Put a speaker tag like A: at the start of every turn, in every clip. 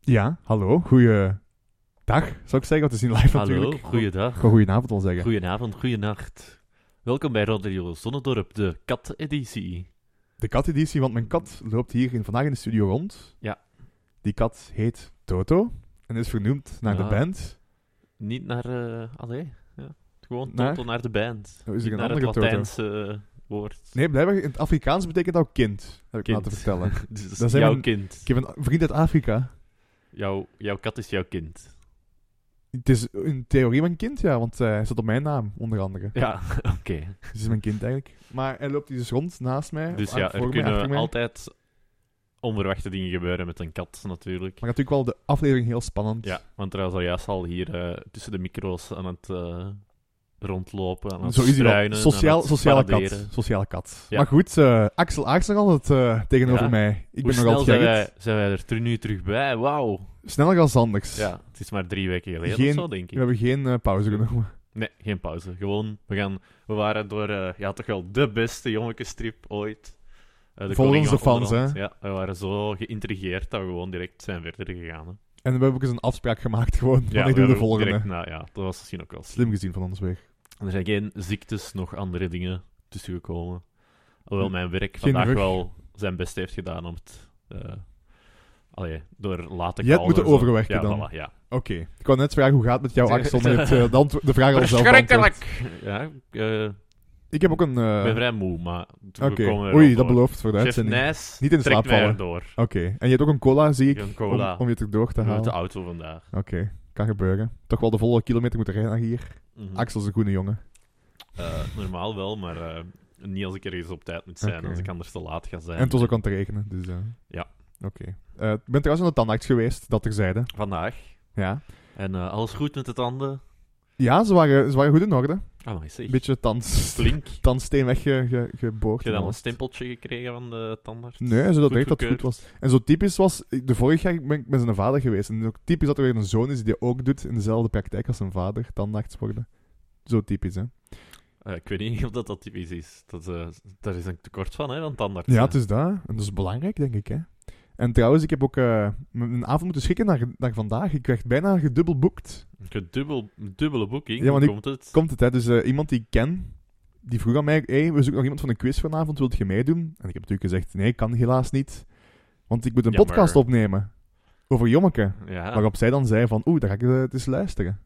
A: Ja, hallo. Goeiedag, zou ik zeggen. Want we zien live
B: Hallo,
A: natuurlijk.
B: goeiedag.
A: Ik ga goedenavond al zeggen.
B: Goedenavond, goeienacht. Welkom bij Radio Zonnedorp, de kat-editie.
A: De kateditie, want mijn kat loopt hier in- vandaag in de studio rond.
B: Ja.
A: Die kat heet Toto en is vernoemd naar
B: Ah.
A: de band.
B: Niet naar... eh allee, ja. Gewoon
A: Naar?
B: Toto naar de band.
A: Oh,
B: Niet
A: is er een
B: naar het
A: andere Toto?
B: Latijnse eh, woord.
A: Nee, blijkbaar in het Afrikaans betekent ook kind, heb ik
B: Kind.
A: laten vertellen.
B: Dus
A: dat zijn
B: jouw
A: we-
B: kind.
A: ik heb een vriend uit Afrika.
B: Jouw, jouw kat is jouw kind.
A: Het is in theorie mijn kind, ja, want eh, hij staat op mijn naam, onder andere.
B: Ja, oké.
A: Dus het is mijn kind eigenlijk. Maar hij loopt hier dus rond naast mij.
B: Dus
A: of aan-
B: ja,
A: voor
B: er
A: mij, achter
B: kunnen
A: mij.
B: altijd onverwachte dingen gebeuren met een kat, natuurlijk.
A: Maar natuurlijk wel de aflevering heel spannend.
B: Ja, want er was al juist al hier eh, tussen de micro's aan het eh, rondlopen, aan het
A: Zo is hij
B: struinen,
A: wel.
B: aan
A: Sociaal,
B: het
A: sociale
B: paraderen.
A: kat. Sociale kat.
B: Ja.
A: Maar goed, eh, Axel Aarts nog altijd eh, tegenover
B: Ja.
A: mij. Ik
B: Hoe
A: ben nog
B: snel
A: altijd
B: zijn
A: Gerrit.
B: wij, zijn wij er terug- nu terug bij? Wauw.
A: Sneller als anders.
B: Ja, het is maar drie weken geleden
A: Geen-
B: of zo, denk ik.
A: We hebben geen eh, pauze genomen.
B: Nee, geen pauze. Gewoon, we, gaan, we waren door eh, ja, toch wel de beste jongekenstrip ooit. Eh, de
A: Volgens
B: Koning
A: de
B: van
A: fans,
B: Onderhand. Ja, we waren zo geïntrigeerd dat we gewoon direct zijn verder gegaan. Hè.
A: En we hebben ook eens een afspraak gemaakt gewoon. Van
B: Ja, we
A: ik doe de
B: hebben
A: volgende.
B: Direct, na- ja, dat was misschien ook wel slim.
A: Slim gezien van ons weer.
B: Er zijn geen ziektes, nog andere dingen tussengekomen. Alhoewel mijn werk
A: Hm. Geen
B: vandaag
A: rug.
B: wel zijn best heeft gedaan om het... eh allee, door late
A: Je hebt
B: calls
A: moeten
B: en zo.
A: overwegen
B: ja,
A: dan.
B: Voilà, ja,
A: Oké. Ik wou net vragen hoe gaat het met jou, Axel? Met het, eh, de, antwo- de vraag al zelf beantwoord.
B: Ja, ik eh,
A: Ik heb ook een... eh,
B: ik ben vrij moe, maar we
A: Oké.
B: komen er
A: Oei,
B: wel
A: dat
B: door.
A: belooft voor de
B: Chef
A: uitzending.
B: Nijs
A: Niet in
B: trekt
A: slaap
B: mij
A: vallen.
B: erdoor.
A: Oké. En je hebt ook een cola, zie
B: Ik
A: ik.
B: heb een cola.
A: Om, om je er door te
B: Met de
A: halen. Oké.
B: auto vandaag.
A: Kan gebeuren. Toch wel de volle kilometer moeten rijden naar hier.
B: Mhm.
A: Axel is een goede jongen.
B: Eh, normaal wel, maar eh, niet als ik ergens op tijd moet zijn,
A: Oké.
B: als ik anders te laat ga zijn.
A: En het was ook aan het regenen, dus... eh,
B: Ja.
A: Oké. Eh, ik ben trouwens aan de tandarts geweest, dat terzijde.
B: Vandaag.
A: Ja.
B: En eh, alles goed met de tanden?
A: Ja, ze waren, ze waren goed in orde.
B: Ah, maar zeg.
A: Een beetje tand,
B: Flink. Heb
A: tandsteen weggeboord.
B: je dan een stempeltje gekregen van de tandarts?
A: Nee, ze dat
B: Goed
A: echt dat het goed
B: gekeurd.
A: was. En zo typisch was... ik- De vorige jaar ben ik met zijn vader geweest. En ook typisch dat er weer een zoon is die dat ook doet in dezelfde praktijk als zijn vader. Tandarts worden. Zo typisch, hè.
B: Eh, ik weet niet of dat, dat typisch is. Dat, eh, daar is een tekort van, hè, van tandartsen.
A: Ja, het is dat. En dat is belangrijk, denk ik, hè. En trouwens, ik heb ook eh, m- een avond moeten schikken naar, naar vandaag. Ik werd bijna gedubbelboekt.
B: Gedubbel, dubbele boeking,
A: Ja,
B: ja,
A: want ik-
B: komt het?
A: komt het, hè. Dus eh, iemand die ik ken, die vroeg aan mij... Hey, we zoeken nog iemand van een quiz vanavond, wilt je meedoen? En ik heb natuurlijk gezegd, nee, kan helaas niet. Want ik moet een
B: Jammer. Ah.
A: podcast opnemen. Over Jommeke.
B: Ja.
A: Waarop zij dan zei van, oeh, daar ga ik eh, het eens luisteren.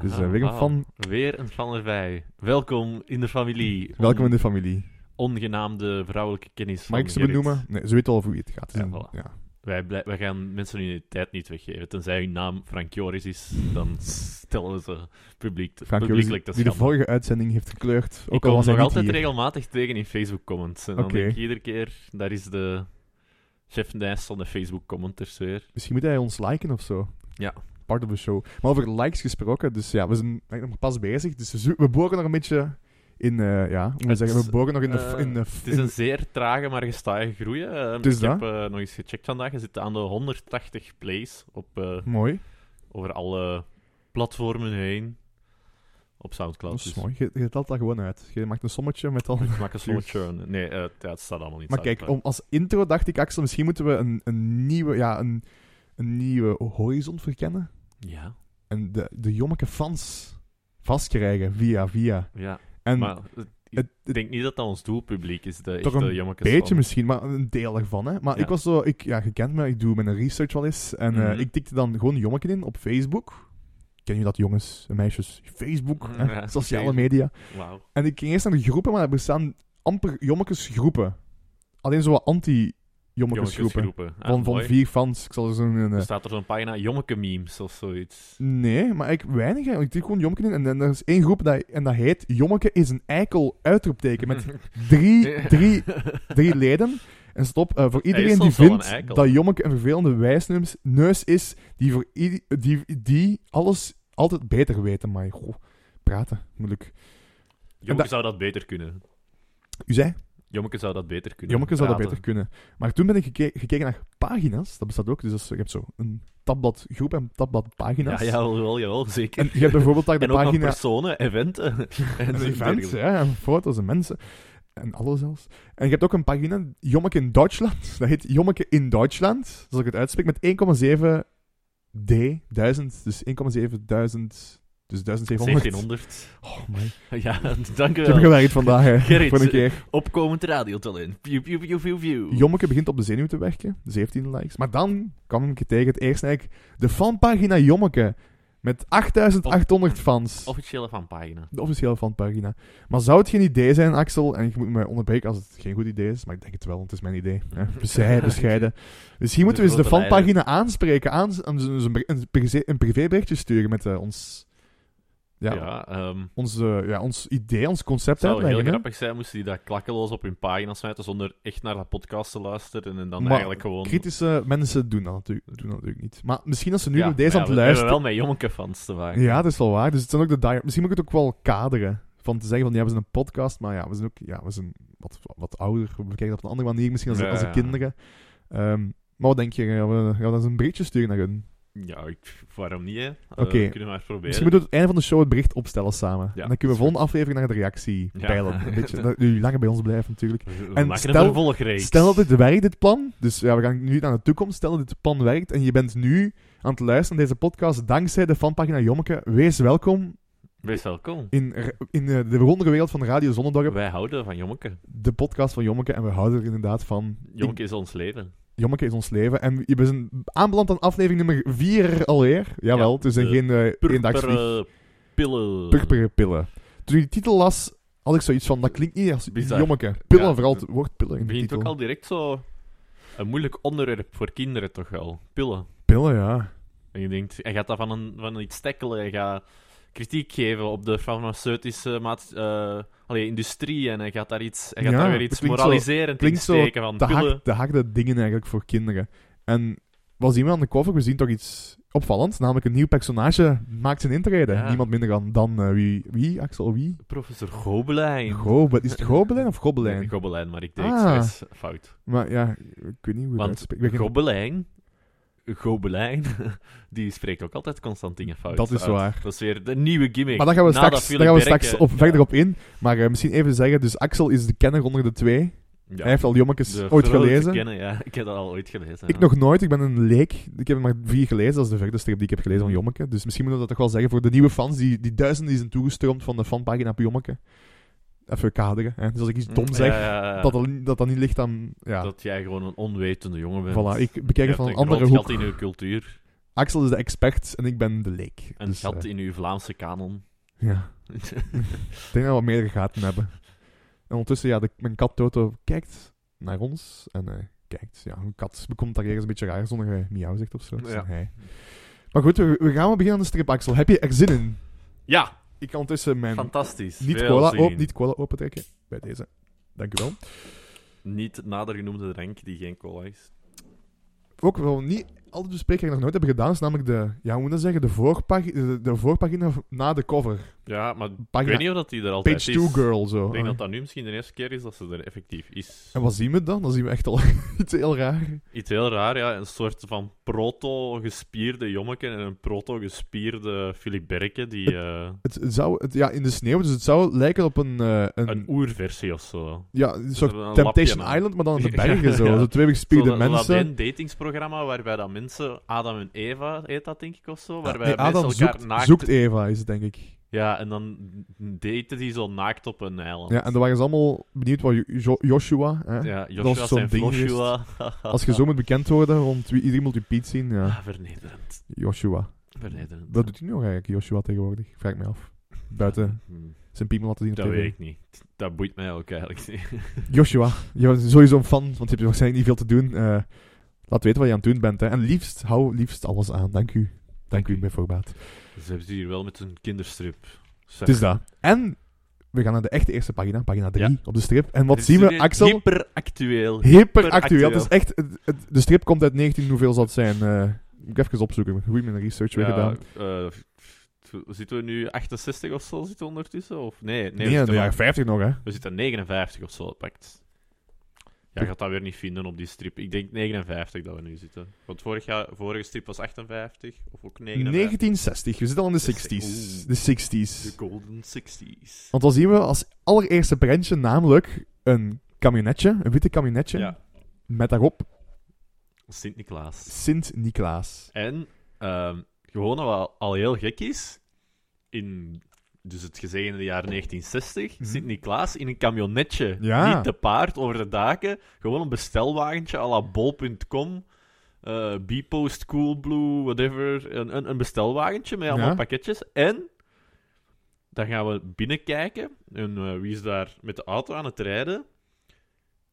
A: Dus eh,
B: Ah,
A: weer, een
B: wauw.
A: fan,
B: Weer een fan erbij. Welkom in de familie. On-
A: welkom in de familie.
B: Ongenaamde vrouwelijke kennis.
A: Mag
B: van
A: ik ze
B: Gerrit.
A: benoemen? Nee, ze weten al hoe het gaat. Het is
B: Ja,
A: een-
B: voilà.
A: ja.
B: Wij, blij- wij gaan mensen hun identiteit niet weggeven. Tenzij hun naam Frank Joris is, dan stellen we ze publiek,
A: Frank Joris,
B: publiekelijk te
A: die de
B: schande.
A: vorige uitzending heeft gekleurd.
B: Ik
A: Ook al
B: kom
A: was hij
B: nog
A: niet
B: altijd
A: hier.
B: regelmatig tegen in Facebook-comments. En dan
A: Oké.
B: denk ik iedere keer, daar is de chef Nijs van de Facebook-commenters weer.
A: Misschien moet hij ons liken of zo.
B: Ja.
A: Part of the show. Maar over likes gesproken, dus ja, we zijn eigenlijk nog pas bezig. Dus we, zo- we boren nog een beetje in, eh, ja, hoe moet je
B: Het
A: zeggen, we
B: is,
A: boren nog in de... f-
B: eh,
A: in de f-
B: Het is
A: in-
B: een zeer trage, maar gestage groei. hè.
A: Het is
B: ik heb eh, nog eens gecheckt vandaag. Je zit aan de 180 plays op eh,
A: Mooi,
B: over alle platformen heen. Op
A: dat
B: Soundcloud.
A: is
B: Dus.
A: mooi. Je, je telt dat gewoon uit. Je maakt een sommetje met al...
B: Ik maak een slotje. Nee, eh, ja, het staat allemaal niet.
A: Maar
B: uit,
A: kijk, om, als intro dacht ik, Axel, misschien moeten we een, een nieuwe, ja, een, een nieuwe horizon verkennen.
B: Ja,
A: En de, de jommeke fans vastkrijgen via via.
B: ja.
A: En
B: maar eh,
A: het,
B: ik
A: het
B: denk niet dat dat ons doelpubliek is. De
A: Toch
B: echte
A: een
B: jommekes
A: beetje
B: van-
A: misschien, maar een deel ervan. Hè. Maar
B: Ja.
A: ik was zo, ik, ja, je kent me, ik doe mijn research wel eens. En eh,
B: Mhm.
A: ik tikte dan gewoon jommeke in op Facebook. Ken je dat, jongens en meisjes? Facebook, hè,
B: Mhm, Ja,
A: sociale
B: Facebook.
A: media.
B: Wauw.
A: En ik ging eerst naar de groepen, maar er bestaan amper jommekesgroepen. Alleen zo wat anti-jommekesgroepen.
B: Jommekesgroepen. Ah,
A: Van, van
B: mooi. Dus-
A: vier fans. Ik zal er zo'n... eh,
B: Er staat er zo'n pagina jommeke memes of zoiets.
A: Nee, maar ik weinig eigenlijk. Ik tik gewoon Jommeke in. En, dan er is één groep dat, en dat heet Jommeke is een eikel uitroepteken. Met drie, drie, drie leden. En stop, eh, voor iedereen
B: is
A: die
B: soms wel
A: vindt
B: een eikel.
A: dat Jommeke een vervelende wijsneus neus is, die, voor ieder- die, die alles altijd beter weten. Maar goh, praten, moeilijk.
B: Jommeke
A: dat-
B: zou dat beter kunnen.
A: U zei,
B: Jommeke zou dat beter kunnen.
A: Jommeke zou dat
B: Praten.
A: beter kunnen. Maar toen ben ik geke- gekeken naar pagina's. Dat bestaat ook. Dus dat is- je hebt zo een tabblad groep en tabblad pagina's.
B: Ja, jawel, jawel, zeker.
A: En je hebt bijvoorbeeld daar de
B: En ook nog
A: pagina...
B: personen, eventen. en
A: En
B: zo
A: events,
B: dergelijke.
A: ja, en foto's en mensen. En alles zelfs. En je hebt ook een pagina, Jommeke in Duitsland. Dat heet Jommeke in Duitsland. Zoals ik het uitspreek, met 1,7 D, 1000, dus 1,7000, dus 1700.
B: 1700.
A: Oh man,
B: Ja, dank u
A: ik heb
B: wel.
A: gewerkt vandaag, hè,
B: Gerrit, eh,
A: voor een keer.
B: Opkomend radiotalent. Pew, pew, pew, pew, pew.
A: Jommeke begint op de zenuw te werken, 17 likes. Maar dan kwam ik tegen het eerst eigenlijk de fanpagina Jommeke, met 8800 fans.
B: Officiële fanpagina.
A: De officiële fanpagina. Maar zou het geen idee zijn, Axel? En je moet me onderbreken als het geen goed idee is, maar ik denk het wel, want het is mijn idee. Hè? Bescheiden, bescheiden. Dus hier moeten we eens de
B: grote
A: fanpagina aanspreken. Aans en dus een, br- een, privé- een privéberichtje sturen met eh, ons, ja,
B: Ja, ehm,
A: Ons, eh, ja, ons idee, ons concept
B: Het zou heel
A: uitleggen. hè.
B: grappig zijn moesten die dat klakkeloos op hun pagina smijten zonder echt naar dat podcast te luisteren en dan
A: Maar
B: eigenlijk gewoon...
A: Kritische mensen doen dat, natuurlijk, doen dat natuurlijk niet. Maar misschien als ze nu
B: Ja,
A: naar deze
B: maar
A: aan
B: ja,
A: het
B: we- We hebben
A: luisteren...
B: wel met Jommeke-fans te maken.
A: Ja, dat is wel waar. Dus het zijn ook de die- Misschien moet ik het ook wel kaderen. Van te zeggen van, ja, we zijn een podcast, maar ja, we zijn ook ja, we zijn wat, wat ouder. We bekijken dat op een andere manier, misschien als,
B: Ja,
A: als de
B: ja.
A: kinderen. Ehm, maar wat denk je? Gaan we, gaan we dan eens een berichtje sturen naar hun?
B: Ja, ik, waarom niet, hè? Eh,
A: Oké.
B: kunnen we maar eens proberen.
A: Misschien moeten we het einde van de show het bericht opstellen samen.
B: Ja,
A: en dan kunnen we
B: is
A: volgende aflevering naar de reactie
B: Ja.
A: peilen. Een beetje, dat jullie langer bij ons blijven natuurlijk.
B: We- we
A: en
B: maken
A: stel-
B: een vervolgreeks.
A: Stel dat dit werkt, dit plan. Dus ja, we gaan nu naar de toekomst. Stel dat dit plan werkt en je bent nu aan het luisteren naar deze podcast dankzij de fanpagina Jommeke. Wees welkom
B: Wees welkom.
A: in, in eh, de rondere wereld van Radio Zonnedorp.
B: Wij houden van Jommeke.
A: de podcast van Jommeke en we houden er inderdaad van.
B: Jommeke is ons leven.
A: Ik- Jommeke is ons leven. En we zijn aanbeland aan aflevering nummer 4 alweer. Jawel,
B: Ja,
A: het is een
B: de
A: geen eh eendagsvlieg.
B: Purperen pillen.
A: Purperen pillen. Toen ik die titel las, had ik zoiets van, dat klinkt niet als
B: Bizar.
A: Jommeke. Pillen,
B: Ja.
A: vooral het woord pillen in de
B: begint
A: titel.
B: ook al direct zo... Een moeilijk onderwerp voor kinderen toch wel. Pillen.
A: Pillen, ja.
B: En je denkt, hij gaat dat van, een, van iets tackelen. Hij gaat kritiek geven op de farmaceutische maat, eh, allee, industrie. En hij gaat daar, iets, hij gaat
A: Ja,
B: daar weer
A: het
B: iets
A: klinkt
B: moraliserend in
A: klinkt zo
B: steken. Van
A: Te,
B: pillen.
A: hard, te harde dingen eigenlijk voor kinderen. En wat zien we aan de cover? We zien toch iets opvallends. Namelijk een nieuw personage maakt zijn intrede.
B: Ja.
A: Niemand minder dan, dan eh, wie, wie, Axel, wie?
B: Professor Gobelijn.
A: Gobe- is het Gobelijn of Gobelijn?
B: Nee, Gobelijn, maar ik deed
A: Ah.
B: expres fout.
A: Maar ja, ik weet niet hoe
B: Want
A: dat uitspreekt. Ik weet niet-
B: Gobelijn... Gobelijn, die spreekt ook altijd constant dingen fout.
A: Dat is
B: uit.
A: waar.
B: Dat is weer de nieuwe gimmick.
A: Maar daar gaan we
B: Na dat
A: straks, daar
B: Philip
A: gaan we
B: Derken-
A: straks op,
B: Ja.
A: verder op in. Maar eh, misschien even zeggen, dus Axel is de kenner onder de twee.
B: Ja.
A: Hij heeft al Jommekes
B: De
A: ooit
B: grote
A: gelezen.
B: kennen, ja. Ik heb dat al ooit gelezen.
A: Ik
B: ja.
A: nog nooit, ik ben een leek. Ik heb er maar vier gelezen, dat is de verder strip die ik heb gelezen van Jommeke. Dus misschien moeten we dat toch wel zeggen voor de nieuwe fans, die, die duizenden die zijn toegestroomd van de fanpagina op Jommeke. Even kaderen, hè. Dus als ik iets dom zeg,
B: Mm, Ja, ja, ja.
A: Dat, dat dat dan niet ligt aan... Ja,
B: Dat jij gewoon een onwetende jongen bent.
A: voilà, ik bekijk
B: Jij
A: het van een
B: hebt
A: andere
B: groot
A: hoek.
B: gat in uw cultuur.
A: Axel is de expert en ik ben de leek.
B: Een
A: Dus,
B: gat
A: eh,
B: in uw Vlaamse kanon.
A: Ja. ik denk dat we wat meerdere gaten hebben. En ondertussen, ja, de, mijn kat Toto kijkt naar ons. En eh, kijkt, ja, een kat bekomt daar ergens een beetje raar zonder eh, miauw zegt of zo. Het is
B: Ja.
A: een hij. Maar goed, we, we gaan maar beginnen aan de strip, Axel. Heb je er zin in?
B: Ja,
A: Ik kan ondertussen mijn
B: fantastisch. Veel
A: niet-cola
B: zin.
A: op, niet cola opentrekken. Bij deze. Dankjewel.
B: Niet het nader genoemde drank die geen cola is.
A: Ook wel niet altijd bespreken die ik nog nooit hebben gedaan, is namelijk de, ja, hoe moet ik dat zeggen, de, voorpag de, de voorpagina na de cover.
B: Ja, maar ik
A: Pagina,
B: weet niet of dat die er altijd
A: page
B: is.
A: 2 girl, zo.
B: Ik denk
A: Ah.
B: dat dat nu misschien de eerste keer is dat ze er effectief is.
A: En wat zien we dan? Dan zien we echt al iets heel raar.
B: Iets heel raar, ja. Een soort van proto-gespierde jommeke en een proto-gespierde Philip Berke, die... eh,
A: Het zou, het, ja, in de sneeuw, dus het zou lijken op een, eh, een,
B: een oerversie of zo.
A: ja, een soort
B: een lapje
A: Temptation
B: aan.
A: Island, maar dan in de
B: Ja,
A: bergen zo.
B: ja.
A: Zo twee
B: Zo'n
A: gespierde mensen.
B: Ladijn datingsprogramma waarbij dat mensen, Adam en Eva heet dat denk ik of zo, waarbij
A: Nee, Adam
B: mensen elkaar
A: zoekt,
B: naakt...
A: zoekt Eva, is het denk ik.
B: Ja, en dan daten die zo naakt op een eiland.
A: Ja, en dan waren ze allemaal benieuwd wat Jo- Jo- Joshua, hè?
B: Ja,
A: Dat
B: Joshua
A: is
B: zijn
A: zo'n ding
B: Joshua.
A: als je zo moet bekend worden, want wie, iedereen moet je Piet zien. Ja,
B: Ah, vernederend.
A: Joshua.
B: Vernederend.
A: Dat doet hij nog eigenlijk, Joshua tegenwoordig? Vraag ik me af. Buiten
B: Hm,
A: zijn piemel laten zien. op
B: Dat
A: tv.
B: weet ik niet. Dat boeit mij ook eigenlijk niet.
A: Joshua, je bent sowieso een fan, want je hebt waarschijnlijk niet veel te doen. Eh, laat weten wat je aan het doen bent. Hè. En liefst, hou liefst alles aan. Dank u. Dank u, bij voorbaat.
B: Ze hebben ze hier wel met een kinderstrip.
A: Het is dat. En we gaan naar de echte eerste pagina, pagina 3
B: Ja.
A: op de strip. En wat zien we, Axel?
B: Hyperactueel.
A: Hyperactueel. Het is echt... het- het- de strip komt uit 19, hoeveel zal het zijn? Eh, moet ik even opzoeken. Goed met mijn research weer gedaan.
B: eh, f- f- zitten we nu 68 of zo zitten we ondertussen? Of nee, nee,
A: Nee,
B: we,
A: in
B: zitten
A: de jaren
B: wel-
A: 50 nog, hè?
B: we zitten 59 of zo pakt. Jij gaat dat weer niet vinden op die strip. Ik denk 59 dat we nu zitten. Want vorig jaar, vorige strip was 58 of ook 59.
A: 1960. We zitten al in de 60s.
B: Oeh.
A: De 60s.
B: De Golden 60s.
A: Want dan zien we als allereerste brandje namelijk een kamionetje, een witte kamionetje,
B: Ja,
A: met daarop
B: Sint-Niklaas.
A: Sint-Niklaas.
B: En ehm, gewoon al, al heel gek is, in dus het gezegende jaar 1960,
A: Mhm.
B: zit Niklaas in een camionetje,
A: Ja.
B: niet te paard, over de daken, gewoon een bestelwagentje à la bol.com, eh Bpost, Coolblue, whatever, een, een, een bestelwagentje met allemaal
A: Ja.
B: pakketjes. En dan gaan we binnenkijken, en eh, wie is daar met de auto aan het rijden?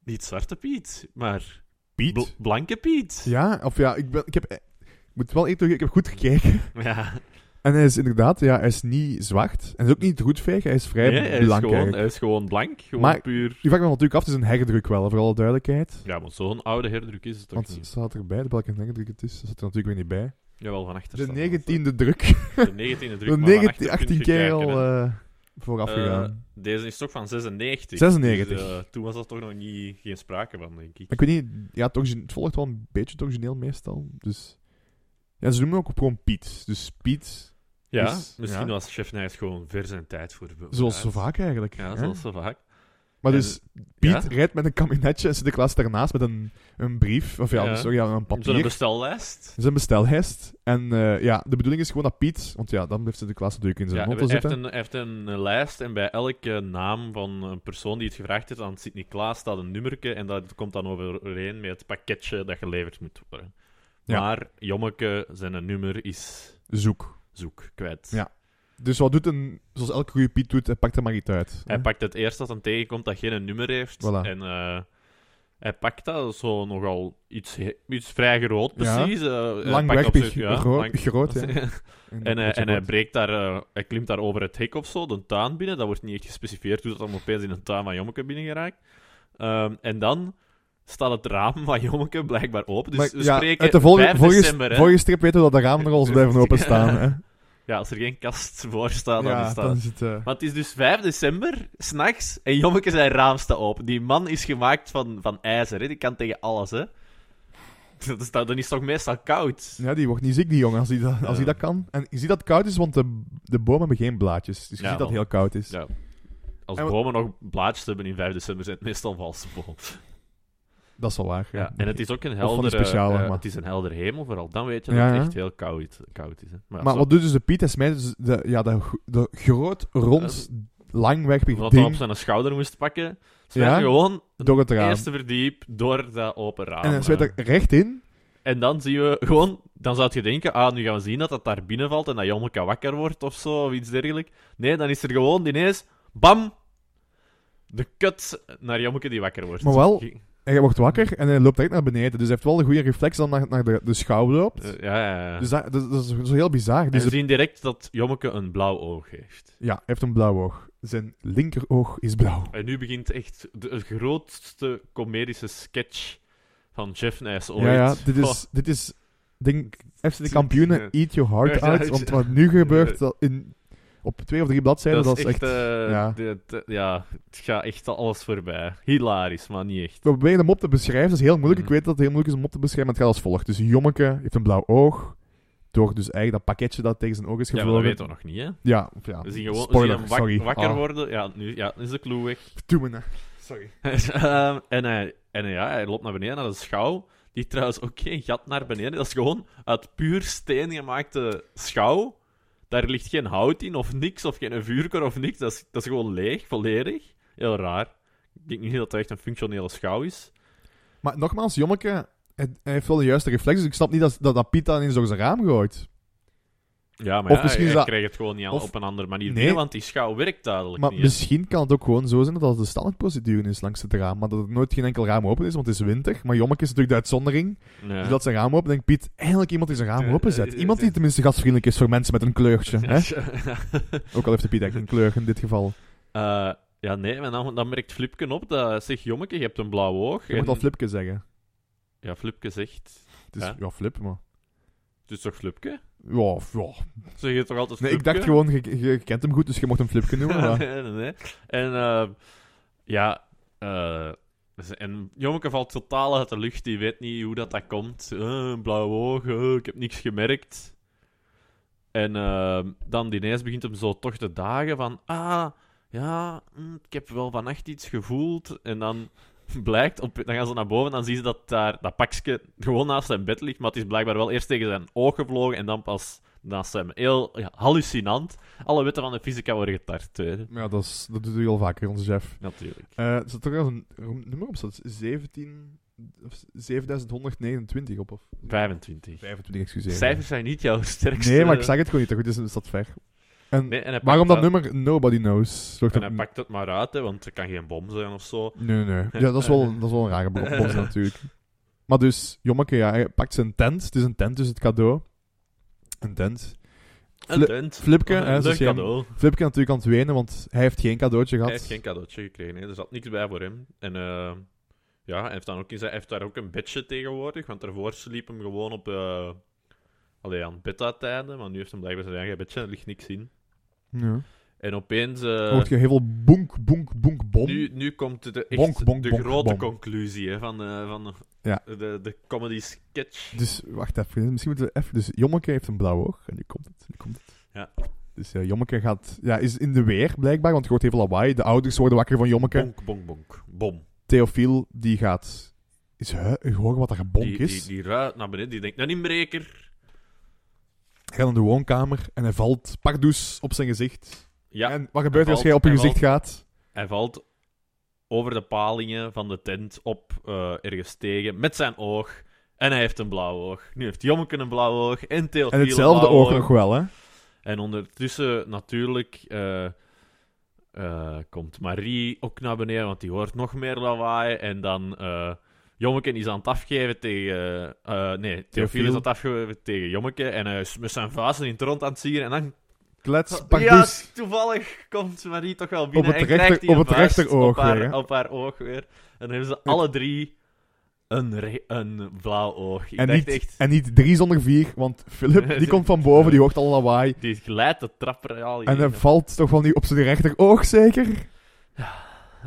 B: Niet Zwarte Piet, maar
A: Piet?
B: Bl- Blanke Piet.
A: Ja, of ja, ik, ben, ik heb... eh, Ik moet wel eerlijk toegeven, ik heb goed gekeken.
B: ja.
A: En hij is inderdaad, ja, hij is niet zwart. En hij is ook niet roetveeg, hij is vrij
B: Nee, hij, is
A: blank
B: gewoon, eh,
A: eigenlijk.
B: hij is gewoon blank. Gewoon
A: Maar-
B: puur.
A: Die vraag me natuurlijk af, het is een herdruk wel, voor alle duidelijkheid.
B: Ja, want zo'n oude herdruk is het toch
A: Want
B: niet?
A: staat erbij, de welke herdruk het is, dat staat er natuurlijk weer niet bij.
B: Jawel, van achter.
A: De
B: staat dat.
A: 19e druk.
B: De 19e druk.
A: De
B: maar van achter
A: 19,
B: kun
A: 18
B: je
A: keer
B: kijken,
A: al
B: hè.
A: eh, vooraf
B: Eh,
A: gegaan.
B: Deze is toch van 96.
A: 96.
B: Dus, eh, toen was dat toch nog niet, geen sprake van, denk ik.
A: Ik weet niet, ja, het, origine- het volgt wel een beetje het origineel meestal. Dus. Ja, ze noemen hem ook gewoon Piet. Dus Piet,
B: Ja,
A: dus-
B: misschien
A: ja.
B: was Chef Nijs gewoon ver zijn tijd voor. vooruit.
A: zoals zo vaak eigenlijk.
B: Ja,
A: hè?
B: zoals zo vaak.
A: Maar
B: en-
A: dus Piet
B: ja.
A: rijdt met een kabinetje en Sinterklaas daarnaast met een, een brief, of ja,
B: Ja.
A: sorry, ja, een
B: Op Zo'n
A: papier.
B: bestellijst.
A: Zijn bestelhest. En eh, ja, de bedoeling is gewoon dat Piet, want ja, dan blijft Sinterklaas natuurlijk in zijn
B: Ja, hij
A: motto
B: heeft
A: zitten.
B: een, hij heeft een eh, lijst en bij elke naam van een persoon die het gevraagd heeft aan Sint-Niklaas staat een nummerke en dat komt dan overeen met het pakketje dat geleverd moet worden.
A: Ja.
B: Maar Jommeke, zijn nummer is
A: Zoek.
B: zoek, kwijt.
A: Ja. Dus wat doet een, zoals elke goede Piet doet, hij pakt er maar iets uit.
B: Hij
A: hè?
B: pakt het eerst dat hem tegenkomt dat geen nummer heeft
A: Voilà.
B: en eh, hij pakt dat zo nogal iets, he- iets vrij groot precies. eh, hij
A: Lang
B: pakt op
A: wegpig,
B: zich- ja,
A: gro-
B: lang-
A: groot, ja.
B: En, hij-
A: dat
B: en hij
A: wordt-
B: breekt daar, eh, hij klimt daar over het hek of zo, de tuin binnen. Dat wordt niet echt gespecificeerd hoe dat dan opeens in een tuin van Jommeke binnen geraakt. Ehm, en dan staat het raam van Jommeke blijkbaar open. Dus
A: Maar
B: we
A: ja,
B: spreken
A: uit de volgende,
B: 5
A: vorige,
B: december. hè.
A: vorige strip weten we dat de ramen nog altijd blijven openstaan. Hè?
B: Ja, als er geen kast voor staat, dan
A: ja,
B: is dat...
A: dan is het... eh,
B: Maar het is dus 5 december, s'nachts, en Jommeke zijn raam staat open. Die man is gemaakt van, van ijzer, hè. die kan tegen alles. Hè. Dat is, dan is het toch meestal koud?
A: ja, die wordt niet ziek, die jongen, als hij dat, als
B: Ja.
A: die dat kan. En je ziet dat het koud is, want de, de bomen hebben geen blaadjes. Dus je
B: Ja,
A: ziet dat
B: man.
A: het heel koud is.
B: Ja. Als
A: En wat-
B: bomen nog blaadjes hebben in 5 december, zijn het meestal valse bomen.
A: Dat is wel waar. Ja.
B: Ja, en het is ook een
A: van die
B: heldere,
A: speciale,
B: eh,
A: maar-
B: het is een helder hemel, vooral dan weet je
A: Ja,
B: dat het
A: ja.
B: echt heel koud, koud is. Hè. Maar, ja,
A: maar
B: zo-
A: wat doet dus de Piet? Hij smijt dus de, ja, de, gro- de groot, rond, langwegpig
B: Eh, wat hij op
A: ding
B: zijn schouder moest pakken, ze
A: Ja,
B: ja, gewoon
A: door het raam.
B: eerste verdiep door dat open raam.
A: En hij smijt
B: hè.
A: er recht in.
B: En dan zien we gewoon, dan zou je denken, ah, nu gaan we zien dat dat daar binnen valt en dat Jommeke wakker wordt of zo, of iets dergelijks. Nee, dan is er gewoon ineens, bam, de kut naar Jommeke die wakker wordt.
A: Maar wel-
B: Ge-
A: En hij wordt wakker en hij loopt direct naar beneden. Dus hij heeft wel een goede reflex dan naar, naar de, de schouw loopt.
B: eh, ja, ja, ja.
A: Dus dat, dat, dat is zo heel bizar.
B: en
A: Dus
B: we
A: de-
B: zien direct dat Jommeke een blauw oog heeft.
A: ja, hij heeft een blauw oog. Zijn linkeroog is blauw.
B: En nu begint echt de, de grootste comedische sketch van Jeff Nijs ooit.
A: Ja, ja, dit
B: Oh,
A: is, dit is denk, FC de kampioenen, eat your heart
B: Ja,
A: out.
B: ja,
A: Want
B: ja.
A: wat nu gebeurt, dat in, op twee of drie bladzijden,
B: dat,
A: dat
B: is echt... eh,
A: ja.
B: dit- ja, het gaat echt alles voorbij. Hilarisch, maar niet echt.
A: We proberen hem op te beschrijven, dat is heel moeilijk. Ik
B: Mhm.
A: weet dat het heel moeilijk is om op te beschrijven, maar het gaat als volgt. Dus Jommeke heeft een blauw oog, door dus eigenlijk dat pakketje dat tegen zijn oog is
B: Ja, maar dat
A: gevlogen.
B: weten we nog niet, hè.
A: Ja, of ja.
B: We zien gewoon we
A: Spoiler,
B: zien hem wak-
A: sorry.
B: wakker
A: Ah,
B: worden. Ja, nu ja, is de clue weg.
A: doe me na. Sorry.
B: Ehm, en hij, en hij- ja, hij loopt naar beneden naar de schouw. Die trouwens ook geen gat naar beneden. Dat is gewoon uit puur steen gemaakte schouw. Daar ligt geen hout in of niks, of geen vuurkor of niks. Dat is, dat is gewoon leeg, volledig. Heel raar. Ik denk niet dat het echt een functionele schouw is.
A: Maar nogmaals, Jommeke, hij, hij heeft wel de juiste reflex, dus ik snap niet dat, dat, dat Piet dan in zijn raam gooit.
B: Ja, maar
A: Of
B: ja,
A: misschien is
B: hij
A: dat-
B: krijgt het gewoon niet aan-
A: of-
B: op een andere manier
A: Nee.
B: binnen, want die schouw werkt duidelijk
A: Maar
B: niet. hè.
A: misschien kan het ook gewoon zo zijn dat als de standaardprocedure is langs het raam, maar dat er nooit geen enkel raam open is, want het is winter. Maar Jommeke is natuurlijk de uitzondering.
B: Ja.
A: Dus dat zijn raam open, denkt Piet, eindelijk iemand die zijn raam
B: Ja,
A: open
B: eh,
A: zet.
B: eh,
A: Iemand die
B: eh.
A: tenminste gastvriendelijk is voor mensen met een kleurtje. Hè?
B: Ja.
A: Ook al heeft de Piet echt een kleur in dit geval.
B: Eh, ja, nee, maar dan, dan merkt Flipke op dat... Zeg, jommeke, je hebt een blauw oog.
A: Je moet
B: en-
A: al Flipke zeggen.
B: Ja, Flipke zegt...
A: Het is, ja.
B: Ja.
A: Flip, maar...
B: Het is toch Flipke?
A: Ja, f- ja.
B: Zeg je toch altijd
A: Nee,
B: Flipke?
A: ik dacht gewoon, je, je kent hem goed, dus je mocht hem Flipke noemen. Maar...
B: nee, nee, nee. En, eh, ja... eh, dus- en Jommeke valt totaal uit de lucht. Die weet niet hoe dat, dat komt. Eh, blauwe ogen, eh, ik heb niks gemerkt. En eh, dan ineens begint hem zo toch mm, te dagen van... Ah, ja, hm, ik heb wel vannacht iets gevoeld. En dan... blijkt, op, dan gaan ze naar boven en dan zien ze dat daar dat pakje gewoon naast zijn bed ligt. Maar het is blijkbaar wel eerst tegen zijn oog gevlogen en dan pas naast hem. Heel ja, hallucinant. Alle wetten van de fysica worden getart. hè.
A: Ja, dat, is, dat doet hij al vaker, onze chef.
B: Natuurlijk.
A: Eh, er zit er wel een een nummer op, staat 17... of 7129 op, of
B: 25.
A: 25, excuseer.
B: Cijfers zijn niet jouw sterkste.
A: Nee, maar ik zag het gewoon niet, goed, dus het staat ver. En
B: Nee, en hij
A: waarom dat
B: pakt
A: nummer Nobody Knows? Zorgt
B: En
A: dat-
B: hij pakt het maar uit, hè, want er kan geen bom zijn of zo.
A: Nee, nee. Ja, dat is wel, dat is wel een rare bo- bos natuurlijk. Maar dus, jommeke, ja, hij pakt zijn tent. Het is een tent, dus het cadeau. Een tent.
B: Een
A: Fli-
B: tent.
A: Flipke,
B: Een
A: hè,
B: Oh, leuk
A: zoals jij hem-
B: cadeau.
A: Flipke natuurlijk aan het wenen, want hij heeft geen cadeautje
B: Hij
A: gehad.
B: heeft geen cadeautje gekregen, hè. er zat niks bij voor hem. En eh, ja, hij heeft, dan ook, in zijn- hij heeft daar ook een bedje tegenwoordig, want daarvoor sliep hem gewoon op... eh allee, aan beta-tijden, maar nu heeft hij blijkbaar zijn eigen bedje, er ligt niks in.
A: Ja.
B: En opeens... eh,
A: Dan hoort je heel veel boenk, boenk, boenk, bom.
B: nu, nu komt de, de- echt
A: Bonk, bonk,
B: de
A: bonk,
B: grote
A: bonk.
B: conclusie hè, van, eh, van
A: Ja.
B: de, de comedy sketch.
A: Dus, wacht even. Misschien moeten we even... Dus Jommeke heeft een blauw oog. En nu komt het. Nu komt het.
B: Ja.
A: Dus eh, Jommeke gaat... Ja, is in de weer, blijkbaar, want je hoort heel veel lawaai. De ouders worden wakker van Jommeke.
B: Bonk, bonk, bonk. Bom.
A: Theofiel, die gaat... Is hu- horen wat er gebonk
B: Die,
A: is.
B: die, die ruit naar beneden, die denkt, "Nou, een inbreker.
A: Hij gaat naar de woonkamer en hij valt pardoes op zijn gezicht.
B: Ja,
A: en wat gebeurt er als
B: valt,
A: jij op je
B: hij
A: gezicht gaat?
B: Hij valt over de palingen van de tent op eh, ergens tegen met zijn oog. En hij heeft een blauw oog. Nu heeft Jommeke een blauw oog en Theofiel
A: En hetzelfde
B: een blauw
A: oog nog wel, hè?
B: En ondertussen natuurlijk eh, eh, komt Marie ook naar beneden, want die hoort nog meer lawaai. En dan eh Jommeke is aan het afgeven tegen... eh, eh, nee, Theofiel
A: Theofiel.
B: is aan het afgeven tegen Jommeke. En hij is met zijn vuisten in het rond aan het zien. En dan...
A: Klets,
B: Ja,
A: pardoes.
B: toevallig komt Marie toch wel binnen
A: dus Op het
B: en krijgt
A: rechter-
B: die een
A: op het
B: vuist
A: rechteroog
B: op haar,
A: weer, hè?
B: op haar oog weer. En dan hebben ze alle drie een, re- een blauw oog. Ik
A: en,
B: dacht
A: niet,
B: echt...
A: en niet drie zonder vier, want Philip die komt van boven, die hoort al lawaai.
B: Die glijdt de trap er al
A: En
B: in.
A: hij valt toch wel niet op zijn rechteroog, zeker?
B: Ja,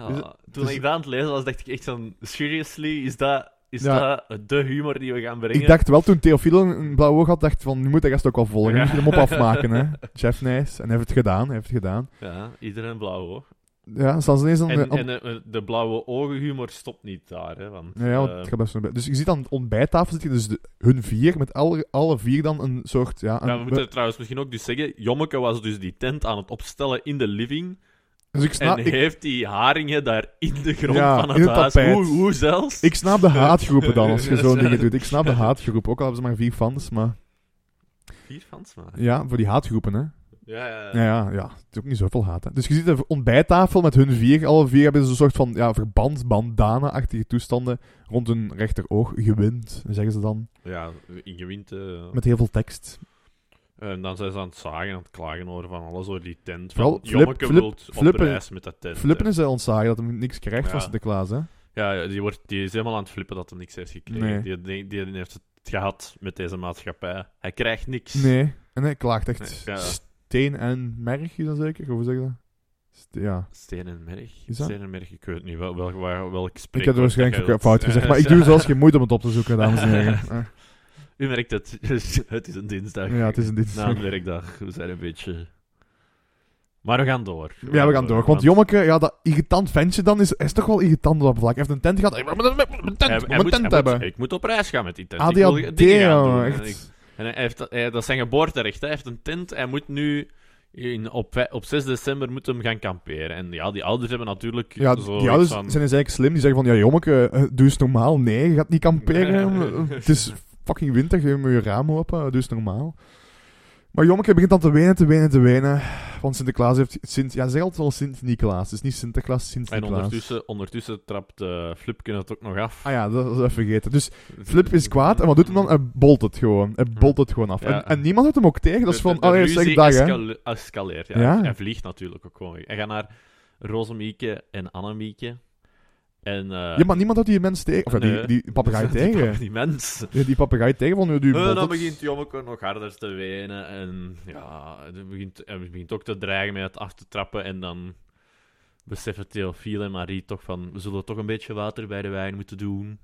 A: Dus-
B: toen
A: dus-
B: ik dat aan het lezen was, dacht ik echt van... Seriously, is dat, is
A: Ja.
B: dat eh, de humor die we gaan brengen?
A: Ik dacht wel, toen Theofiel een- een blauw oog had, dacht ik van, nu moet hij gast ook wel volgen.
B: Ja.
A: Nu moet je hem op afmaken, hè? Jeff Nijs. En hij heeft het gedaan, hij heeft het gedaan.
B: Ja, iedereen een blauw oog.
A: Ja, dan staan ze ineens aan de...
B: En,
A: aan-
B: en eh, de blauwe ogenhumor stopt niet daar, hè. Want,
A: Ja, ja, want
B: eh,
A: het gaat best wel bij. Dus je ziet aan de ontbijttafel zitten dus de- hun vier, met alle, alle vier dan een soort... Ja, een-
B: ja, we moeten trouwens misschien ook dus zeggen... Jommeke was dus die tent aan het opstellen in de living...
A: dus ik snap,
B: en
A: ik,
B: heeft die haringen daar in de grond
A: Ja,
B: van het,
A: in het
B: huis.
A: tapijt.
B: Hoe, hoe zelfs?
A: ik snap de haatgroepen dan, als je zo'n
B: Ja.
A: dingen doet. Ik snap de haatgroep, ook al hebben ze maar vier fans, maar...
B: Vier fans maar.
A: Ja, voor die haatgroepen, hè.
B: Ja, ja, ja.
A: Ja, ja, ja. Het is ook niet zoveel haat, hè. Dus je ziet de ontbijttafel met hun vier. Alle vier hebben zo'n soort van ja, verband, bandana-achtige toestanden rond hun rechteroog gewend, zeggen ze dan.
B: ja ingewind. eh.
A: Met heel veel tekst.
B: En dan zijn ze aan het zagen, aan het klagen over van alles over die tent.
A: Vooral
B: Van,
A: Flip-
B: Jommeke
A: Flip-
B: wilt op
A: Flippen-
B: reis met dat tent.
A: Flippen
B: hè.
A: is hij ontzagen dat hij niks krijgt van
B: Ja.
A: Sinterklaas, hè.
B: Ja, ja, die, wordt, die is helemaal aan het flippen dat hij niks heeft gekregen.
A: Nee.
B: Die, die, die heeft het gehad met deze maatschappij. Hij krijgt niks.
A: Nee. En hij klaagt echt
B: Nee, ja.
A: steen en merg, is dat zeker? Of hoe zeg je dat? Ste- ja.
B: Steen en merg.
A: Is dat-
B: Steen en merg, ik weet niet wel, wel, waar- welk
A: Ik heb
B: spreekwoord
A: er waarschijnlijk
B: dat jij
A: fout
B: wilt-
A: gezegd, maar ik doe zelfs geen moeite om het op te zoeken, dames en heren. Eh,
B: U merkt het, Dus het is een dinsdag.
A: Ja, het is een dit.
B: Na een werkdag, we zijn een beetje... Maar we gaan door.
A: Ja, we gaan door. Want Jommeke, ja, dat irritant ventje dan, is, is toch wel irritant op dat vlak. Hij heeft een tent gehad. Ik moet een tent, ik
B: Hij- hij
A: moet een
B: moet-
A: tent
B: hij moet-
A: hebben.
B: ik moet op reis gaan met die tent.
A: Ah,
B: Ik wil
A: ADHD,
B: dingen gaan doen.
A: jongen,
B: En ik-
A: echt.
B: En hij heeft, hij- dat is zijn geboorterecht. hè. Hij heeft een tent. Hij moet nu in, op, vij- op 6 december moet hem gaan kamperen. En ja, die ouders hebben natuurlijk.
A: Ja,
B: zo
A: die ouders
B: iets van-
A: zijn dus eigenlijk slim. Die zeggen van, ja jommeke, eh, doe eens normaal. Nee, je gaat niet kamperen.
B: Nee.
A: het is fucking winter, je moet je raam open. Doe eens normaal. Maar jommeke begint dan te wenen, te wenen, te wenen. Want Sinterklaas heeft... Sint, ja, ze zeggen altijd wel Sint-Niklaas. Dus niet Sinterklaas,
B: En
A: Sint-Niklaas.
B: ondertussen, ondertussen trapt eh Flipke het ook nog af.
A: Ah ja, dat was even vergeten. Dus Flip is kwaad. En wat doet hij dan? Hij bolt het gewoon. Hij bolt het gewoon af.
B: Hm. Ja.
A: En, en niemand houdt hem ook tegen. Dat is
B: De-
A: van,
B: de- de
A: allee,
B: ruzie
A: zeg dag, hè.
B: escale- escaleert. Ja.
A: Ja.
B: Hij vliegt natuurlijk ook gewoon weg. Hij gaat naar Rosemieke en Annemieke. En, eh,
A: Ja, maar niemand houdt die mens tegen. Of ja,
B: Nee.
A: die, die papegaai
B: die-
A: tegen.
B: Die mens.
A: Ja, Die papegaai tegen van, die
B: Eh,
A: bolt
B: dan
A: het.
B: begint Jommeke nog harder te wenen. En ja, hij begint, hij begint ook te dreigen met het af te trappen. En dan beseffen Theofiel en Marie toch van... We zullen toch een beetje water bij de wijn moeten doen.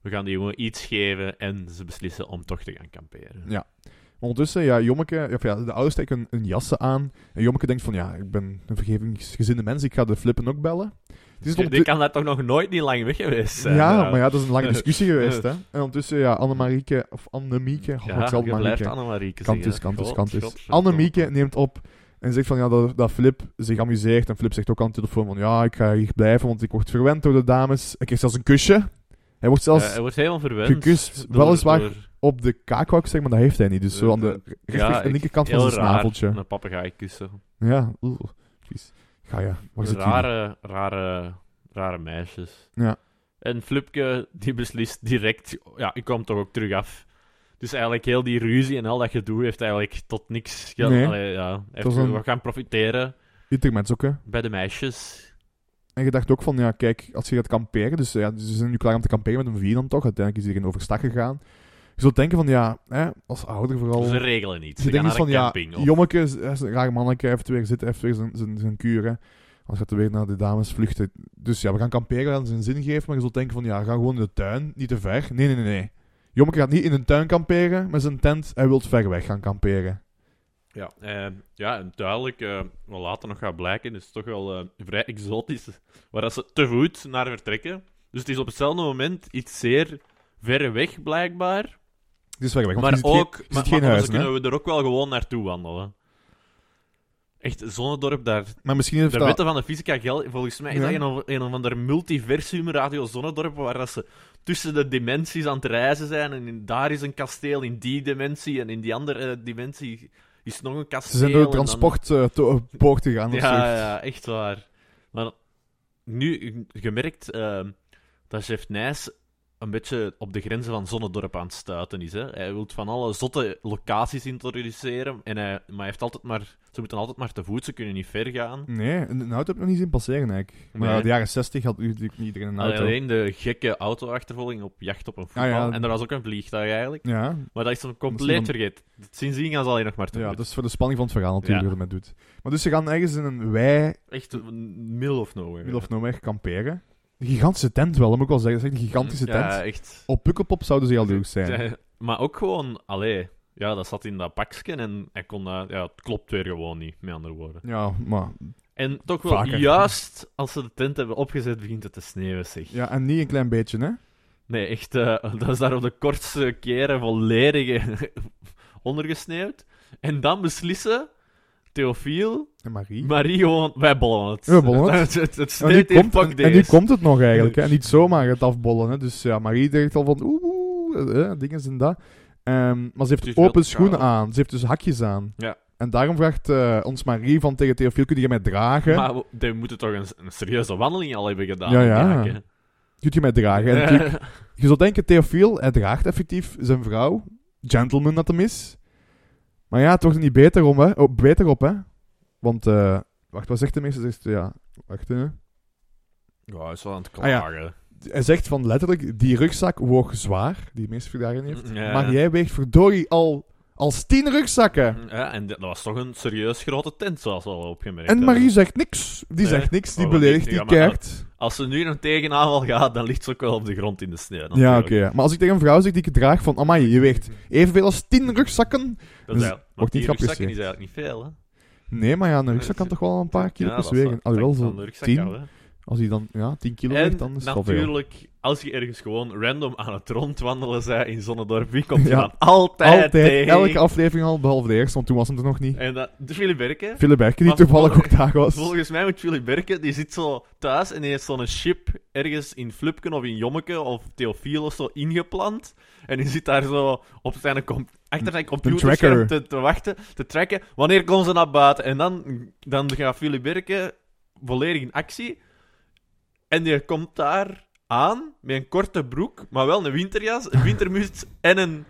B: We gaan die jongen iets geven. En ze beslissen om toch te gaan kamperen.
A: Ja. Maar Ondertussen, ja, Jommeke, of ja, de ouders steken een, een jassen aan. En Jommeke denkt van, ja, ik ben een vergevingsgezinde mens, ik ga de flippen ook bellen. Het is
B: Dus Die,
A: ont-
B: die kan daar toch nog nooit niet lang weg geweest zijn.
A: ja,
B: eh.
A: maar ja, dat is een lange discussie geweest. Hè. En ondertussen, ja, Annemarieke, of Annemieke, oh,
B: Ja,
A: hetzelfde
B: je blijft
A: Marieke.
B: Annemarieke
A: Kantus,
B: zeggen.
A: kantus,
B: God,
A: kantus.
B: godverdomme.
A: Annemieke neemt op en zegt van ja, dat, dat Flip zich amuseert. En Flip zegt ook aan de telefoon van ja, ik ga hier blijven, want ik word verwend door de dames. Ik krijg zelfs een kusje. Hij wordt
B: Ja,
A: zelfs
B: hij wordt helemaal verwend.
A: gekust,
B: door-
A: weliswaar
B: door-
A: op de kaak, wou ik zeggen, maar dat heeft hij niet. Dus zo aan de, rechter-
B: Eh, ja,
A: aan de
B: ik-
A: linkerkant van
B: heel
A: zijn
B: raar,
A: snaveltje.
B: Een papegaai kussen.
A: Ja, oeh, vies. Ga ja, waar zit hij?
B: Rare, rare, rare meisjes.
A: Ja.
B: En Flupke, die beslist direct... Ja, ik kwam toch ook terug af. Dus eigenlijk heel die ruzie en al dat gedoe heeft eigenlijk tot niks... ge-
A: Nee.
B: Allee, ja, heeft
A: was een-
B: We gaan profiteren
A: Ieder mens ook, hè.
B: bij de meisjes.
A: En je dacht ook van, ja, kijk, als je gaat kamperen, dus ja, ze zijn nu klaar om te kamperen met een vier dan toch, uiteindelijk is iedereen overstag gegaan. Je zult denken van, ja, hè, als ouder vooral...
B: Ze regelen niet. Ze
A: je
B: gaan
A: denkt
B: naar
A: eens van,
B: een
A: ja,
B: camping. of-
A: jommeke, is- hij is een raar manneke, heeft weer zitten, heeft weer zijn, zijn, zijn kuur, hè. Als gaat er weer naar de dames vluchten. Dus ja, we gaan kamperen, we gaan zijn zin geven, maar je zult denken van, ja, ga gewoon in de tuin, niet te ver. Nee, nee, nee, nee. Jommeke gaat niet in een tuin kamperen met zijn tent, hij wil ver weg gaan kamperen.
B: Ja, eh, ja en duidelijk, eh, wat later nog gaat blijken, is het toch wel eh, vrij exotisch. Waar dat ze te voet naar vertrekken. Dus het is op hetzelfde moment iets zeer ver weg, blijkbaar.
A: Het is ver weg, want
B: maar
A: je ziet
B: ook,
A: geen, je
B: maar,
A: ziet geen
B: maar anders
A: huizen, hè.
B: kunnen we er ook wel gewoon naartoe wandelen. Echt, Zonnedorp, daar,
A: Maar misschien heeft
B: de
A: dat...
B: wetten van de fysica gelden. Volgens mij is
A: Ja.
B: dat een, of- een of ander multiversum radio Zonnedorp, waar dat ze tussen de dimensies aan het reizen zijn. En in- daar is een kasteel in die dimensie, en in die andere eh, dimensie is nog een kasteel.
A: Ze zijn door de eh,
B: en dan-
A: transportpoort gegaan of
B: ja,
A: zoiets.
B: ja, echt waar. Maar nu gemerkt ehm dat Chef Nijs een beetje op de grenzen van Zonnedorp aan het stuiten is. Hè? Hij wil van alle zotte locaties introduceren, en hij, maar hij heeft altijd maar, ze moeten altijd maar te voet, ze kunnen niet ver gaan.
A: Nee, een een auto heb ik nog niet zien passeren eigenlijk. Maar
B: Nee.
A: ja, de jaren 60 had natuurlijk niet iedereen een auto.
B: Alleen de gekke auto-achtervolging op jacht op een voetbal.
A: Ah, ja.
B: En er was ook een vliegtuig eigenlijk.
A: Ja,
B: Maar dat is hem
A: Dat
B: compleet
A: is
B: vergeten. Sindsdien gaan ze alleen nog maar te
A: ja,
B: voet.
A: dat is voor de spanning van het verhaal natuurlijk
B: Ja.
A: wat men doet. Maar dus ze gaan ergens in een wei,
B: Echt een middle of nowhere.
A: middel of nowhere, kamperen. Een gigantische tent wel, dat moet ik wel zeggen. Dat is echt een gigantische tent.
B: Ja, echt.
A: Op Pukkelpop zouden ze jaloers zijn.
B: Ja, maar ook gewoon, allee, ja, dat zat in dat pakje en hij kon dat, ja, het klopt weer gewoon niet, met andere woorden.
A: Ja, maar...
B: En toch wel,
A: Vaker.
B: juist als ze de tent hebben opgezet, begint het te sneeuwen, zeg.
A: Ja, en niet een klein beetje, hè.
B: Nee, echt, eh, dat is daar op de kortste keren volledig eh, ondergesneeuwd. En dan beslissen Theofiel,
A: En Marie.
B: Marie gewoon, wij bollen het.
A: We bollen het.
B: het, het, het
A: en, nu
B: sneeuwt hier,
A: komt,
B: fuck
A: en, en nu
B: deze.
A: komt het nog eigenlijk, hè. En niet zomaar het afbollen, hè. Dus ja, Marie denkt al van... Oeh, oeh, eh, dingen zijn dat. Ehm, maar ze
B: Het is
A: heeft
B: wel
A: open
B: koud.
A: schoenen aan. Ze heeft dus hakjes aan.
B: Ja.
A: En daarom vraagt eh, ons Marie van tegen Theofiel, kun je mij dragen?
B: Maar we- die moeten toch een, een serieuze wandeling al hebben gedaan.
A: Ja,
B: die
A: ja.
B: hakken.
A: Kun je mij dragen? En natuurlijk- Je zou denken, Theofiel, hij draagt effectief zijn vrouw. Gentleman dat hem is. Maar ja, het wordt er niet beter, om, hè. Oh, beter op, hè. Want, eh, wacht, wat zegt de meester? Zegt, ja, wacht, hè.
B: Ja, hij is wel aan het
A: Ah, ja.
B: klagen.
A: Hij zegt van letterlijk, die rugzak woog zwaar, die de meester daarin heeft.
B: Ja.
A: Maar jij weegt verdorie al, als tien rugzakken.
B: Ja, en dat was toch een serieus grote tent, zoals we al opgemerkt
A: En
B: hebben.
A: Marie zegt niks. Die
B: Nee.
A: zegt niks, die
B: Oh,
A: beledigt,
B: niet,
A: die
B: ja, maar-
A: kijkt.
B: Als ze nu een tegenaanval gaat, dan ligt ze ook wel op de grond in de sneeuw.
A: Ja,
B: natuurlijk.
A: oké. ja. Maar als ik tegen een vrouw zeg die ik draag van, amai, je weegt evenveel als tien rugzakken.
B: Dat is eigenlijk- want
A: wordt Dus niet
B: die
A: grapjes,
B: rugzakken
A: hè.
B: is eigenlijk niet veel, hè.
A: Nee, maar ja, een rugzak kan toch wel een paar kilo
B: dat is
A: wegen.
B: wel-
A: Alhoewel,
B: dat is wel
A: zo
B: een rugzak
A: tien.
B: al, hè.
A: Als hij dan ja, 10 kilo
B: En
A: weegt, dan is het al veel.
B: natuurlijk, als je ergens gewoon random aan het rondwandelen zij in Zonnedorp, wie komt je
A: Ja.
B: dan altijd,
A: Altijd,
B: tegen?
A: elke aflevering al, behalve de eerste, want toen was hem er nog niet.
B: En dat, de Philip Berken.
A: Philip Berken, die
B: Maar
A: toevallig ook
B: volgens-
A: daar was.
B: Volgens mij moet Philip Berken, die zit zo thuis en die heeft zo'n chip ergens in Flupken of in Jommeke of Theofiel of zo ingeplant. En die zit daar zo op zijn com- achter zijn computerscherm
A: tracker.
B: te, te wachten, te tracken. Wanneer komen ze naar buiten? En dan, dan gaat Philip Berken volledig in actie. En die komt daar aan met een korte broek, maar wel een winterjas, een wintermuts en een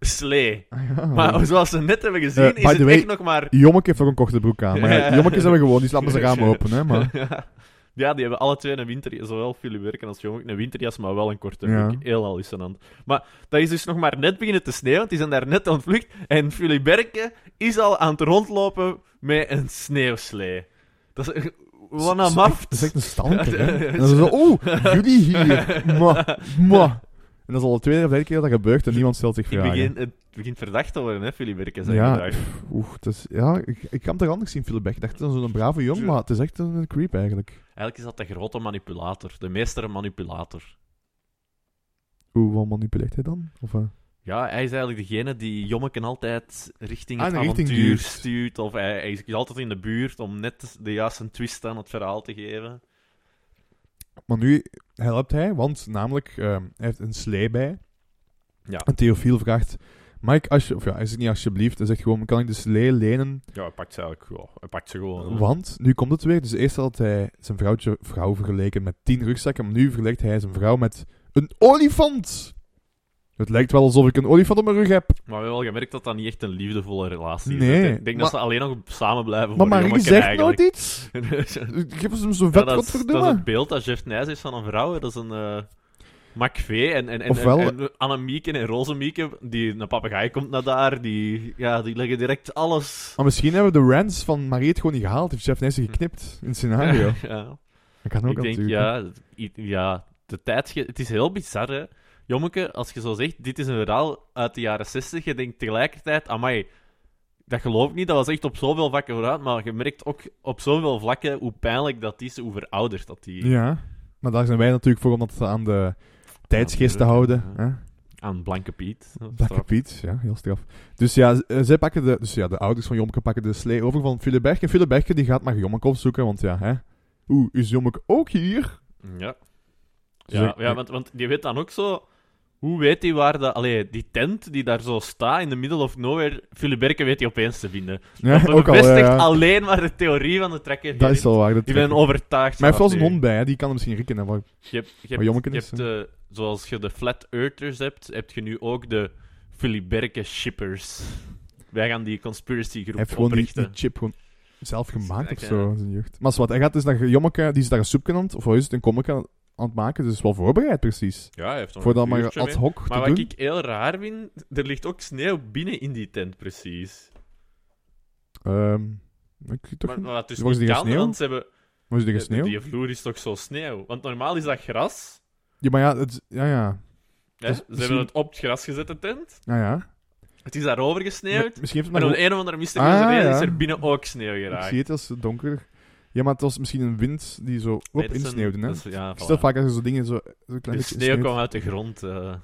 B: slee.
A: Ah, ja.
B: Maar zoals ze net hebben gezien,
A: Eh, by
B: is het
A: the way-
B: echt nog maar
A: Jommeke heeft ook een korte broek aan. Maar ja,
B: Ja.
A: Jommekes hebben gewoon, die slappen zijn raam open. Hè, maar
B: ja, die hebben alle twee een winterjas, zowel Philip Werken als Jong, een winterjas, maar wel een korte
A: Ja.
B: broek. Heel hallucinant. Maar dat is dus nog maar net beginnen te sneeuwen, want die zijn daar net ontvlucht. En Philip Werken is al aan het rondlopen met een sneeuwslee. Dat is... eh, Wat een
A: Dat is echt-
B: maft.
A: dat is echt een stalker, hè. En dan zo, oh, jullie hier. Mwah, mwah. En dat is al de tweede of derde keer dat dat gebeurt en niemand stelt zich
B: Ik
A: vragen.
B: begin, het begint verdacht te worden, hè, Philip Berkes. hè,
A: Ja,
B: vandaag.
A: Oeh, het is, ja, ik, ik kan het er anders zien, Philip Ik dacht, dat is een brave jong, maar het is echt een creep eigenlijk.
B: Eigenlijk is dat de grote manipulator, de meester manipulator.
A: Hoe wat manipuleert hij dan? Of, eh,
B: Ja, hij is eigenlijk degene die Jommeken altijd richting
A: Ah,
B: het
A: een
B: avontuur
A: richting duwt.
B: stuurt. Of hij, hij is altijd in de buurt om net de juiste twist aan het verhaal te geven.
A: Maar nu helpt hij, want namelijk, ehm, hij heeft een slee bij.
B: Ja.
A: En Theofiel vraagt, Mike, als je, of ja, hij zegt niet alsjeblieft, hij zegt gewoon, kan ik de slee lenen?
B: Ja, hij pakt ze eigenlijk gewoon. Hij pakt ze gewoon. hè.
A: Want, nu komt het weer, dus eerst had hij zijn vrouwtje, vrouw vergeleken met tien rugzakken, maar nu vergelijkt hij zijn vrouw met een olifant! Het lijkt wel alsof ik een olifant op mijn rug heb.
B: Maar we hebben wel gemerkt dat dat niet echt een liefdevolle relatie is.
A: Nee,
B: Ik denk dat ze
A: maar-
B: alleen nog samen blijven
A: Maar
B: voor
A: Marie
B: Jommeke
A: zegt
B: eigenlijk.
A: nooit iets. Geef ons hem zo'n vet
B: Ja, dat, is, dat is
A: godverdomme.
B: het beeld dat Jeff Nijs heeft van een vrouw. hè. Dat is een eh McVee en, en, en,
A: Ofwel-
B: en, en Annemieke en Rozemieke. Die, een papegaai komt naar daar. Die, ja, die leggen direct alles...
A: Maar misschien hebben de rants van Marie het gewoon niet gehaald. Heeft Chef Nijssen geknipt in het scenario.
B: ja.
A: Dat kan ook
B: ik denk,
A: natuurlijk.
B: ja, het- i- ja, de tijd... ge- Het is heel bizar, hè. Jommeke, als je zo zegt, dit is een verhaal uit de jaren 60, je denkt tegelijkertijd, amai, dat geloof ik niet, dat was echt op zoveel vakken vooruit, maar je merkt ook op zoveel vlakken hoe pijnlijk dat is, hoe verouderd dat die
A: Ja. Maar daar zijn wij natuurlijk voor om dat aan de tijdsgeest te houden.
B: Ja.
A: Hè?
B: aan Blanke Piet... dat is
A: Blakke
B: straf.
A: Piet, ja, heel straf. Dus ja, z- eh, zij pakken de, dus ja, de ouders van Jommeke pakken de slee over van Fileberg. En Fileberg die gaat maar Jommeke opzoeken, want ja, hè. Oeh, is Jommeke ook hier?
B: Ja.
A: Dus
B: Ja,
A: ik-
B: ja want, want die weet dan ook zo... Hoe weet hij waar dat... Allee, die tent die daar zo staat in de middle of nowhere... Filiberke weet hij opeens te vinden.
A: Ja,
B: Dat
A: ook al, ja,
B: bevestigt
A: ja.
B: alleen maar de theorie van de trekker.
A: Dat is wel waar. Dat
B: Ik ben overtuigd.
A: maar hij heeft wel zijn
B: van
A: hond bij, hè. die kan hem misschien rikken. hè, maar-
B: Je hebt, je
A: Maar
B: hebt,
A: Jommeke
B: je
A: is,
B: hebt, eh, zoals je de Flat Earthers hebt, heb je nu ook de Filiberke Shippers. Wij gaan die conspiracy
A: Hij heeft
B: groep
A: gewoon die,
B: oprichten.
A: die chip gewoon zelf gemaakt of
B: Ja.
A: zo in zijn jeugd. Maar wat, hij gaat dus naar Jommeke, die is daar een soepje aan het, of wat is het, een kommetje aan het maken, dus wel voorbereid precies.
B: Ja, hij heeft nog
A: Voor dat
B: een
A: maar
B: vuurtje
A: ad
B: mee.
A: hoc
B: Maar
A: te
B: wat
A: doen.
B: ik heel raar vind, er ligt ook sneeuw binnen in die tent, precies.
A: Ehm, ik zie toch
B: Maar,
A: niet.
B: maar dat dus
A: Was
B: niet
A: die
B: kan,
A: gesneeuwd?
B: want ze hebben...
A: Maar is er geen
B: Die-
A: sneeuw?
B: Die vloer is toch zo sneeuw? Want normaal is dat gras.
A: Ja, maar ja, het, ja, ja.
B: hè?
A: Dus
B: Ze
A: misschien-
B: hebben het op het gras gezet, de tent.
A: ja, ja.
B: Het is daarover gesneeuwd.
A: Maar- Misschien heeft
B: En
A: het
B: om
A: maar
B: de een of andere mysterieuze
A: Ah,
B: reden is
A: ja.
B: er binnen ook sneeuw
A: gewoon... Ik
B: geraakt.
A: zie het als donker. Ja, maar het was misschien een wind die zo op
B: Nee, dat is een-
A: insneeuwde, hè.
B: dat is- ja,
A: Stel
B: voilà.
A: vaak als er zo dingen zo... zo klein
B: De
A: beetje
B: sneeuw kwam
A: sneeuwt.
B: uit de grond. eh.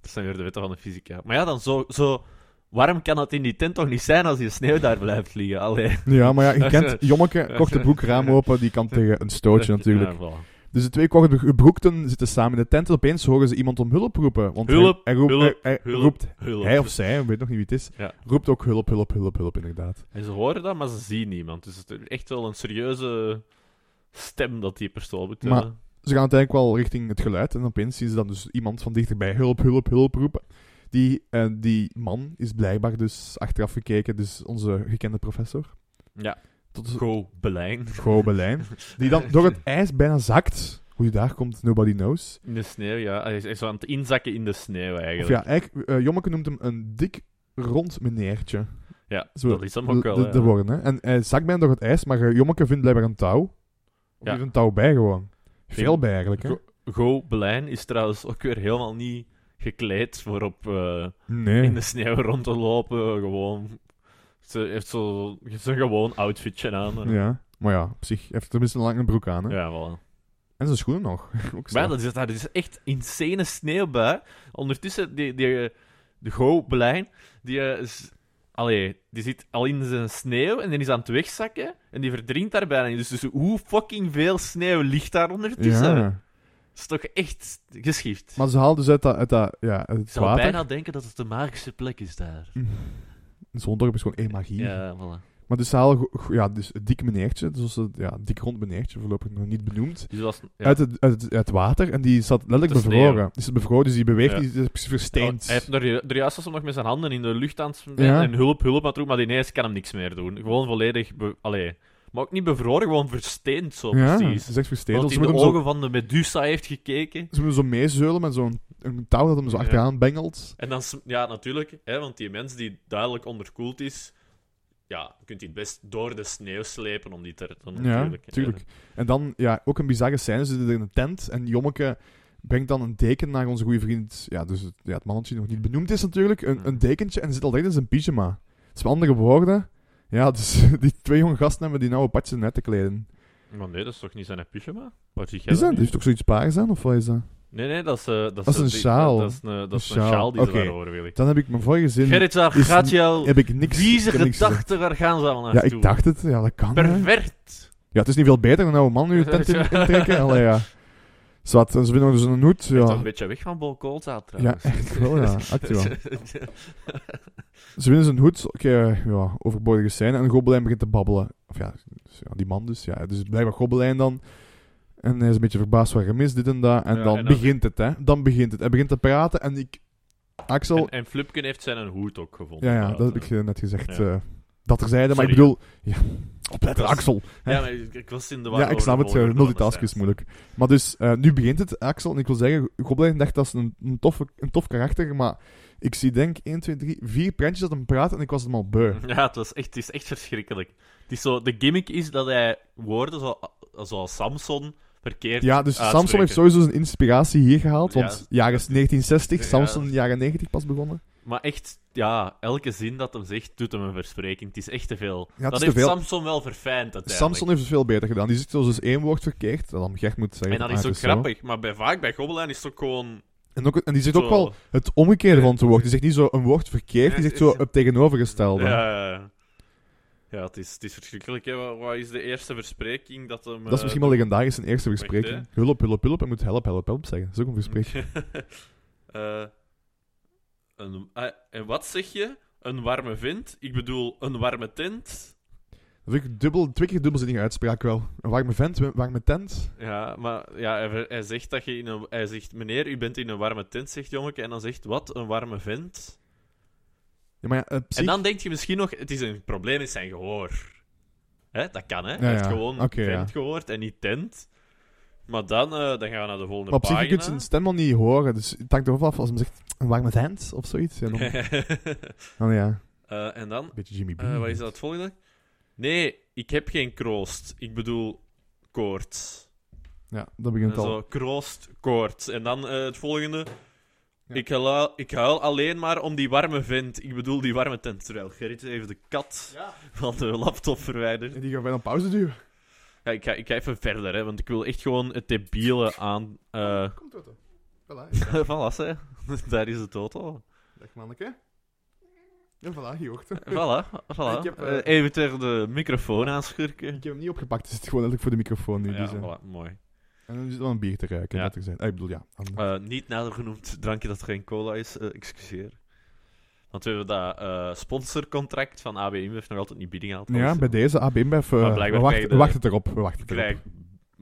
B: dat zijn weer de wetten van de fysica. Maar ja, dan zo, zo warm kan het in die tent toch niet zijn als die sneeuw daar blijft vliegen. Allee.
A: Ja, maar ja, je
B: Dat is-
A: kent... Jommeke, korte broek, raam open, die kan tegen een stootje natuurlijk.
B: Ja, voilà.
A: Dus de twee korte gebroekten zitten samen in de tent. En opeens horen ze iemand om hulp roepen. Want
B: Hulp,
A: hij, hij roept,
B: hulp,
A: hij, hij
B: hulp.
A: roept,
B: Hulp.
A: hij of zij, ik weet nog niet wie het is,
B: Ja.
A: roept ook hulp, hulp, hulp, hulp, inderdaad.
B: En Dus ze horen dat, maar ze zien niemand. Dus het is echt wel een serieuze stem dat die persoon moet eh,
A: Maar-
B: hebben.
A: Ze gaan uiteindelijk wel richting het geluid. En opeens zien ze dan dus iemand van dichterbij hulp, hulp, hulp roepen. Die, eh, die man is blijkbaar dus achteraf gekeken, dus onze gekende professor.
B: Ja.
A: Tot de
B: Go Belijn.
A: Belijn. Die dan door het ijs bijna zakt. Hoe die daar komt, nobody knows.
B: In de sneeuw, ja. Hij is hij is zo aan het inzakken in de sneeuw
A: Of
B: eigenlijk.
A: ja, eigenlijk, eh, Jommeke noemt hem een dik rond meneertje.
B: Ja,
A: Zo,
B: dat is hem ook
A: de,
B: wel. eh,
A: de,
B: ja.
A: de worden, hè. En hij zakt bijna door het ijs, maar eh, Jommeke vindt blijkbaar een touw. Of
B: Ja.
A: hier een touw bij gewoon. Veel bij eigenlijk, hè?
B: Go- Go Belijn is trouwens ook weer helemaal niet gekleed voor op eh, in
A: Nee.
B: de sneeuw rond te lopen. Gewoon. Ze heeft zo zo'n gewoon outfitje aan. eh.
A: Ja. Maar ja, op zich heeft tenminste een lange broek aan, hè.
B: Ja, voilà.
A: En zijn schoenen nog. Ook zo.
B: Maar dat is, dat is echt insane sneeuwbui. Ondertussen, die, die, eh, de Go Belijn, die, eh, is- allee, die zit al in zijn sneeuw en die is aan het wegzakken en die verdrinkt daar bijna niet. Dus, dus hoe fucking veel sneeuw ligt daar ondertussen?
A: Ja.
B: Dat is toch echt geschift.
A: Maar ze haalt dus uit dat, uit dat ja, uit
B: ik
A: het
B: zou
A: water. Hm.
B: bijna denken dat het de magische plek is daar.
A: Zo'n dorp is gewoon één magie.
B: Ja, voilà.
A: Maar dus ze halen, go- go- ja, dus het dik meneertje, dus ze, ja, dik rond meneertje, voorlopig nog niet benoemd,
B: Dus dat was, ja.
A: uit, het, uit, het, uit het water. En die zat letterlijk
B: Op de
A: bevroren.
B: sneeuw.
A: Die is bevroren, dus die beweegt,
B: Ja. Oh,
A: niet, die is versteend.
B: Hij heeft er, ju- er juist was hem nog met zijn handen in de lucht aan het zwemmen
A: Ja.
B: en hulp, hulp aan het roepen, maar ineens kan hem niks meer doen. Gewoon volledig, be- allee, maar ook niet bevroren, gewoon versteend zo
A: ja,
B: precies.
A: ze is echt versteend.
B: Want
A: Want
B: hij in
A: ze
B: de
A: moeten hem zo
B: ogen van de Medusa heeft gekeken.
A: Ze moeten zo meezeulen met zo'n een touw dat hem zo
B: Ja.
A: achteraan bengelt.
B: En dan, sm- ja, natuurlijk, hè, want die mens die duidelijk onderkoeld is, ja, je kunt hij het best door de sneeuw slepen om die te redden.
A: Ja, tuurlijk. En dan, ja, ook een bizarre scène. Ze zitten in een tent en Jommeke breng dan een deken naar onze goede vriend. Ja, dus het, ja, het mannetje die nog niet benoemd is natuurlijk. Een,
B: Ja.
A: een dekentje en zit al direct in zijn pyjama. Dus met andere woorden, ja, dus die twee jonge gasten hebben die nauwe patjes net te kleden.
B: Maar nee, dat is toch niet zijn pyjama? Wat zie jij
A: Is
B: dan
A: dat? Die
B: niet?
A: heeft toch zoiets paars aan, of wat is dat?
B: Nee, nee, dat is... eh, dat,
A: is een
B: die-
A: sjaal.
B: Dat is een, dat is
A: Een
B: een
A: sjaal.
B: sjaal. die ze
A: Oké.
B: daar horen, willen.
A: Dan heb ik mijn vorige zin...
B: Gerrit, daar
A: is
B: gaat je al...
A: heb ik niks...
B: Vieze
A: ik heb niks gezegd.
B: gedachten, waar gaan ze allemaal
A: Ja,
B: naartoe?
A: ik dacht het. Ja, dat kan. hè.
B: Pervert!
A: Ja, het is niet veel beter dan een oude man nu het tent in, intrekken. Allee, ja. Zwat, ze winnen dus een hoed.
B: Ja.
A: Ja,
B: een beetje weg van Bolkolza,
A: ja
B: trouwens.
A: echt wel, ja. Echt wel. Ze winnen zijn hoed, oké, eh, ja, overbodige scène. En Gobelijn begint te babbelen. Of ja, dus, ja, die man dus. Ja, dus blijkbaar Gobelijn dan. En hij is een beetje verbaasd waar hem is, dit en dat. En
B: Ja,
A: dan
B: en dan-
A: begint het, hè. Dan begint het. Hij begint te praten en ik... Axel...
B: en, en Flupken heeft zijn een hoed ook gevonden.
A: ja, ja, dat heb
B: trouwens.
A: ik eh, net gezegd.
B: Ja.
A: eh, dat er zeiden, maar ik
B: Sorry.
A: bedoel... Ja, opletten,
B: Dat is-
A: Axel. hè.
B: Ja, maar ik, ik was in de war
A: Ja, ik
B: over
A: snap
B: de
A: het. eh,
B: volgorde van de
A: Multitasken is
B: scènes.
A: moeilijk. Maar dus, eh, nu begint het, Axel. En ik wil zeggen, Goblin dacht dat is een, een, toffe, een tof karakter. Maar ik zie denk 1, 2, 3, 4 prentjes dat hem praat en ik was hem al beu.
B: Ja, het, was echt, het is echt verschrikkelijk. Het is zo, de gimmick is dat hij woorden zo, zoals Samson verkeerd
A: Ja, dus
B: uitspreken.
A: Samson heeft sowieso zijn inspiratie hier gehaald.
B: Ja.
A: Want jaren 1960,
B: Ja.
A: Samson jaren 90 pas begonnen.
B: Maar echt, ja, elke zin dat hem zegt, doet hem een verspreking. Het is echt te veel.
A: het is
B: dat
A: te
B: heeft
A: veel.
B: Samson wel verfijnd, uiteindelijk.
A: Samson heeft het veel beter gedaan. Die zit zelfs dus één woord verkeerd. Dat dan Gert moet zeggen.
B: en dat is
A: maar
B: ook
A: het zo.
B: grappig, maar bij, vaak bij Gobelijn is het ook gewoon...
A: En, ook, en die zegt ook
B: Zo.
A: wel het omgekeerde van het woord. Die zegt niet zo een woord verkeerd, die
B: Ja,
A: zegt zo
B: het is-
A: het tegenovergestelde.
B: Ja, ja, ja, het is, het is verschrikkelijk. Hè. Wat, wat is de eerste verspreking dat hem...
A: Dat is
B: eh,
A: misschien wel legendarisch zijn eerste verspreking.
B: Wacht, Mm.
A: hulp, hulp, hulp. Hij moet help, help, help zeggen. Dat is ook een verspreking.
B: Eh, een, eh, en wat zeg je? Een warme wind? Ik bedoel, een warme tent?
A: Dat vind ik dubbel, twee keer dubbelzinnige uitspraak wel. Een warme vent, een warme tent.
B: Ja, maar ja, hij, ver- hij zegt dat je in een... Hij zegt, meneer, u bent in een warme tent, zegt jongeke. En dan zegt, wat, een warme vent?
A: Ja, maar ja, eh, psych-
B: En dan denk je misschien nog, het is een probleem is zijn gehoor. Hè, dat kan, hè.
A: Ja,
B: hij heeft
A: ja.
B: gewoon
A: Oké, ja.
B: vent gehoord en niet tent. Maar dan, eh, dan gaan we naar de volgende
A: maar op zich, je kunt
B: pagina.
A: zijn stem al niet horen. Dus het hangt ervan af als hij zegt een warme vent of zoiets. Ja, dan, dan Oh ja, een
B: Eh, en dan,
A: beetje Jimmy B.
B: Eh, wat is dat het volgende? Nee, ik heb geen kroost. Ik bedoel koorts.
A: Ja, dat
B: En
A: begint al.
B: Zo, kroost, koorts. En dan eh, het volgende.
A: Ja.
B: Ik, huil, ik huil alleen maar om die warme vent. Ik bedoel die warme tent. Terwijl Gerrit even de kat van de laptop verwijdert.
A: En die gaat bijna op pauze duwen.
B: Ja, ik, ga, ik ga even verder, hè, want ik wil echt gewoon het debiele aan... eh
A: Komt Toto. Voilà,
B: van Lassen. Daar is het auto.
A: dag manneke. En voilà, je hoort
B: Voilà, voilà.
A: Ik heb, eh,
B: Eh, even ter de microfoon aanschurken.
A: Ik heb hem niet opgepakt, dus het zit gewoon letterlijk voor de microfoon nu. dus, eh.
B: Ja,
A: die zijn-
B: voilà, mooi.
A: En dan zit wel een bier te ruiken.
B: Ja.
A: dat er zijn. Ah, ik bedoel, ja. aan-
B: Eh, niet nader genoemd drankje dat geen cola is, eh, excuseer. Want we hebben dat eh, sponsorcontract van AB InBev nog altijd niet binnen gehaald. Dus
A: ja, bij deze AB InBev, eh,
B: Maar
A: we,
B: blijkbaar
A: wachten,
B: krijgen
A: we
B: de-
A: wachten het erop. We wachten het erop.
B: Krijg-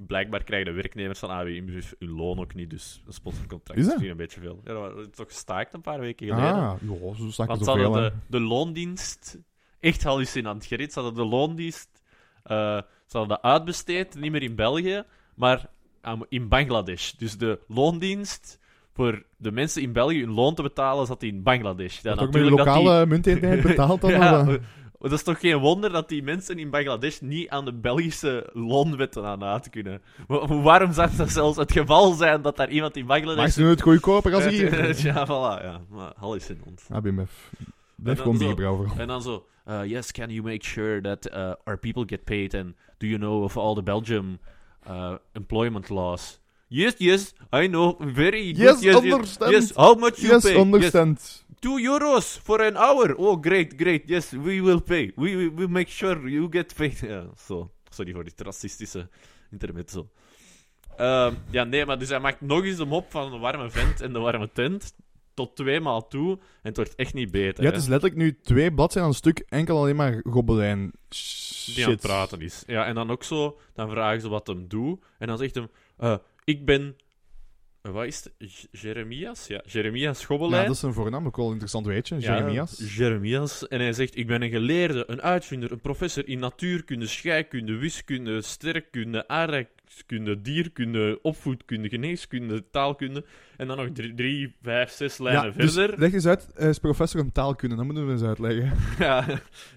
B: blijkbaar krijgen de werknemers van AB InBev hun loon ook niet, dus een sponsorcontract
A: Is
B: is,
A: dat?
B: misschien een beetje veel. Ja, maar het is toch gestaakt een paar weken geleden.
A: Ah, joh, zo zag ik
B: Want
A: het
B: ze
A: zoveel.
B: hadden
A: hè.
B: de, de loondienst, echt hallucinant, Gerrit, ze hadden de loondienst, eh, ze hadden dat uitbesteed, niet meer in België, maar aan- in Bangladesh. Dus de loondienst, voor de mensen in België hun loon te betalen, zat die in Bangladesh. Ja,
A: Dat ook met de
B: dat die-
A: lokale munteenheid betaald dan?
B: ja,
A: of, eh?
B: dat is toch geen wonder dat die mensen in Bangladesh niet aan de Belgische loonwetten aan uit kunnen. Wa- waarom zou dat zelfs het geval zijn dat daar iemand in
A: maar
B: Bangladesh...
A: ze doen het goedkoper als hier.
B: ja, voilà, ja. Maar hallucinant.
A: ABMF.
B: dan
A: Blijf gewoon
B: zo-
A: bierbrouwer. overal.
B: En dan zo, uh, yes, can you make sure that uh, our people get paid and do you know of all the Belgium uh, employment laws? Yes, yes, I know, very
A: Yes,
B: good, yes,
A: understand.
B: Yes, how much you
A: Yes,
B: pay?
A: understand.
B: Yes, two euros for an hour. Oh, great, great, yes, we will pay. We we, we make sure you get paid. Ja, zo, sorry voor dit racistische intermezzo. Ehm, ja, nee, maar dus hij maakt nog eens de mop van de warme vent en de warme tent. Tot twee maal toe. En het wordt echt niet beter.
A: Ja,
B: hè.
A: het is letterlijk nu twee bladzijden aan een stuk, enkel alleen maar gobelijn.
B: die aan het
A: Shit.
B: praten is. Ja, en dan ook zo, dan vragen ze wat hem doet. En dan zegt hem, eh, ik ben... eh, Wat is het? J- Jeremias? Ja, Jeremias
A: Ja,
B: Gobbelijn.
A: dat is een voornaam, ook wel een interessant weetje.
B: Ja,
A: Jeremias.
B: Jeremias. En hij zegt, ik ben een geleerde, een uitvinder, een professor in natuurkunde, scheikunde, wiskunde, sterrenkunde, aardrijkskunde, dierkunde, opvoedkunde, geneeskunde, taalkunde. En dan nog drie, drie vijf, zes lijnen
A: dus
B: verder.
A: leg eens uit, hij is professor in taalkunde, dat moeten we eens uitleggen.
B: Ja,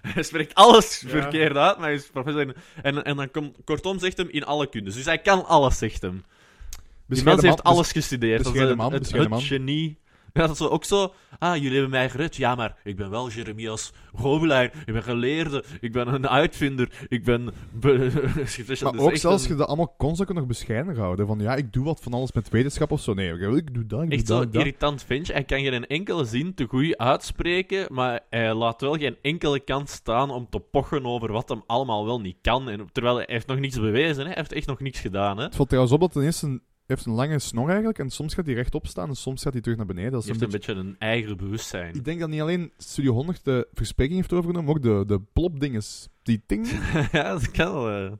B: hij spreekt alles
A: Ja.
B: verkeerd uit, maar hij is professor. in- En, en dan komt, kortom zegt hem in alle kundes. Dus hij kan alles, zegt hem. Die
A: Bescheiden
B: mens heeft
A: man,
B: alles gestudeerd. Dat is
A: bescheiden
B: het,
A: man,
B: het-
A: bescheiden
B: het
A: man.
B: genie. Ja, dat is ook zo. Ah, jullie hebben mij gered. Ja, maar ik ben wel Jeremias Gobelijn. Ik ben geleerde. Ik ben een uitvinder. Ik ben. be- Dus
A: Maar
B: dat is
A: ook
B: echt
A: zelfs
B: een-
A: je dat allemaal kon, zou ik het nog bescheiden houden. Van ja, ik doe wat van alles met wetenschap of zo. Nee, ik- ik doe dat, ik doe
B: Echt
A: dat,
B: zo'n
A: ik doe dat.
B: irritant ventje. Hij kan geen enkele zin te goed uitspreken, maar hij laat wel geen enkele kans staan om te pochen over wat hem allemaal wel niet kan. En, terwijl hij heeft nog niets bewezen, hè. hij heeft echt nog niets gedaan. Hè.
A: Het valt trouwens op dat ten eerste een- heeft een lange snor eigenlijk. En soms gaat hij rechtop staan en soms gaat hij terug naar beneden. Dat
B: Hij
A: is een
B: heeft een
A: beetje...
B: beetje een eigen bewustzijn.
A: Ik denk dat niet alleen Studio 100 de verspreking heeft overgenomen, maar ook de, de plopdinges. Die ting.
B: ja, dat kan wel. eh.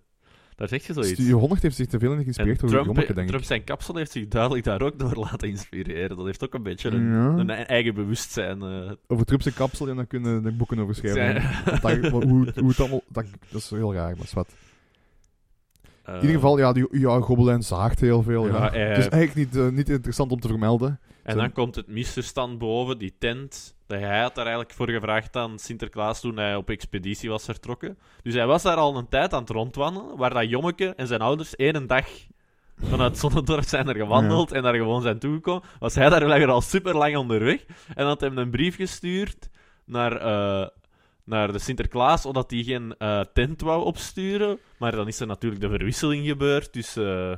B: Daar zeg je zoiets.
A: Studio 100 heeft zich te veel in
B: En
A: geïnspireerd door
B: Trump,
A: Jommeke, denk ik.
B: Trump zijn kapsel heeft zich duidelijk daar ook door laten inspireren. Dat heeft ook een beetje een,
A: Ja.
B: een eigen bewustzijn. eh.
A: Over Trump zijn kapsel, en daar kunnen er boeken over schrijven.
B: Zijn-
A: Dat- wat- hoe, hoe het allemaal... Dat, dat is heel raar, maar is wat.
B: Eh,
A: In ieder geval, ja, die ja, Gobelijn zaagt heel veel. Ja.
B: Ja, eh.
A: het is eigenlijk niet, eh, niet interessant om te vermelden.
B: En dan komt het misverstand boven, die tent. Dat hij had daar eigenlijk voor gevraagd aan Sinterklaas toen hij op expeditie was vertrokken. Dus hij was daar al een tijd aan het rondwandelen, waar dat jommeke en zijn ouders één dag vanuit Zonnendorp zijn er gewandeld en daar gewoon zijn toegekomen. Was hij daar lekker al super lang onderweg en had hem een brief gestuurd naar, eh, naar de Sinterklaas, omdat hij geen eh, tent wou opsturen. Maar dan is er natuurlijk de verwisseling gebeurd, dus... eh,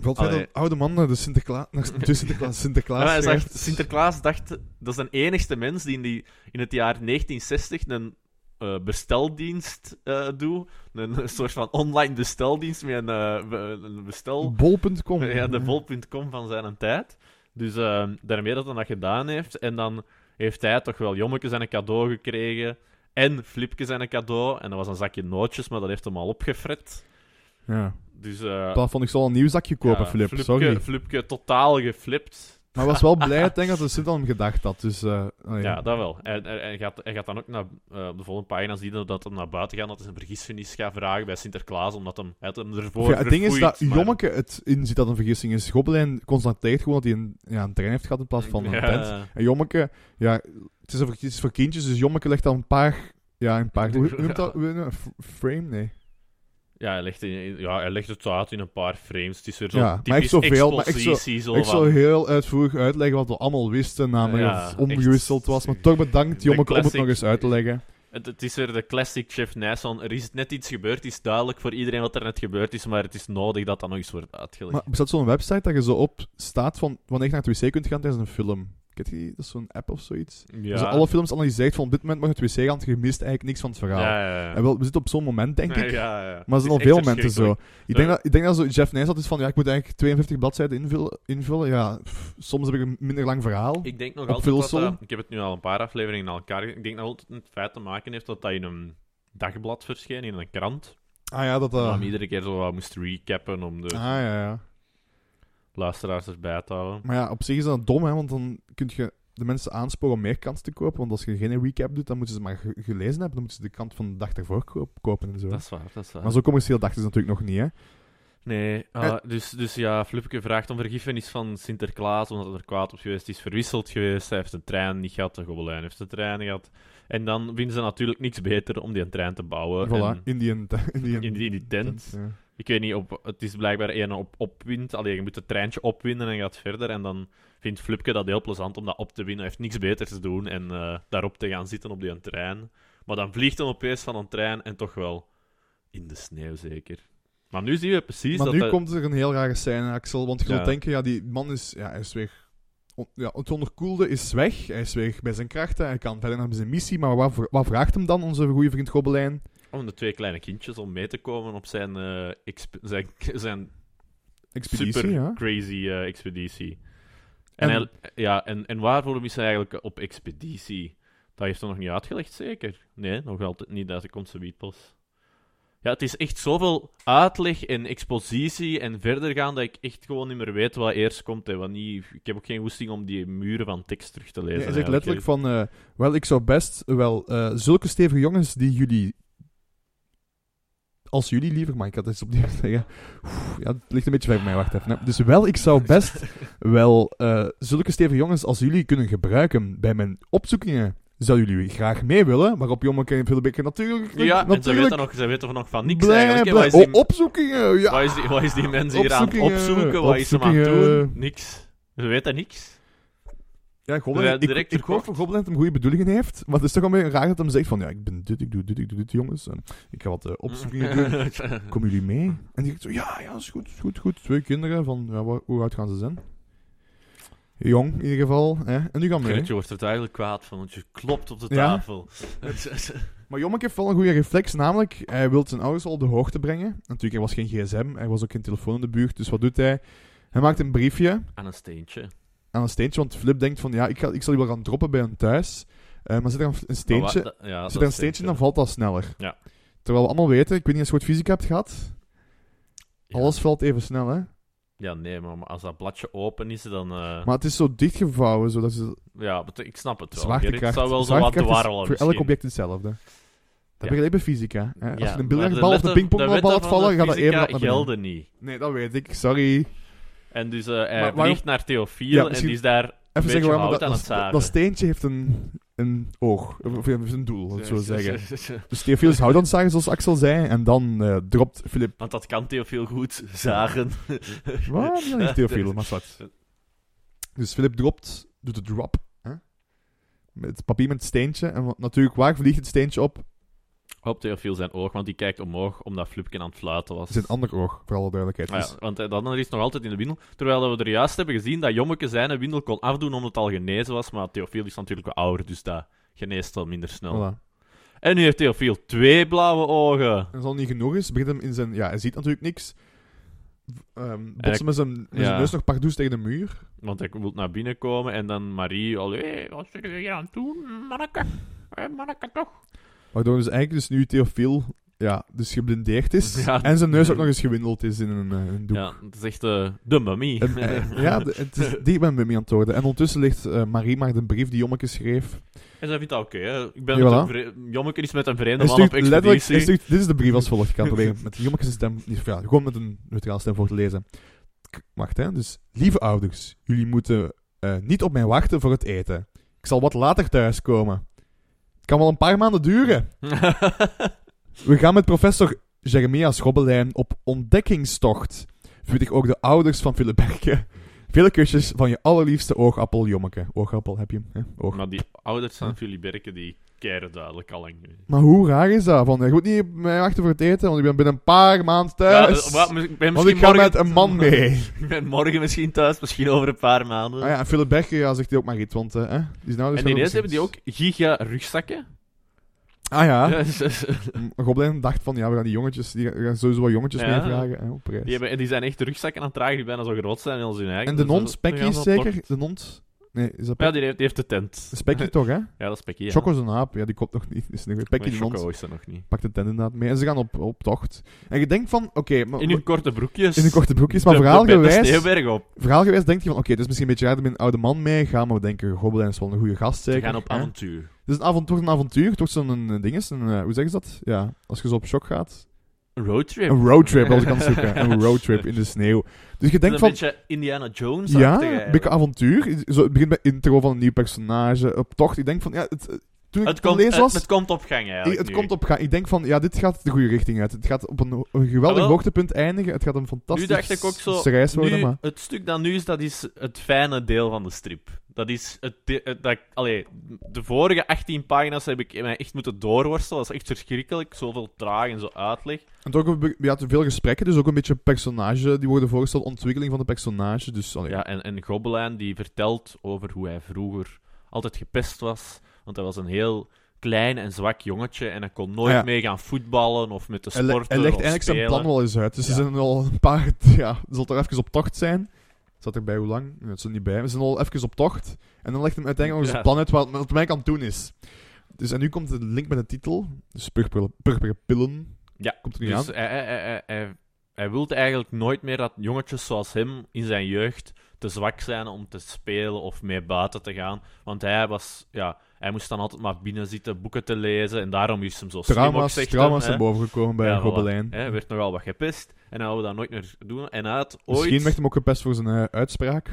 A: Valt fijn dat
B: Allee.
A: een oude man naar de Sinterklaas... Naar de Sinterklaas,
B: Ja, maar
A: Sinterklaas
B: hij zegt-
A: schrijft.
B: Sinterklaas dacht, dat is de enigste mens die in, die, in het jaar 1960 een eh, besteldienst eh doet. Een, eh, soort van online besteldienst met een, eh, be- een bestel.
A: Bol.com.
B: Ja, de bol.com van zijn tijd. Dus eh, daarmee dat hij dat gedaan heeft. En dan heeft hij toch wel Jommeke zijn cadeau gekregen. En Flipke zijn cadeau. En dat was een zakje nootjes, maar dat heeft hem al opgefret.
A: Ja.
B: Dus eh
A: Dat vond ik zo een nieuw zakje kopen,
B: ja,
A: Flip.
B: Flipke,
A: Sorry.
B: Flipke totaal geflipt.
A: Maar was wel blij, denk ik, dat de Sint aan hem gedacht had. Dus, eh, allee.
B: Ja, dat wel. En, en, en gaat, en gaat dan ook naar, eh, op de volgende pagina zien dat hem naar buiten gaat, dat hij een vergissenis gaat vragen bij Sinterklaas, omdat hem, hij had hem
A: Of
B: ervoor
A: ja, het ding is dat
B: verfoeid, maar-
A: Jommeke het inziet dat het een vergissing is. Gobelijn constateert gewoon dat hij een, ja, een trein heeft gehad in plaats van een
B: Ja.
A: tent. En Jommeke, ja, het is, een, het is voor kindjes, dus Jommeke legt dan een paar... Ja, een paar... Hoe hoe noemt dat? Hoe- een f- Frame? Nee.
B: Ja, hij legt, in- ja, hij legt het uit in een paar frames. Het is weer zo
A: Ja, maar echt
B: typisch
A: zoveel, maar echt zo-
B: expositie. zo
A: Ik
B: van-
A: zou heel uitvoerig uitleggen wat we allemaal wisten, namelijk
B: Ja,
A: dat het omgewisseld
B: echt.
A: was. Maar toch bedankt,
B: De
A: Jommeke, om het
B: classic-
A: nog eens uit te leggen.
B: het, het is weer de classic Chef Nyson. Er is net iets gebeurd, het is duidelijk voor iedereen wat er net gebeurd is, maar het is nodig dat dat nog eens wordt uitgelegd.
A: Maar bestaat zo'n website dat je zo op staat van wanneer je naar het wc kunt gaan tijdens een film? Kent je die? Dat is zo'n app of zoiets.
B: ja.
A: Dus alle films analyseert van op dit moment mag je naar het wc gaan, want je mist eigenlijk niks van het verhaal.
B: ja, ja, ja.
A: En wel, we zitten op zo'n moment, denk ik.
B: Ja, ja.
A: Maar er
B: Het
A: zijn
B: is
A: al veel
B: echt
A: momenten zo. Ik denk,
B: Ja.
A: dat, ik denk dat zo Jeff Nijs altijd van, ja, ik moet eigenlijk 52 bladzijden invullen. invullen. Ja, pff, soms heb ik een minder lang verhaal.
B: Ik denk nog
A: Op
B: altijd dat,
A: Wilson?
B: dat- Ik heb het nu al een paar afleveringen aan elkaar... ge- Ik denk nog altijd dat het feit te maken heeft dat dat in een dagblad verscheen, in een krant.
A: Ah ja, dat...
B: En
A: eh,
B: dan iedere keer zo wat moest recappen om de
A: ah ja, ja.
B: luisteraars erbij te houden.
A: Maar ja, op zich is dat dom, hè, want dan kun je de mensen aansporen om meer kans te kopen. Want als je geen recap doet, dan moeten ze maar ge- gelezen hebben. Dan moeten ze de kant van de dag daarvoor koop- kopen en zo.
B: Dat is waar, dat is waar.
A: Maar zo Eh. commercieel dachten ze natuurlijk nog niet, hè.
B: Nee, ah, dus, dus ja, Flupke vraagt om vergiffenis van Sinterklaas, omdat hij er kwaad op geweest is, verwisseld geweest. Hij heeft een trein niet gehad, de gobelijn heeft de trein gehad. En dan vinden ze natuurlijk niks beter om die een trein te bouwen.
A: voilà,
B: Oh, En
A: Indian... Indian
B: in die, in die tent.
A: ja.
B: Ik weet niet, op, het is blijkbaar één op, opwind. Alleen je moet het treintje opwinden en gaat verder. En dan vindt Flupke dat heel plezant om dat op te winnen. Hij heeft niks beters te doen en eh, daarop te gaan zitten op die trein. Maar dan vliegt hij opeens van een trein en toch wel in de sneeuw zeker. Maar nu zien we precies
A: Maar
B: dat
A: nu
B: hij-
A: komt er een heel rare scène, Axel. Want je
B: Ja.
A: zult denken, ja, die man is, ja, hij is weg. On- ja, het onderkoelde is weg. Hij is weg bij zijn krachten. Hij kan verder naar zijn missie. Maar wat, vra- wat vraagt hem dan, onze goede vriend Gobelijn?
B: om de twee kleine kindjes om mee te komen op zijn, eh, exp- zijn, zijn
A: Expeditie,
B: super
A: ja.
B: crazy eh, expeditie. En,
A: En-
B: hij- ja, en, en waarvoor is hij eigenlijk op expeditie? Dat heeft hij nog niet uitgelegd, zeker? Nee, nog altijd niet. Dat komt ze niet pas. Ja, het is echt zoveel uitleg en expositie en verder gaan dat ik echt gewoon niet meer weet wat eerst komt en wat niet. Ik heb ook geen woesting om die muren van tekst terug te lezen.
A: Ja, hij zegt
B: eigenlijk.
A: letterlijk van, eh, wel, ik zou best wel eh, zulke stevige jongens die jullie... Als jullie liever, maar ik had het eens opnieuw zeggen. Oeh, ja, het ligt een beetje ver bij mij, wacht even. hè. Dus wel, ik zou best wel eh, zulke stevige jongens als jullie kunnen gebruiken bij mijn opzoekingen. Zouden jullie graag mee willen? Waarop Jommeke en Philip natuurlijk...
B: Ja, en ze
A: natuurlijk
B: weten, nog, ze weten nog van niks
A: blij-
B: eigenlijk. hè.
A: blij-
B: Wat, is die,
A: Oh, opzoekingen, ja.
B: wat, is die, wat is die mensen hier aan het
A: Opzoekingen,
B: opzoeken? Wat is ze aan het
A: opzoekingen.
B: doen? Niks. Ze weten niks.
A: Ja, Goblin,
B: Ja,
A: ik,
B: direct
A: ik geloof
B: verkocht.
A: dat Goblin dat hem goede bedoelingen heeft, maar het is toch wel een beetje raar dat hem zegt van ja, ik ben dit, ik doe dit, ik doe dit, jongens. En ik ga wat eh, opzoekingen doen. Komen jullie mee? En die zegt zo, ja, ja, is goed, is goed, goed. Twee kinderen van, ja, wa- hoe oud gaan ze zijn? Jong, in ieder geval. Hè? En die gaan mee.
B: Gertje wordt er duidelijk kwaad van, want je klopt op de
A: Ja.
B: tafel.
A: Maar Jommeke heeft wel een goede reflex, namelijk hij wil zijn ouders al op de hoogte brengen. Natuurlijk, er was geen gsm, er was ook geen telefoon in de buurt, dus wat doet hij? Hij maakt een briefje
B: aan een steentje.
A: aan een steentje, want Flip denkt van ja, ik, ga, ik zal die wel gaan droppen bij hem thuis. Eh, maar zit er een, een
B: Maar wat-
A: steentje,
B: da- ja, dat
A: Als je er een steentje in, dan valt dat sneller.
B: Ja.
A: Terwijl we allemaal weten, ik weet niet eens hoe goed fysica hebt gehad,
B: Ja.
A: alles valt even snel, hè.
B: Ja, nee, maar maar als dat bladje open is, dan... eh,
A: Maar het is zo dichtgevouwen, zodat ze
B: ja, bet- ik snap het wel. Gerrit. Het
A: zwaartekracht...
B: zou wel zo wat
A: zwaartekracht is
B: dwarrelen
A: voor
B: misschien.
A: elk object hetzelfde.
B: Ja.
A: Dat begrijp je fysica.
B: Ja,
A: Hè? Als je een
B: maar de
A: biljartbal of een
B: wetten- de
A: pingpongbal
B: wetten
A: laat
B: van
A: vallen,
B: de
A: gaat dat even
B: fysica
A: naar beneden.
B: gelden niet.
A: Nee, dat weet ik, sorry. Even
B: En dus eh hij
A: Maar waarom-
B: vliegt naar Theofiel
A: Ja,
B: en
A: misschien-
B: die is daar... beetje
A: zeggen waarom
B: hout
A: dat,
B: aan
A: dat,
B: het zagen.
A: dat steentje heeft een, een oog, of of heeft een doel, om het zo te zeggen.
B: zeggen.
A: Dus Theophilus houdt dan zagen, zoals Axel zei, en dan eh, dropt Filip.
B: Want dat kan Theofiel goed zagen.
A: Waarom ja, niet Theophilus, maar zwart. Dus Philip dropt, doet de drop. Hè? Met het papier met het steentje. En wa- natuurlijk, waar vliegt het steentje op?
B: Op Theofiel zijn oog, want die kijkt omhoog omdat Flupkin aan het fluiten was.
A: Zijn ander oog, voor alle duidelijkheid.
B: Ah
A: Dus
B: ja, want eh, dat ander is nog altijd in de windel. Terwijl dat we er juist hebben gezien dat Jommeke zijn windel kon afdoen omdat het al genezen was. Maar Theofiel is natuurlijk wel ouder, dus dat geneest al minder snel.
A: voilà.
B: En nu heeft Theofiel twee blauwe ogen.
A: En als dat niet genoeg is, begint hem in zijn... Ja, hij ziet natuurlijk niks. Ehm botst
B: Hij-
A: met zijn, met zijn
B: ja.
A: neus nog pardoes tegen de muur.
B: Want hij wil naar binnen komen en dan Marie al... Hé, wat zit je hier aan het doen, manneke? Hé, manneke toch?
A: Waardoor dus eigenlijk dus nu Theofiel ja, dus geblindeerd is.
B: Ja.
A: En zijn neus ook nog eens gewindeld is in een, eh, een doek.
B: Ja, het is echt eh, de mummie.
A: En, eh, ja, de- het is die ben Mummy aan het worden. En ondertussen ligt eh, Marie maar een brief die Jommeke schreef.
B: En zij vindt dat oké. hè. ik ben
A: Ja,
B: met
A: voilà.
B: een vre- Jommeke is met een vreemde
A: Hij
B: man op
A: stuurt letterlijk, hij
B: expeditie.
A: stuurt- dit is de brief als volgt. Ik ga het proberen met jommetjes stem, niet- ja, gewoon met een neutrale stem voor te lezen. K- Wacht, hè. Dus, lieve ouders, jullie moeten eh, niet op mij wachten voor het eten. Ik zal wat later thuiskomen. Het kan wel een paar maanden duren. We gaan met professor Jeremia Schobbelijn op ontdekkingstocht. Verwittig ook de ouders van Philip Berke. Vele kusjes van je allerliefste oogappel, Jommeke. Oogappel, heb je hem? hè? Oog.
B: maar die ouders van Philly Berken, die keren duidelijk al lang.
A: Maar hoe raar is dat? Van, je moet niet op mij wachten voor het eten, want ik ben binnen een paar maanden thuis.
B: Ja, eh, wat, mis- ik ben
A: Want
B: misschien
A: ik ga
B: morgen-
A: met een man mee.
B: ik ben morgen misschien thuis, misschien over een paar maanden.
A: Ah ja, en Philip Berke ja, zegt hij ook maar iets, want eh, hè, die is nou dus
B: en ineens hebben die ook giga rugzakken.
A: Ah ja,
B: Ja, dus- dus-
A: Goblin dacht van, ja, we gaan die jongetjes, die gaan sowieso wel jongetjes
B: Ja.
A: meevragen hè, op reis.
B: die, hebben, en die zijn echt rugzakken aan het dragen die bijna zo groot zijn als hun eigen.
A: En de
B: Dus dat-
A: non,
B: dan
A: Spekkie
B: gaan ze
A: is
B: op
A: zeker?
B: tocht.
A: De non, nee, is dat
B: Ja, die heeft, die heeft de tent.
A: Spekkie toch, hè?
B: Ja, dat is Spekkie. Ja.
A: Choco is een aap, ja, die komt nog niet. Is een Spekkie
B: Nee,
A: de non,
B: Choco is er nog niet.
A: pakt de tent inderdaad mee. En ze gaan op, op tocht. En je denkt van, oké, maar...
B: In hun korte broekjes.
A: in hun korte broekjes, maar
B: De- de
A: verhaalgewijs...
B: Bette Steenberg op.
A: Verhaalgewijs denk je van, oké, dit is misschien een beetje raar dat we een oude man meegaan, maar we denken, Goblin is wel een goede gast
B: Ze
A: zeker.
B: gaan op
A: hè?
B: avontuur.
A: Het is een avontuur, een avontuur, toch zo'n eh, ding is, een, eh, hoe zeggen ze dat? Ja, als je zo op shock gaat.
B: Een roadtrip.
A: Een roadtrip, dat was ik aan het zoeken. Een roadtrip in de sneeuw. Dus je denkt
B: een
A: van,
B: beetje Indiana Jones.
A: ja, een beetje avontuur. Zo, het begint met intro van een nieuw personage, op tocht. Ik denk van, ja, het, eh, toen
B: het
A: ik het
B: komt,
A: lees
B: het,
A: was,
B: het
A: het,
B: komt op gang eigenlijk. nu.
A: komt op gang. Ik denk van, ja, dit gaat de goede richting uit. Het gaat op een, een geweldig
B: Jawel.
A: hoogtepunt eindigen. Het gaat een fantastische
B: dacht ik ook zo,
A: reis worden,
B: nu,
A: maar...
B: Het stuk dat nu is, dat is het fijne deel van de strip. Dat is het, de- het- dat, allee, de vorige 18 pagina's heb ik mij echt moeten doorworstelen. Dat is echt verschrikkelijk. Zoveel traag en zo uitleg.
A: En ook, we we hadden veel gesprekken, dus ook een beetje personage, die worden voorgesteld, ontwikkeling van de personage, dus... Allee,
B: Ja, en, en Gobelijn die vertelt over hoe hij vroeger altijd gepest was. Want hij was een heel klein en zwak jongetje. En hij kon nooit
A: Ah, ja.
B: mee gaan voetballen of met de
A: Hij, le-
B: sporten.
A: hij legt
B: of
A: eigenlijk zijn
B: spelen.
A: plan wel eens uit. Dus
B: Ja.
A: ze zijn al een paar... Ja, ze zal toch even op tocht zijn. Zat er bij hoe lang? Nee, het zat niet bij. We zijn al even op tocht. En dan legt hem uiteindelijk nog
B: Ja.
A: zijn plan uit wat, wat mij kan doen is. Dus en nu komt de link met de titel. Dus purperen, purperen pillen.
B: Ja,
A: Komt er nu
B: Dus
A: aan.
B: hij, hij, hij, hij, hij wilde eigenlijk nooit meer dat jongetjes zoals hem in zijn jeugd te zwak zijn om te spelen of mee buiten te gaan. Want hij was, ja, hij moest dan altijd maar binnen zitten, boeken te lezen. En daarom is hem zo slim ook,
A: Trauma's,
B: zegt
A: trauma's
B: hem,
A: zijn bovengekomen bij
B: Ja,
A: ja,
B: voilà.
A: Gobelijn.
B: Hè, Hij werd nogal wat gepest en hij wilde dat nooit meer doen. En hij had ooit...
A: Misschien werd hem ook gepest voor zijn eh, uitspraak.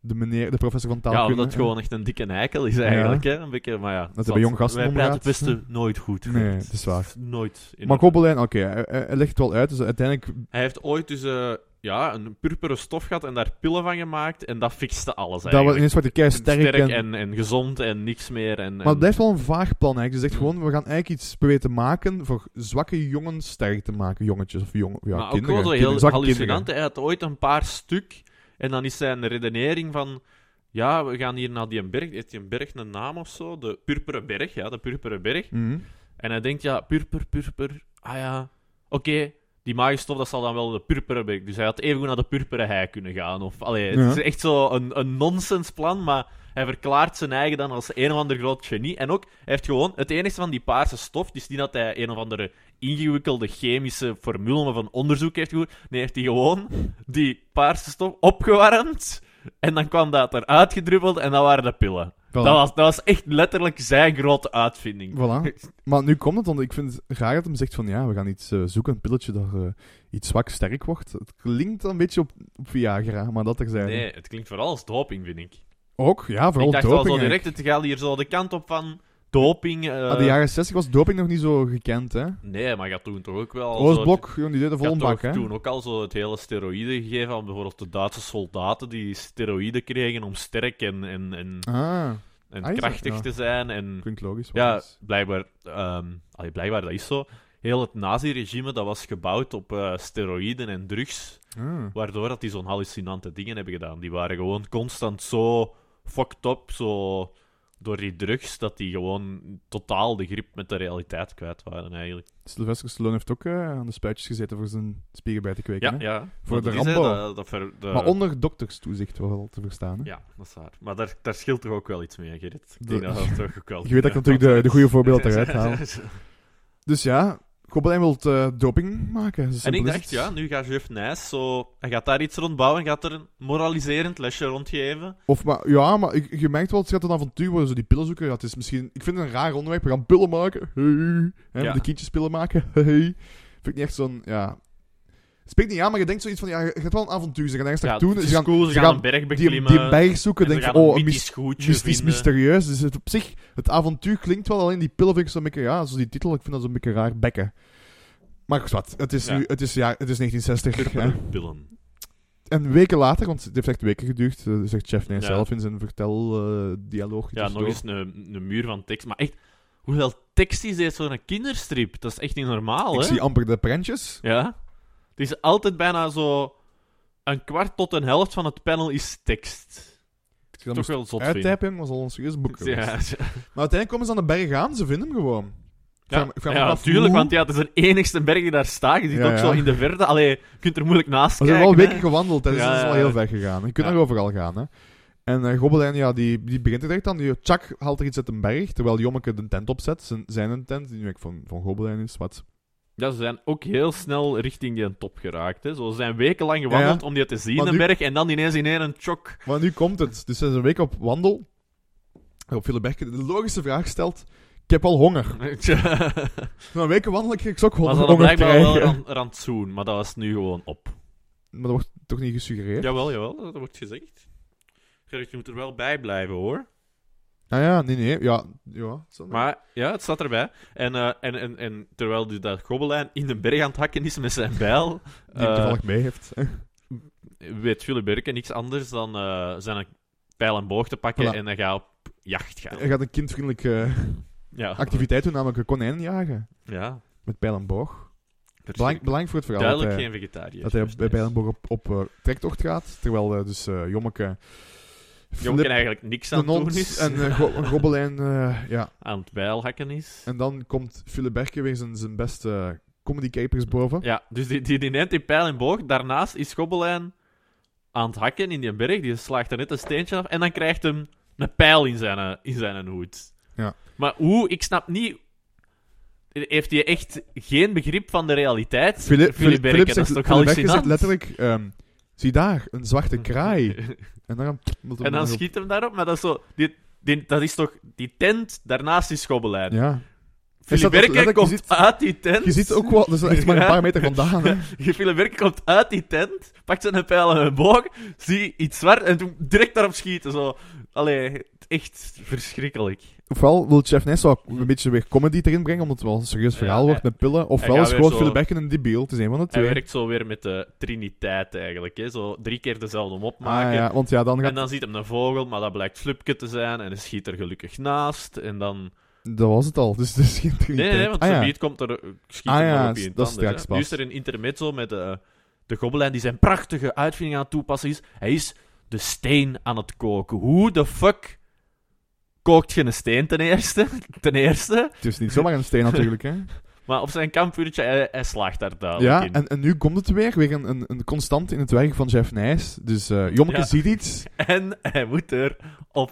A: de meneer, de professor van
B: ja,
A: taalkunde.
B: omdat het
A: hè.
B: gewoon echt een dikke eikel is eigenlijk. Hè? Een beetje, maar ja,
A: bij
B: zot.
A: jong gasten
B: Wij praten het
A: omgaat.
B: Westen nooit goed.
A: Nee,
B: vriend.
A: het is waar.
B: Nooit. in
A: Maar
B: orde.
A: Gobelijn, oké, hij, hij- hij legt het wel uit. Dus uiteindelijk,
B: Hij heeft ooit dus eh, ja, een purperen stof gehad en daar pillen van gemaakt. En dat fixte alles
A: dat was
B: eigenlijk.
A: ineens wordt de kei sterk.
B: en...
A: en-
B: En, gezond en niks meer. En,
A: maar het
B: en-
A: blijft wel een vaag plan eigenlijk. Ze zegt
B: Hmm.
A: gewoon, we gaan eigenlijk iets proberen te maken voor zwakke jongens sterk te maken. Jongetjes of jongen, ja,
B: maar ook
A: kinderen.
B: wel zo
A: kinderen,
B: heel
A: zwakke
B: hallucinant. Hij had ooit een paar stuk. En dan is zijn redenering van... Ja, we gaan hier naar die berg. Heeft die berg een naam of zo? De Purperen Berg, ja. De Purperen Berg.
A: kinderen. Mhm.
B: En hij denkt, ja, purper, purper. Ah ja, oké. Die magische stof, dat zal dan wel de purperen berg. Dus hij had evengoed naar de purperen hei kunnen gaan. Of, allee, het
A: Ja.
B: is echt zo een, een nonsensplan, maar hij verklaart zijn eigen dan als een of ander groot genie. En ook, hij heeft gewoon het enige van die paarse stof, dus niet dat hij een of andere ingewikkelde chemische formule van onderzoek heeft gehoord. Nee, heeft hij gewoon die paarse stof opgewarmd. En dan kwam dat eruit gedrubbeld en dat waren de pillen.
A: Voilà.
B: Dat was, dat was echt letterlijk zijn grote uitvinding.
A: Voilà. Maar nu komt het, want ik vind het raar dat hem zegt van ja, we gaan iets eh, zoeken, een pilletje dat eh, iets zwak sterk wordt. Het klinkt een beetje op, op Viagra, maar dat er zijn.
B: Nee, het klinkt vooral als doping, vind ik.
A: Ook, ja, vooral
B: ik dacht
A: doping.
B: al zo
A: eigenlijk.
B: direct, het gaat hier zo de kant op van doping. eh,
A: Ah, de jaren 60 was doping nog niet zo gekend, hè?
B: Nee, maar je had toen toch ook wel... zo-
A: Oostblok, jongen, die deed de
B: je had
A: volle bak,
B: toch
A: hè?
B: toen ook al zo het hele steroïde gegeven aan bijvoorbeeld de Duitse soldaten die steroïden kregen om sterk en, en, en, en
A: Ah, Ah, is dat-
B: krachtig
A: ja.
B: te zijn. En
A: klinkt logisch.
B: ja,
A: logisch.
B: blijkbaar, ehm, allee, blijkbaar, dat is zo. Heel het naziregime dat was gebouwd op eh, steroïden en drugs.
A: Ah.
B: Waardoor dat die zo'n hallucinante dingen hebben gedaan. Die waren gewoon constant zo fucked up, zo door die drugs, dat die gewoon totaal de grip met de realiteit kwijt waren eigenlijk.
A: Sylvester Stallone heeft ook eh, aan de spuitjes gezeten voor zijn spieren bij te kweken.
B: Ja,
A: hè?
B: ja.
A: Voor
B: Dat
A: de
B: is, hè,
A: Rambo.
B: dat- dat ver- de-
A: Maar onder dokterstoezicht wel te verstaan. Hè?
B: Ja, dat is waar. Maar daar, daar scheelt toch ook wel iets mee, Gerrit? Ik
A: De-
B: denk dat dat toch ook wel...
A: Je weet dat ik natuurlijk de, de goede voorbeelden eruit haal. Dus ja, Gobelijn wil eh, doping maken. Zo
B: En ik
A: simpel is
B: dacht,
A: het.
B: ja, nu gaat Jeff Nijs zo... Hij gaat daar iets rondbouwen, gaat er een moraliserend lesje rondgeven.
A: Of maar, ja, maar ik- je merkt wel, het gaat een avontuur worden, zo die pillen zoeken. Ja, het is misschien, ik vind het een raar onderwerp. We gaan pillen maken. Hey. Hè,
B: Ja.
A: De kindjes pillen maken. Hey. Vind ik niet echt zo'n, ja... Spreekt niet aan, maar je denkt zoiets van, ja, je gaat wel een avontuur. Ze gaan ergens
B: Ja,
A: naartoe.
B: het
A: Ze
B: is
A: gaan
B: cool, ze,
A: ze
B: gaan
A: gaan
B: een berg
A: die,
B: beklimmen.
A: die berg zoeken.
B: en
A: Denk
B: ze
A: je,
B: gaan een
A: oh, een
B: mythisch goedje
A: mystisch
B: vinden.
A: mysterieus. Dus het op zich, het avontuur klinkt wel, alleen die pillen vind ik zo'n beetje, ja, zo die titel, ik vind dat zo'n beetje raar bekken. Maar wat, het is
B: Ja.
A: nu, het is, ja, het is 1960. hè.
B: Purperen pillen.
A: En weken later, want het heeft echt weken geduurd, eh, zegt Jeff Nijs
B: Ja.
A: zelf in zijn verteldialoog.
B: Ja, nog eens een, een muur van tekst. Maar echt, hoeveel tekst is dit zo'n kinderstrip? Dat is echt niet normaal,
A: Ik
B: hè?
A: zie amper de prentjes.
B: Ja. Het is altijd bijna zo... Een kwart tot een helft van het panel is tekst.
A: Ik zie
B: Toch
A: dat
B: wel zot vinden.
A: uittypen, was al een serieus boek.
B: Ja,
A: geweest.
B: ja,
A: Maar uiteindelijk komen ze aan de berg aan, ze vinden hem gewoon.
B: ja,
A: vraag me- ik vraag me
B: ja,
A: af
B: natuurlijk,
A: hoe-
B: want ja, het is de enigste berg die daar staat. Je zit
A: Ja,
B: ook zo
A: ja.
B: in de verte. Allee, je kunt er moeilijk naast
A: Maar ze
B: kijken.
A: hebben wel
B: hè.
A: weken gewandeld, hè, dus
B: Ja,
A: dat is wel
B: ja, ja.
A: heel ver gegaan. Je kunt
B: Ja.
A: nog overal gaan, hè. En eh Gobbelijn, ja, die, die begint er echt aan. Die eh, Chuck haalt er iets uit een berg, terwijl Jommeke de tent opzet. Zijn, zijn een tent, die nu eigenlijk van, van Gobbelijn is, wat.
B: Ja, ze zijn ook heel snel richting die top geraakt. Hè. Zo, ze zijn wekenlang gewandeld om die te zien,
A: Maar
B: een
A: nu-
B: berg. En dan ineens in één een chok.
A: Maar nu komt het. Dus ze is een week op wandel. Op Philip Berken de logische vraag stelt... Ik heb al honger. Na een week wandelen kreeg ik ook
B: Maar
A: honger,
B: ze hadden
A: honger
B: blijkbaar wel eh,
A: krijgen.
B: ran- rantsoen, maar dat was nu gewoon op.
A: Maar dat wordt toch niet gesuggereerd?
B: Jawel, jawel, dat wordt gezegd. Gerrit, je moet er wel bij blijven hoor.
A: Ah ja, nee, nee. Ja, ja. zo.
B: Maar ja, het staat erbij. En, eh, en, en, en terwijl die dat gobbelijn in de berg aan het hakken is met zijn bijl,
A: die hem
B: eh,
A: toevallig mee heeft.
B: weet Philip Berken niks anders dan eh, zijn pijl en boog te pakken
A: Voilà.
B: en dan gaat op jacht gaan.
A: Hij gaat een kindvriendelijke eh,
B: Ja,
A: activiteit doen, namelijk een konijn jagen.
B: Ja,
A: Met pijl en boog.
B: Verschrik-
A: Belang, belangrijk voor het verhaal
B: Duidelijk
A: dat hij,
B: geen vegetariër. Dus-
A: dat hij
B: Gerrit
A: bij
B: Nijs.
A: pijl en boog op, op eh, trektocht gaat. Terwijl eh, dus eh Jommeke...
B: Jongen
A: Flip,
B: eigenlijk niks
A: de
B: aan het doen
A: hond
B: is.
A: en eh, go- Gobbelijn... eh, ja.
B: Aan het bijl hakken is.
A: En dan komt Philip Berken weer zijn, zijn beste comedy capers boven.
B: Ja, dus die, die, die neemt die pijl en boog. Daarnaast is Gobbelijn aan het hakken in die berg. Die slaagt er net een steentje af. En dan krijgt hem een pijl in zijn, eh, in zijn hoed.
A: Ja.
B: Maar hoe? Ik snap niet... Heeft hij echt geen begrip van de realiteit? Philip
A: Philip, Philip,
B: Berken,
A: Philip
B: dat
A: zegt,
B: is toch
A: Philip Berken zegt
B: hallucinant?
A: letterlijk... ehm, zie daar, een zwarte kraai. En dan,
B: en dan schiet hem daarop. Maar dat is, zo, die, die, dat is toch... Die tent, daarnaast is Gobbelijn.
A: Ja. dat-
B: Philip Werker
A: letterlijk, je
B: komt
A: ziet-
B: uit die tent.
A: Je ziet ook wel, dat is echt maar een paar meter vandaan. Hè.
B: Philip Werker komt uit die tent, pakt zijn pijl en een boog, zie iets zwart en toen direct daarop schieten. Zo. Allee, echt verschrikkelijk.
A: Ofwel wil Jeff Ness wel een beetje weer comedy erin brengen, omdat het wel een serieus verhaal
B: Ja,
A: wordt
B: hij-
A: met pillen. Ofwel
B: hij
A: is
B: gaat
A: gewoon
B: weer
A: Philip
B: zo-
A: Becken een debiel. Het is een van de
B: Hij
A: twee.
B: werkt zo weer met de triniteit eigenlijk. Hè? Zo drie keer dezelfde hem opmaken.
A: Ah, ja, want ja, dan
B: En
A: gaat...
B: dan ziet hem een vogel, maar dat blijkt Flupke te zijn. En hij schiet er gelukkig naast. En dan...
A: Dat was het al, dus het is geen
B: Nee, nee, nee, want
A: ah,
B: zo'n
A: ja.
B: beat komt er... eh, Schiet
A: Ah
B: hem
A: ja,
B: nog op in
A: dat is straks
B: Nu
A: pas.
B: is er een intermezzo met de, de gobelijn die zijn prachtige uitvinding aan het toepassen is. Hij is de steen aan het koken. Hoe de fuck kookt je een steen ten eerste? Ten eerste.
A: Het is niet zomaar een steen natuurlijk, hè.
B: Maar op zijn kampvuurtje, hij, hij slaagt daar duidelijk
A: ja,
B: in.
A: en, en nu komt het weer, weer een, een, een constant in het werk van Jeff Nijs. Dus eh Jommeke
B: Ja.
A: ziet iets,
B: En hij moet er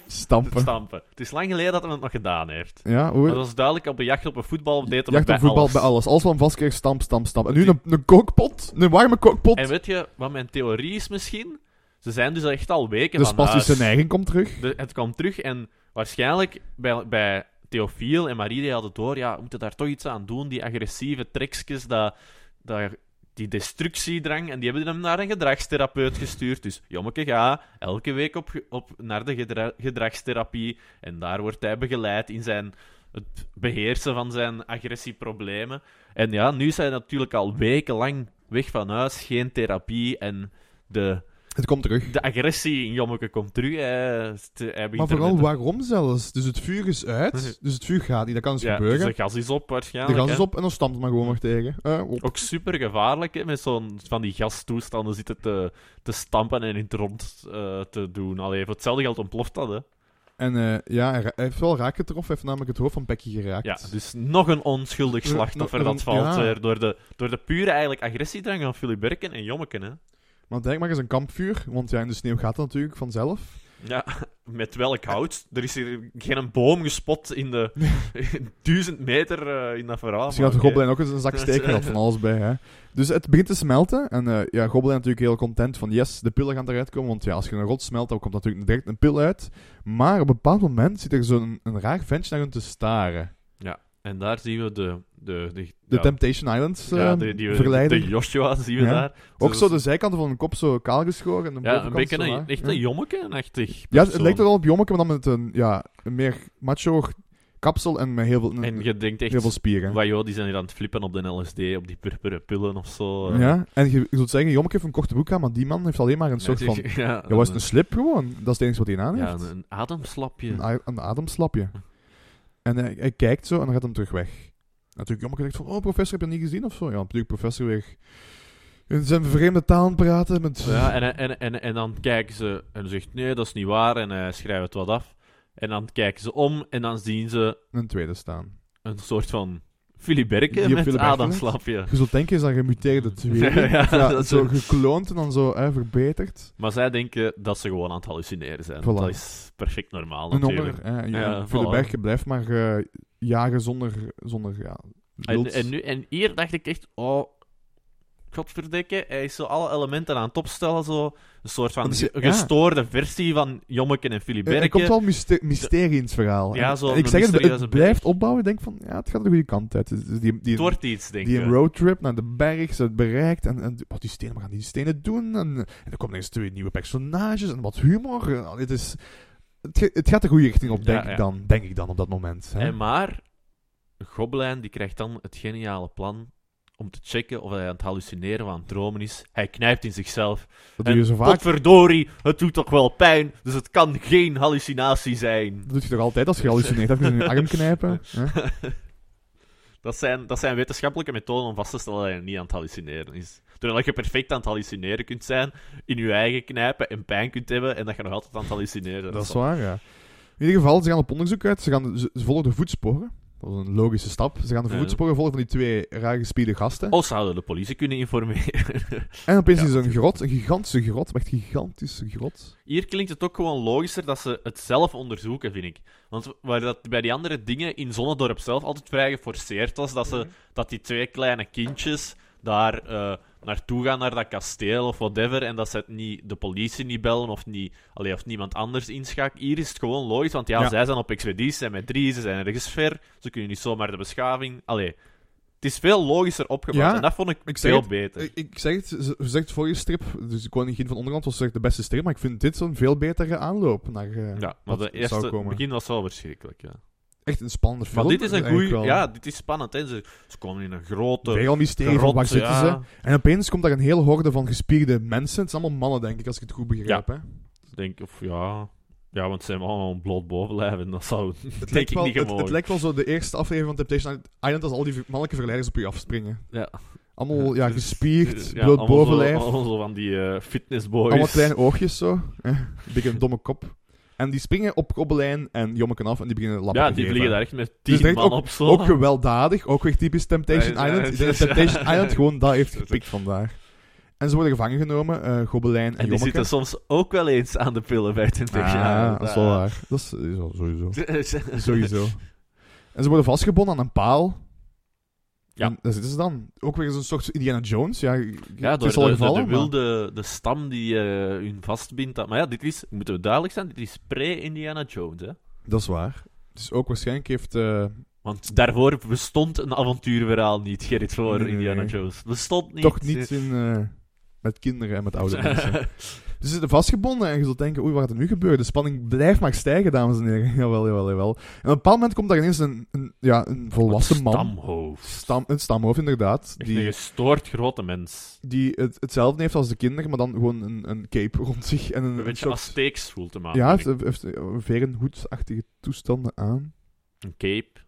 A: stampen.
B: stampen. Het is lang geleden dat hij het nog gedaan heeft.
A: Ja, hoe...
B: Maar dat was duidelijk op de jacht op een voetbal. Deed hem
A: Jacht op
B: bij
A: voetbal
B: alles.
A: bij alles. Als we hem vastkrijgen, stamp, stamp, stamp. En nu een, een kookpot, een warme kookpot.
B: En weet je wat mijn theorie is misschien? Ze zijn dus echt al weken
A: Dus
B: van
A: pas is
B: huis.
A: zijn neiging komt terug.
B: De- het kwam terug en waarschijnlijk bij, bij Theofiel en Marie die hadden door, ja, we moeten daar toch iets aan doen. Die agressieve trekjes, dat, dat, die destructiedrang. En die hebben hem naar een gedragstherapeut gestuurd. Dus jommeke, ga elke week op, ge- op, naar de gedra- gedragstherapie. En daar wordt hij begeleid in zijn, het beheersen van zijn agressieproblemen. En ja, nu zijn natuurlijk al wekenlang weg van huis, geen therapie en... De,
A: Het komt terug.
B: de agressie in Jommeke komt terug. Hij, hij begint
A: Maar
B: er
A: vooral
B: met-
A: waarom zelfs? Dus het vuur is uit, dus het vuur gaat niet. Dat kan dus
B: Ja,
A: gebeuren.
B: dus de gas is op
A: de
B: waarschijnlijk.
A: gas is
B: hè.
A: op en dan stampt het maar gewoon nog tegen. Eh, op.
B: Ook super gevaarlijk, hè, met zo'n van die gastoestanden zitten te, te stampen en in het rond eh, te doen. Allee, voor hetzelfde geld ontploft dat, hè.
A: En eh, ja, hij ra- hij heeft wel raak getroffen. Hij heeft namelijk het hoofd van Pekkie geraakt.
B: Ja, dus nog een onschuldig
A: Eh,
B: slachtoffer
A: nog een-
B: dat valt
A: ja.
B: eh, door, de, door de pure eigenlijk agressiedrang van Philip Berken en Jommeke, hè.
A: Maar denk maar eens een kampvuur, want ja, in de sneeuw gaat dat natuurlijk vanzelf.
B: Ja, met welk hout? Er is hier geen boom gespot in de in duizend meter eh, in dat verhaal.
A: Misschien
B: maar
A: had de
B: oké. Dus, eh,
A: Goblin ook eens een zak steken gehad van alles bij. Hè. Dus het begint te smelten. En eh, ja, Goblin natuurlijk heel content van yes, de pillen gaan eruit komen. Want ja, als je een rot smelt, dan komt natuurlijk direct een pil uit. Maar op een bepaald moment zit er zo'n een raar ventje naar hun te staren.
B: En daar zien we de... De, de,
A: De
B: ja,
A: Temptation Islands eh
B: ja, die, die,
A: verleider.
B: de Joshua zien we
A: Ja.
B: daar.
A: Ook
B: Dus-
A: zo de zijkanten van hun kop zo kaal geschoren. En
B: Ja,
A: de
B: een
A: bovenkant
B: beetje
A: zo
B: een,
A: laag.
B: echt
A: Ja.
B: een jommeke-achtig
A: Ja, het
B: persoon.
A: lijkt er wel op Jommeke, maar dan met een, ja, een meer macho kapsel en met heel veel,
B: En je denkt
A: heel veel
B: echt,
A: spieren.
B: "Wa, joh, die zijn hier aan het flippen op de LSD, op die purperen pillen of zo.
A: Ja, en je, je zult zeggen, Jommeke heeft een korte broek aan, maar die man heeft alleen maar een
B: Ja,
A: soort van...
B: zeg- Ja,
A: Ja, was het een slip gewoon? Dat is het enige wat hij aan heeft.
B: ja, een, een ademslapje.
A: Een, a- een ademslapje. En hij, hij kijkt zo en dan gaat hem terug weg. Natuurlijk, Jommeke denkt van, oh professor, heb je niet gezien of zo? Ja, natuurlijk, professor weer in zijn vreemde taal praten met...
B: Ja, en, en, en, en dan kijken ze en zegt, nee, dat is niet waar, en hij schrijft het wat af. En dan kijken ze om en dan zien ze
A: een tweede staan.
B: een soort van
A: Die
B: filiberke met
A: op Philip Berken lijkt.
B: ademslapje.
A: Je zult denken, is dat gemuteerde tweede?
B: Ja,
A: ja,
B: dat is
A: zo
B: ook-
A: gekloond en dan zo hè, verbeterd.
B: Maar zij denken dat ze gewoon aan het hallucineren zijn.
A: Voilà.
B: Dat is perfect normaal,
A: Een
B: natuurlijk.
A: honger. hè, Ja,
B: Ja,
A: voor de
B: voilà.
A: berg, je blijft maar eh, jagen zonder, zonder ja,
B: En,
A: wild.
B: en, nu, en hier dacht ik echt, oh, godverdikke, hij is zo alle elementen aan het opstellen, zo. Een soort van
A: Dat is-
B: ge-
A: ja.
B: gestoorde versie van Jommeke en Philip
A: er, er komt
B: Berken.
A: wel myste- mysterie in het verhaal.
B: Ja,
A: En-
B: zo
A: en ik
B: een
A: zeg het,
B: mysterieuze
A: het blijft
B: berg.
A: opbouwen. Ik denk van, ja, het gaat de goede kant uit. Dus die, die,
B: Het wordt iets, denk
A: die
B: ik.
A: een roadtrip naar de berg, ze het bereikt. En, en wat die stenen, wat gaan die stenen doen? En, en er komen eens twee nieuwe personages en wat humor. En, het, is, het, ge- het gaat de goede richting op,
B: Ja,
A: denk,
B: ja.
A: Ik dan, denk ik dan, op dat moment. Hè?
B: En maar, Goblin die krijgt dan het geniale plan om te checken of hij aan het hallucineren of aan het dromen is. Hij knijpt in zichzelf.
A: dat doe je zo vaak.
B: Potverdorie, het doet toch wel pijn, dus het kan geen hallucinatie zijn.
A: Dat doe je toch altijd als je hallucineert? Even in je arm knijpen. hè?
B: Dat zijn, dat zijn wetenschappelijke methoden om vast te stellen dat je niet aan het hallucineren is. Doordat je perfect aan het hallucineren kunt zijn, in je eigen knijpen en pijn kunt hebben en dat je nog altijd aan het hallucineren
A: Dat is waar, ja. In ieder geval, ze gaan op onderzoek uit. Ze, gaan, ze, ze volgen de voetsporen. Dat is een logische stap. Ze gaan de
B: Ja.
A: voetsporen volgen van die twee raar gespierde gasten.
B: Of ze hadden de politie kunnen informeren.
A: en opeens
B: ja.
A: is er een grot, een gigantische grot, maar echt gigantische grot.
B: Hier klinkt het ook gewoon logischer dat ze het zelf onderzoeken, vind ik. Want waar dat bij die andere dingen in
A: Mhm.
B: Zonnedorp zelf altijd vrij geforceerd was, dat, ze, dat die twee kleine kindjes daar eh, naartoe gaan naar dat kasteel of whatever. En dat ze het niet, de politie niet bellen of, niet, allee, of niemand anders inschakelen. Hier is het gewoon logisch, want ja,
A: Ja.
B: zij zijn op expeditie, zijn met drie, ze zijn ergens ver. Ze kunnen niet zomaar de beschaving. Allee, het is veel logischer opgebouwd
A: Ja,
B: en dat vond ik,
A: ik zeg
B: veel
A: het,
B: beter.
A: Ik, ik zeg het, ze ze zegt vorige strip, dus de Koningin van Onderland was echt de beste strip, maar ik vind dit zo'n veel betere aanloop naar... eh,
B: ja, maar de
A: dat zou
B: eerste, het
A: komen.
B: begin was wel verschrikkelijk. Ja.
A: Echt een spannende film.
B: Maar dit is een
A: eigenlijk
B: goeie.
A: wel.
B: Ja, dit is spannend. Hè. Ze, ze komen in een grote.
A: Veel mysterie van
B: grot,
A: waar zitten
B: ja.
A: ze. En opeens komt daar een hele horde van gespierde mensen. Het zijn allemaal mannen, denk ik, als ik het goed begrijp. Hè?
B: Ik Denk, of ja. Ja, want ze hebben allemaal bloot bovenlijven. Dat zou
A: Het,
B: denk ik
A: wel,
B: niet
A: het,
B: gemogen.
A: het lijkt wel zo de eerste aflevering van Temptation Island als al die mannelijke verleiders op je afspringen.
B: Ja.
A: Allemaal ja,
B: Dus,
A: gespierd,
B: Ja,
A: bloot
B: allemaal zo-
A: bovenlijf, allemaal,
B: Allemaal zo van die eh, fitnessboys.
A: kleine oogjes zo. hè. Een beetje een domme kop. En die springen op kobbelijn en jommeken af en die beginnen lappen
B: Ja,
A: te
B: die
A: geven.
B: vliegen daar echt met
A: Dus
B: tien
A: denk
B: man
A: ook-
B: op zo.
A: Ook gewelddadig, ook weer typisch Temptation
B: Ja, ja,
A: Island.
B: ja,
A: Ik denk dat
B: ja.
A: Temptation Island gewoon dat heeft gepikt vandaag. En ze worden gevangen genomen, eh Gobelijn en,
B: en die
A: Jommeke.
B: zitten soms ook wel eens aan de pillen bij Temptation
A: Ja,
B: Island. ah.
A: Ah, dat is wel waar. Dat is is wel sowieso.
B: waar.
A: sowieso. En ze worden vastgebonden aan een paal.
B: Ja.
A: En daar zitten ze dan. Ook weer eens een soort Indiana Jones. Ja,
B: Ja,
A: het
B: door
A: is
B: de,
A: al
B: de-
A: gevallen.
B: de
A: maar-
B: wilde de stam die eh, hun vastbindt. aan- Maar ja, dit is, moeten we duidelijk zijn, dit is pre-Indiana Jones. Hè?
A: Dat is waar. Dus ook waarschijnlijk heeft... eh,
B: Want daarvoor bestond een avontuurverhaal niet, Gerrit, voor
A: Nee, nee,
B: Indiana
A: nee.
B: Jones. Bestond niet.
A: toch niet in, eh, met kinderen en met oude mensen. Dus Ze zitten vastgebonden en je zult denken, oei, wat gaat er nu gebeuren? De spanning blijft maar stijgen, dames en heren. Jawel, jawel, jawel. En op een bepaald moment komt daar ineens een, een, ja, een volwassen man.
B: Stamhoofd.
A: Stam, een stamhoofd, inderdaad.
B: Echt
A: Die,
B: een gestoord grote mens.
A: die het, hetzelfde heeft als de kinderen, maar dan gewoon een, een cape rond zich. En een,
B: Een beetje
A: soort-
B: Azteeks voel te maken.
A: Ja,
B: vind
A: heeft, heeft eh, verenhoedsachtige toestanden aan.
B: ik. Een cape.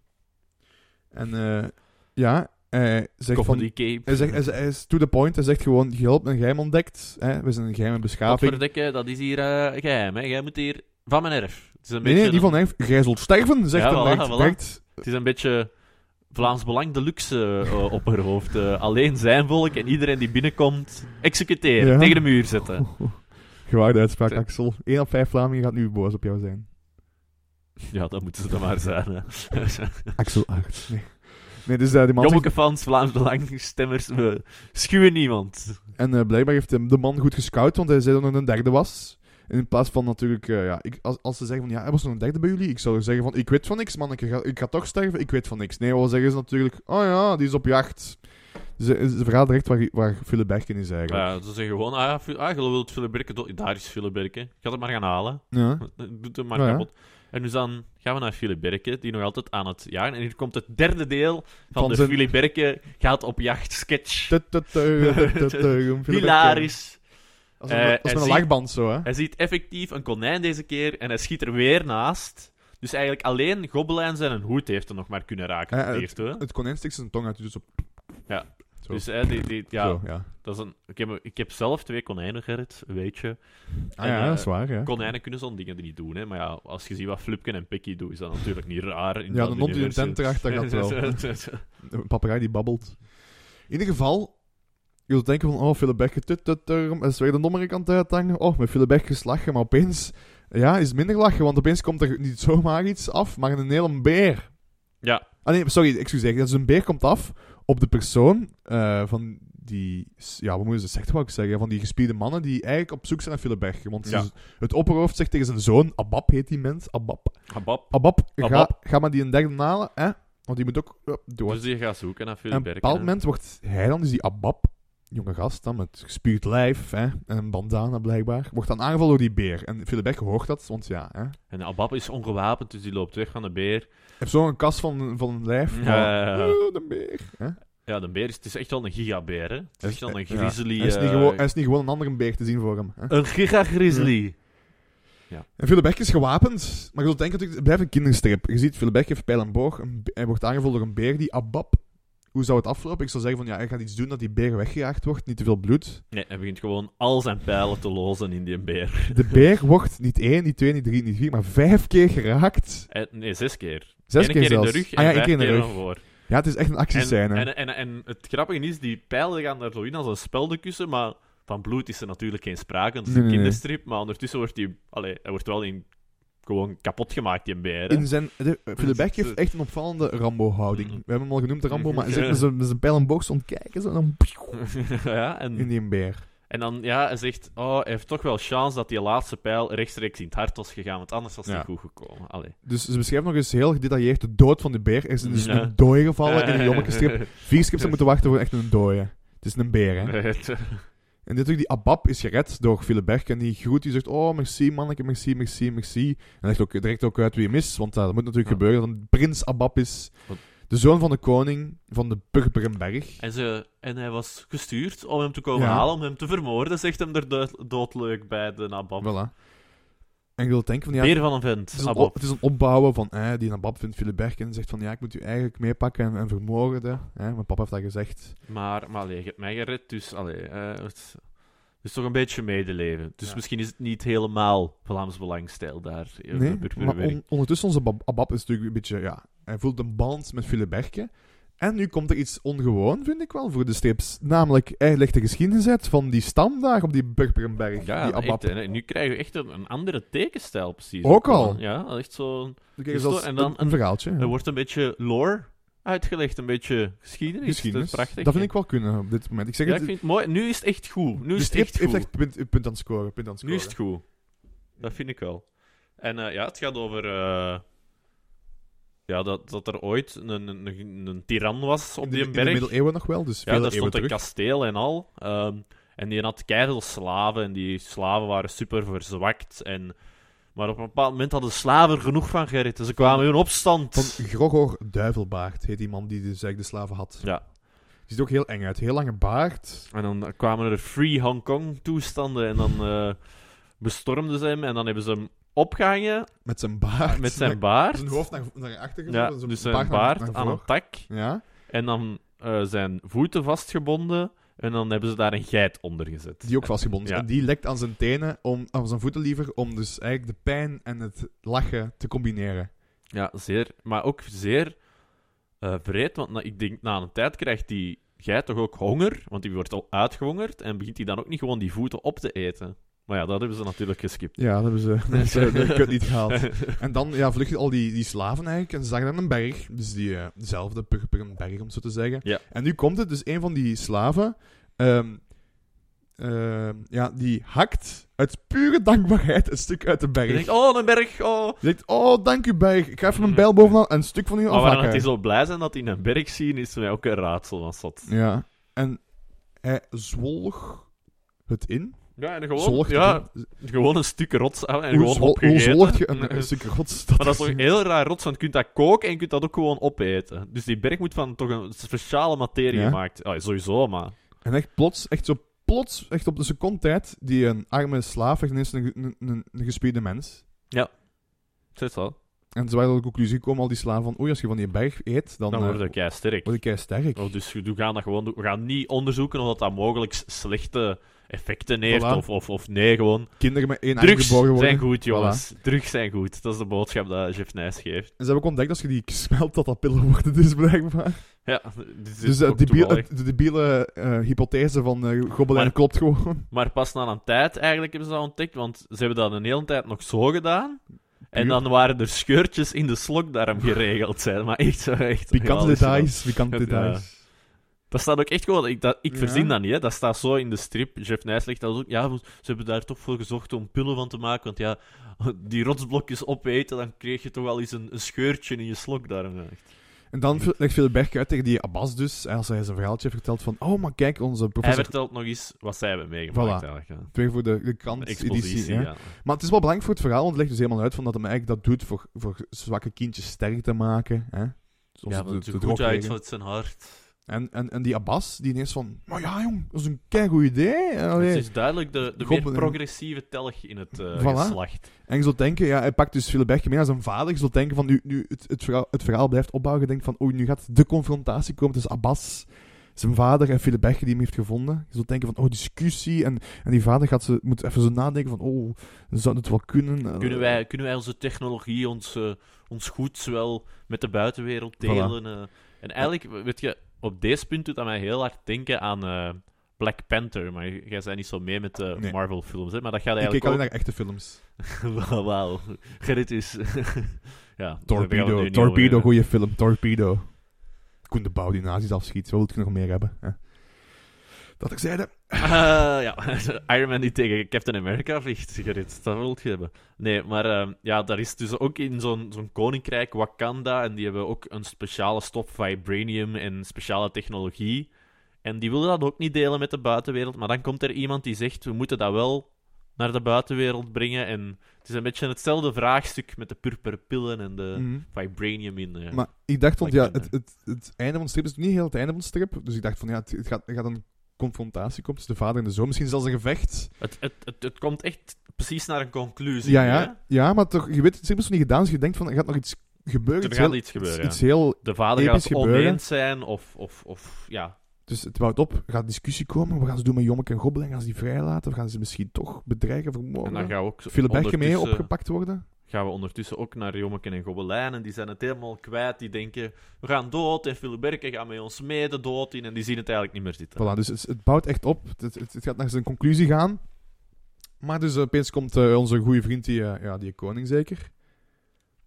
A: En eh, ja, hij zegt van...
B: Comedy cape.
A: Hij, zegt, hij, hij is to the point. Hij zegt gewoon, je hebt een geheim ontdekt. Hè? We zijn een geheime beschaving.
B: Potverdikke, dat is hier eh, geheim. Hè. Jij moet hier van mijn erf. Het is een
A: Nee,
B: beetje,
A: nee, niet van hem. Jij zult sterven, zegt
B: Ja,
A: hij
B: voilà,
A: direct.
B: voilà.
A: direct.
B: het is een beetje Vlaams Belang Deluxe eh, op haar hoofd. Eh, alleen zijn volk en iedereen die binnenkomt, executeren.
A: Ja.
B: Tegen de muur zetten.
A: Gewaarde uitspraak,
B: Te-
A: Axel. 1 op 5 Vlamingen gaat nu boos op jou zijn.
B: Ja, dat moeten ze dan maar zijn. hè.
A: Axel 8. Nee, nee dus eh, die man
B: Jommeke fans, Vlaams Belang stemmers, we schuwen niemand.
A: zegt- En eh, blijkbaar heeft hem de man goed gescout, want hij zei dat er een derde was. En in plaats van natuurlijk, eh, ja, ik, als, als ze zeggen van ja, er was nog een derde bij jullie, ik zou zeggen van ik weet van niks, man, ik ga, ik ga toch sterven, ik weet van niks. Nee, wat zeggen ze natuurlijk, oh ja, die is op jacht. Dus eh, ze verhaalt direct waar, waar Philip Berken is eigenlijk.
B: Ja, ze zeggen gewoon, ah, Fi- ah je wilt Filiberke dood. Daar is Filiberke. Ik ga het maar gaan halen.
A: Ja.
B: Doet hem maar
A: Oh Ja, ja.
B: kapot. En dus dan gaan we naar Filiberke, die nog altijd aan het jagen. En hier komt het derde deel van,
A: Van
B: de
A: zijn-
B: Filiberke gaat op jacht sketch.
A: Tut, tut, tut, tut, tut, tut, Philip Berken.
B: Hilarisch.
A: Als met-
B: Eh,
A: als
B: en
A: met een
B: zie-
A: lachband zo, hè.
B: Hij ziet effectief een konijn deze keer en hij schiet er weer naast. Dus eigenlijk alleen Gobelijn zijn hoed heeft er nog maar kunnen raken.
A: Ja,
B: het eerste, hè.
A: Het konijn stikt zijn tong uit, dus op, zo.
B: Dus hè, die, die, ja,
A: zo, ja.
B: Dat is een, ik, heb, ik heb zelf twee konijnen, Gerrit, weet je.
A: Ah
B: En,
A: ja,
B: eh,
A: dat is waar, ja.
B: Konijnen kunnen zo'n dingen niet doen, hè. Maar ja, als je ziet wat Flupken en Picky doen, is dat natuurlijk niet raar. In
A: Ja,
B: dat
A: dan nomt hij een
B: universum.
A: tent erachter, dat wel. Een papegaai die babbelt. In ieder geval, je zult denken van, oh, Philip Beck, tut, tut, turm, is weer de dommere kant uithangen. Oh, met Philip Beck is lachen, maar opeens, ja, is het minder lachen, want opeens komt er niet zomaar iets af, maar een hele beer.
B: Ja.
A: Ah nee, sorry, excuseer. Dus een beer komt af op de persoon eh, van die, ja, wat moeten ze zeggen, wou ik zeggen, van die gespierde mannen die eigenlijk op zoek zijn naar Philip Beck. Want
B: Ja.
A: ze- het opperhoofd zegt tegen zijn zoon, Abab heet die mens, Abab.
B: Habab.
A: Abab, ga,
B: Abab.
A: ga maar die een derde halen, hè? Want die moet ook eh, door.
B: Dus die gaat zoeken naar
A: en op
B: Philip
A: een bepaald moment wordt hij dan, dus die Abab, jonge gast dan, met gespierd lijf hè, en een bandana blijkbaar, wordt dan aangevallen door die beer. En Philip Beck hoort dat, want ja, hè.
B: En Abab is ongewapend, dus die loopt weg van de beer.
A: Heeft zo'n kas van, van een lijf.
B: Ja.
A: Oeh, de beer. Hè?
B: Ja, de beer is, het is echt wel een gigabeer, hè. Het is echt wel een
A: Ja.
B: grizzly...
A: Hij, is niet
B: eh,
A: gewoon, hij is niet gewoon een andere beer te zien voor hem. Hè?
B: Een gigagrizzly.
A: En Philip Beck is gewapend, maar je zult denken, natuurlijk, het blijft een kinderstrip. Je ziet, Philip Beck heeft pijl en boog, een be- hij wordt aangevallen door een beer, die Abab. Hoe zou het aflopen? Ik zou zeggen van, ja, hij gaat iets doen dat die beer weggejaagd wordt, niet te veel bloed.
B: Nee, hij begint gewoon al zijn pijlen te lozen in die beer.
A: De beer wordt niet één, niet twee, niet drie, niet vier, maar vijf keer geraakt.
B: Eh, Nee, zes keer.
A: Zes
B: Eén
A: keer,
B: keer in
A: zelfs.
B: de rug en
A: ah ja, één
B: vijf
A: keer in de rug.
B: naar voren.
A: Ja, het is echt een actiescène.
B: En, en, en, en het grappige is, die pijlen gaan daar zo in als een speldenkussen, maar van bloed is er natuurlijk geen sprake, want het is
A: Nee,
B: een
A: nee, nee.
B: kinderstrip. Maar ondertussen wordt die... Allee, hij wordt wel in gewoon kapot gemaakt, die beer. hè.
A: In zijn, de, Philip Beck heeft echt een opvallende Rambo-houding.
B: Mm.
A: We hebben hem al genoemd, de Rambo, maar hij zit met zijn- met zijn pijl en box ontkijken zo, en dan
B: Mm. ja, en,
A: in die beer.
B: en dan, ja, hij zegt, oh, hij heeft toch wel chance dat die laatste pijl rechtstreeks in het hart was gegaan, want anders was het
A: Ja.
B: niet goed gekomen. Allee.
A: Dus ze beschrijven nog eens heel gedetailleerd de dood van de beer. Er is dus
B: Ja.
A: een dooi gevallen in een jommekenstrip. Vier strips hebben moeten wachten voor echt een dooie. Het is een beer, hè. En dit ook, die Abab is gered door Philip Berg. En die groet, die zegt, oh, merci manneke, merci, merci, merci. En legt ook direct ook uit wie hem is, want eh, dat moet natuurlijk
B: Ja.
A: gebeuren. Dan prins Abab is
B: Wat?
A: de zoon van de koning van de Purperenberg.
B: en, ze, en hij was gestuurd om hem te komen
A: Ja.
B: halen, om hem te vermoorden, zegt hem er dood, doodleuk bij de nabab.
A: Voilà. En je wilt denken van, ja, Dus
B: Beer van een vent,
A: het is, een,
B: nabab.
A: op- het is een opbouwen van, eh, die Abab vindt Philip Berg en zegt van, ja, ik moet u eigenlijk meepakken en, en vermoorden. Eh, mijn papa heeft dat gezegd.
B: Maar, maar allee, je hebt mij gered, dus allee, eh, het is toch een beetje medeleven. Dus
A: Ja.
B: misschien is het niet helemaal Vlaams belangstijl daar. eh,
A: Nee,
B: de burgerwerk.
A: maar on- ondertussen onze Bab- Abab is natuurlijk een beetje, ja, hij voelt een band met Philip Berke. En nu komt er iets ongewoon, vind ik wel, voor de strips. Namelijk, hij legt de geschiedenis uit van die stam daar op die Burgerenberg,
B: ja,
A: die Abab.
B: echt, hè. nu krijgen we echt een, een andere tekenstijl precies.
A: Ook al.
B: Ja, echt zo.
A: Dan krijg je
B: Dus
A: zelfs
B: en dan
A: een, een verhaaltje. ja.
B: Er wordt een beetje lore uitgelegd, een beetje geschiedenis.
A: geschiedenis.
B: Dat is prachtig.
A: Dat vind ik wel kunnen op dit moment. Ik zeg
B: ja,
A: het,
B: ik vind het mooi. Nu is het echt goed. Nu
A: de
B: is het
A: strip
B: echt goed.
A: heeft echt punt, punt aan het scoren. Punt aan het
B: Nu
A: scoren.
B: is het goed. Dat vind ik wel. En eh, ja, het gaat over. eh, ja, dat, dat er ooit een, een, een, een tiran was op
A: In de-
B: die
A: in de
B: berg.
A: middeleeuwen nog wel, dus
B: ja,
A: vele
B: daar stond
A: eeuwen
B: een
A: terug.
B: kasteel en al. Ehm, en die had keihard slaven. En die slaven waren super verzwakt. En... Maar op een bepaald moment hadden de slaven er genoeg van gereden. Ze kwamen in opstand.
A: Van Grogor Duivelbaard heet die man die dus eigenlijk de slaven had.
B: Ja.
A: Die ziet er ook heel eng uit. Heel lange baard.
B: En dan kwamen er Free Hong Kong toestanden. En dan eh, bestormden ze hem. En dan hebben ze hem opgehangen
A: Met zijn baard.
B: met zijn baard.
A: Zijn hoofd naar, naar achter
B: Ja,
A: gevallen,
B: dus zijn baard aan een tak.
A: Ja,
B: En dan eh, zijn voeten vastgebonden. En dan hebben ze daar een geit onder gezet.
A: die ook vastgebonden is.
B: Ja.
A: En die lekt aan zijn tenen, om, aan zijn voeten liever, om dus eigenlijk de pijn en het lachen te combineren.
B: Ja, zeer. Maar ook zeer eh breed. Want na, ik denk, na een tijd krijgt die geit toch ook honger. Want die wordt al uitgehongerd. En begint hij dan ook niet gewoon die voeten op te eten. Maar ja, dat hebben ze natuurlijk geskipt.
A: Ja, dat hebben ze, dat hebben ze de kut niet gehaald. En dan ja, vluchten al die, die slaven eigenlijk en ze zagen dan een berg. Dus diezelfde berg, om het zo te zeggen.
B: Ja.
A: En nu komt het, dus een van die slaven, ehm, ehm, ja, die hakt uit pure dankbaarheid een stuk uit de
B: Je
A: berg.
B: denkt, oh, een berg, oh.
A: Die zegt, oh, dank u berg, ik ga even een bijl bovenaan en een stuk van u
B: Mm. Maar waarom
A: afhakken.
B: dat die zo blij zijn dat die een berg zien, is mij ook een raadsel van zat.
A: Ja. En hij zwolg het in.
B: Ja, en gewoon,
A: Zwolg
B: ja,
A: het in.
B: gewoon een stuk rots af en
A: Hoe,
B: gewoon
A: zwol- hoe
B: opgegeten. dus-
A: zwolg je een, een stuk rots?
B: Maar dat is toch heel raar rots, want je kunt dat koken en je kunt dat ook gewoon opeten. Dus die berg moet van toch een speciale materie
A: Ja.
B: gemaakt. Ah, sowieso, maar...
A: En echt plots, echt zo plots, echt op de seconde tijd, die een arme slaaf echt ineens een, een, een, een gespierde mens.
B: Zit wel.
A: En ze waren tot de conclusie gekomen, al die slaven, van oei, als je van die berg eet, dan,
B: Dan
A: eh,
B: word ik jij sterk.
A: word ik kei sterk.
B: Oh, dus we gaan dat gewoon doen. We gaan niet onderzoeken of dat, dat mogelijk s- slechte effecten heeft.
A: Voilà.
B: Of, of, of nee, gewoon.
A: Kinderen met één arm
B: Drugs
A: geboren worden.
B: zijn goed, jongens. Drugs zijn goed. Dat is de boodschap dat Jeff Nijs geeft.
A: En ze hebben ook ontdekt, als je die smelt, dat dat pillen worden, dus blijkbaar.
B: Ja, dit is
A: Dus eh,
B: ook
A: die biel-
B: toevallig.
A: de debiele eh, hypothese van eh Gobelijn
B: Maar-
A: klopt gewoon.
B: Maar pas na een tijd eigenlijk hebben ze dat ontdekt, want ze hebben dat een hele tijd nog zo gedaan. En dan waren er scheurtjes in de slokdarm geregeld zijn, maar echt zo echt.
A: Pikante
B: Ja, dat is wel-
A: details, pikante
B: Ja.
A: details.
B: Dat staat ook echt gewoon, ik, dat, ik
A: Ja.
B: verzin dat niet, hè. dat staat zo in de strip. Jeff Nijs legt dat ook, ja, we- ze hebben daar toch voor gezocht om pillen van te maken, want ja, die rotsblokjes opeten, dan kreeg je toch wel eens een, een scheurtje in je slokdarm. hè. Echt.
A: En dan v- legt Philip Berg uit tegen die Abbas dus, als hij zijn verhaaltje vertelt van, oh, maar kijk, onze
B: Hij
A: professor...
B: vertelt nog eens wat zij hebben meegemaakt
A: Voilà.
B: eigenlijk. hè.
A: Weer voor de, de
B: Een
A: krant
B: expositie,
A: editie, hè.
B: ja.
A: Maar het is wel belangrijk voor het verhaal, want het legt dus helemaal uit van dat hij eigenlijk dat doet voor, voor zwakke kindjes sterk te maken. Hè? Zoals
B: Ja, want
A: de- de
B: het goed
A: drogregen.
B: uit van zijn hart.
A: en, en, en die Abbas, die ineens van, maar ja jong, dat is een keigoed idee. Allee.
B: Het is duidelijk de, de meer
A: Gobbelen.
B: progressieve telg in het eh,
A: Voilà.
B: geslacht.
A: En je zult denken, ja, hij pakt dus Philip Berg mee naar zijn vader. Je zult denken van, nu, nu het, het, verhaal, het verhaal blijft opbouwen. Je denkt van, oei, nu gaat de confrontatie komen tussen Abbas, zijn vader en Philip Berg die hem heeft gevonden. Je zult denken van, oh, discussie. En, en die vader gaat ze, moet even zo nadenken van, oh, zou het wel kunnen?
B: Kunnen wij, kunnen wij onze technologie, ons, eh, ons goeds wel met de buitenwereld delen? eh? en eigenlijk, weet je, op deze punt doet dat mij heel hard denken aan eh, Black Panther, maar jij bent niet zo mee met de
A: Nee.
B: Marvel-films, hè? Maar dat gaat
A: Ik
B: eigenlijk
A: keek alleen
B: ook...
A: naar echte films.
B: Wauw, wauw. Gerrit is... ja, daar gaan we het nu eh,
A: Torpedo,
B: niet
A: Torpedo,
B: over hebben.
A: goede film, Torpedo. Koen de Bouw die nazi's afschiet, wat wil je nog meer hebben? Hè? Dat ik zeide,
B: Ah, ja, Iron Man die tegen Captain America vliegt, Gerrit. Dat wil je hebben. Nee, maar ehm, ja, daar is dus ook in zo'n zo'n koninkrijk, Wakanda, en die hebben ook een speciale stof vibranium en speciale technologie. En die willen dat ook niet delen met de buitenwereld, maar dan komt er iemand die zegt, we moeten dat wel naar de buitenwereld brengen. En het is een beetje hetzelfde vraagstuk met de purperen pillen en de
A: mhm.
B: vibranium in. eh.
A: Maar ik dacht, want ja,
B: Like,
A: het, het, het einde van de strip is niet heel het einde van de strip. Dus ik dacht van ja, het, het gaat, er gaat een confrontatie komen tussen de vader en de zoon. Misschien zelfs een gevecht.
B: Het, het, het, het komt echt precies naar een conclusie.
A: Ja,
B: hè?
A: ja. ja, maar toch, je weet, het strip is nog niet gedaan. Dus je denkt van er gaat nog iets gebeuren.
B: Er
A: iets
B: gaat
A: heel-
B: iets gebeuren,
A: Iets,
B: ja.
A: iets heel.
B: de vader gaat
A: Episch
B: het
A: gebeuren.
B: oneens zijn, of, of, of ja.
A: Dus het bouwt op. Er gaat discussie komen. We gaan ze doen met Jommeke en Gobbelen. Gaan ze die vrijlaten? We gaan ze misschien toch
B: En
A: bedreigen,
B: dan
A: vermoorden?
B: gaan we ook
A: Oh. Philip Berke mee
B: ondertussen-
A: opgepakt worden?
B: gaan we ondertussen ook naar Jommeken en Gobelijn. En die zijn het helemaal kwijt. Die denken, we gaan dood. En Philip Berke gaat met ons mee de dood in. En die zien het eigenlijk niet meer zitten.
A: Voilà, dus het, het bouwt echt op. Het, het, het gaat naar zijn conclusie gaan. Maar dus eh, opeens komt eh, onze goede vriend, die, eh, ja, die koning zeker.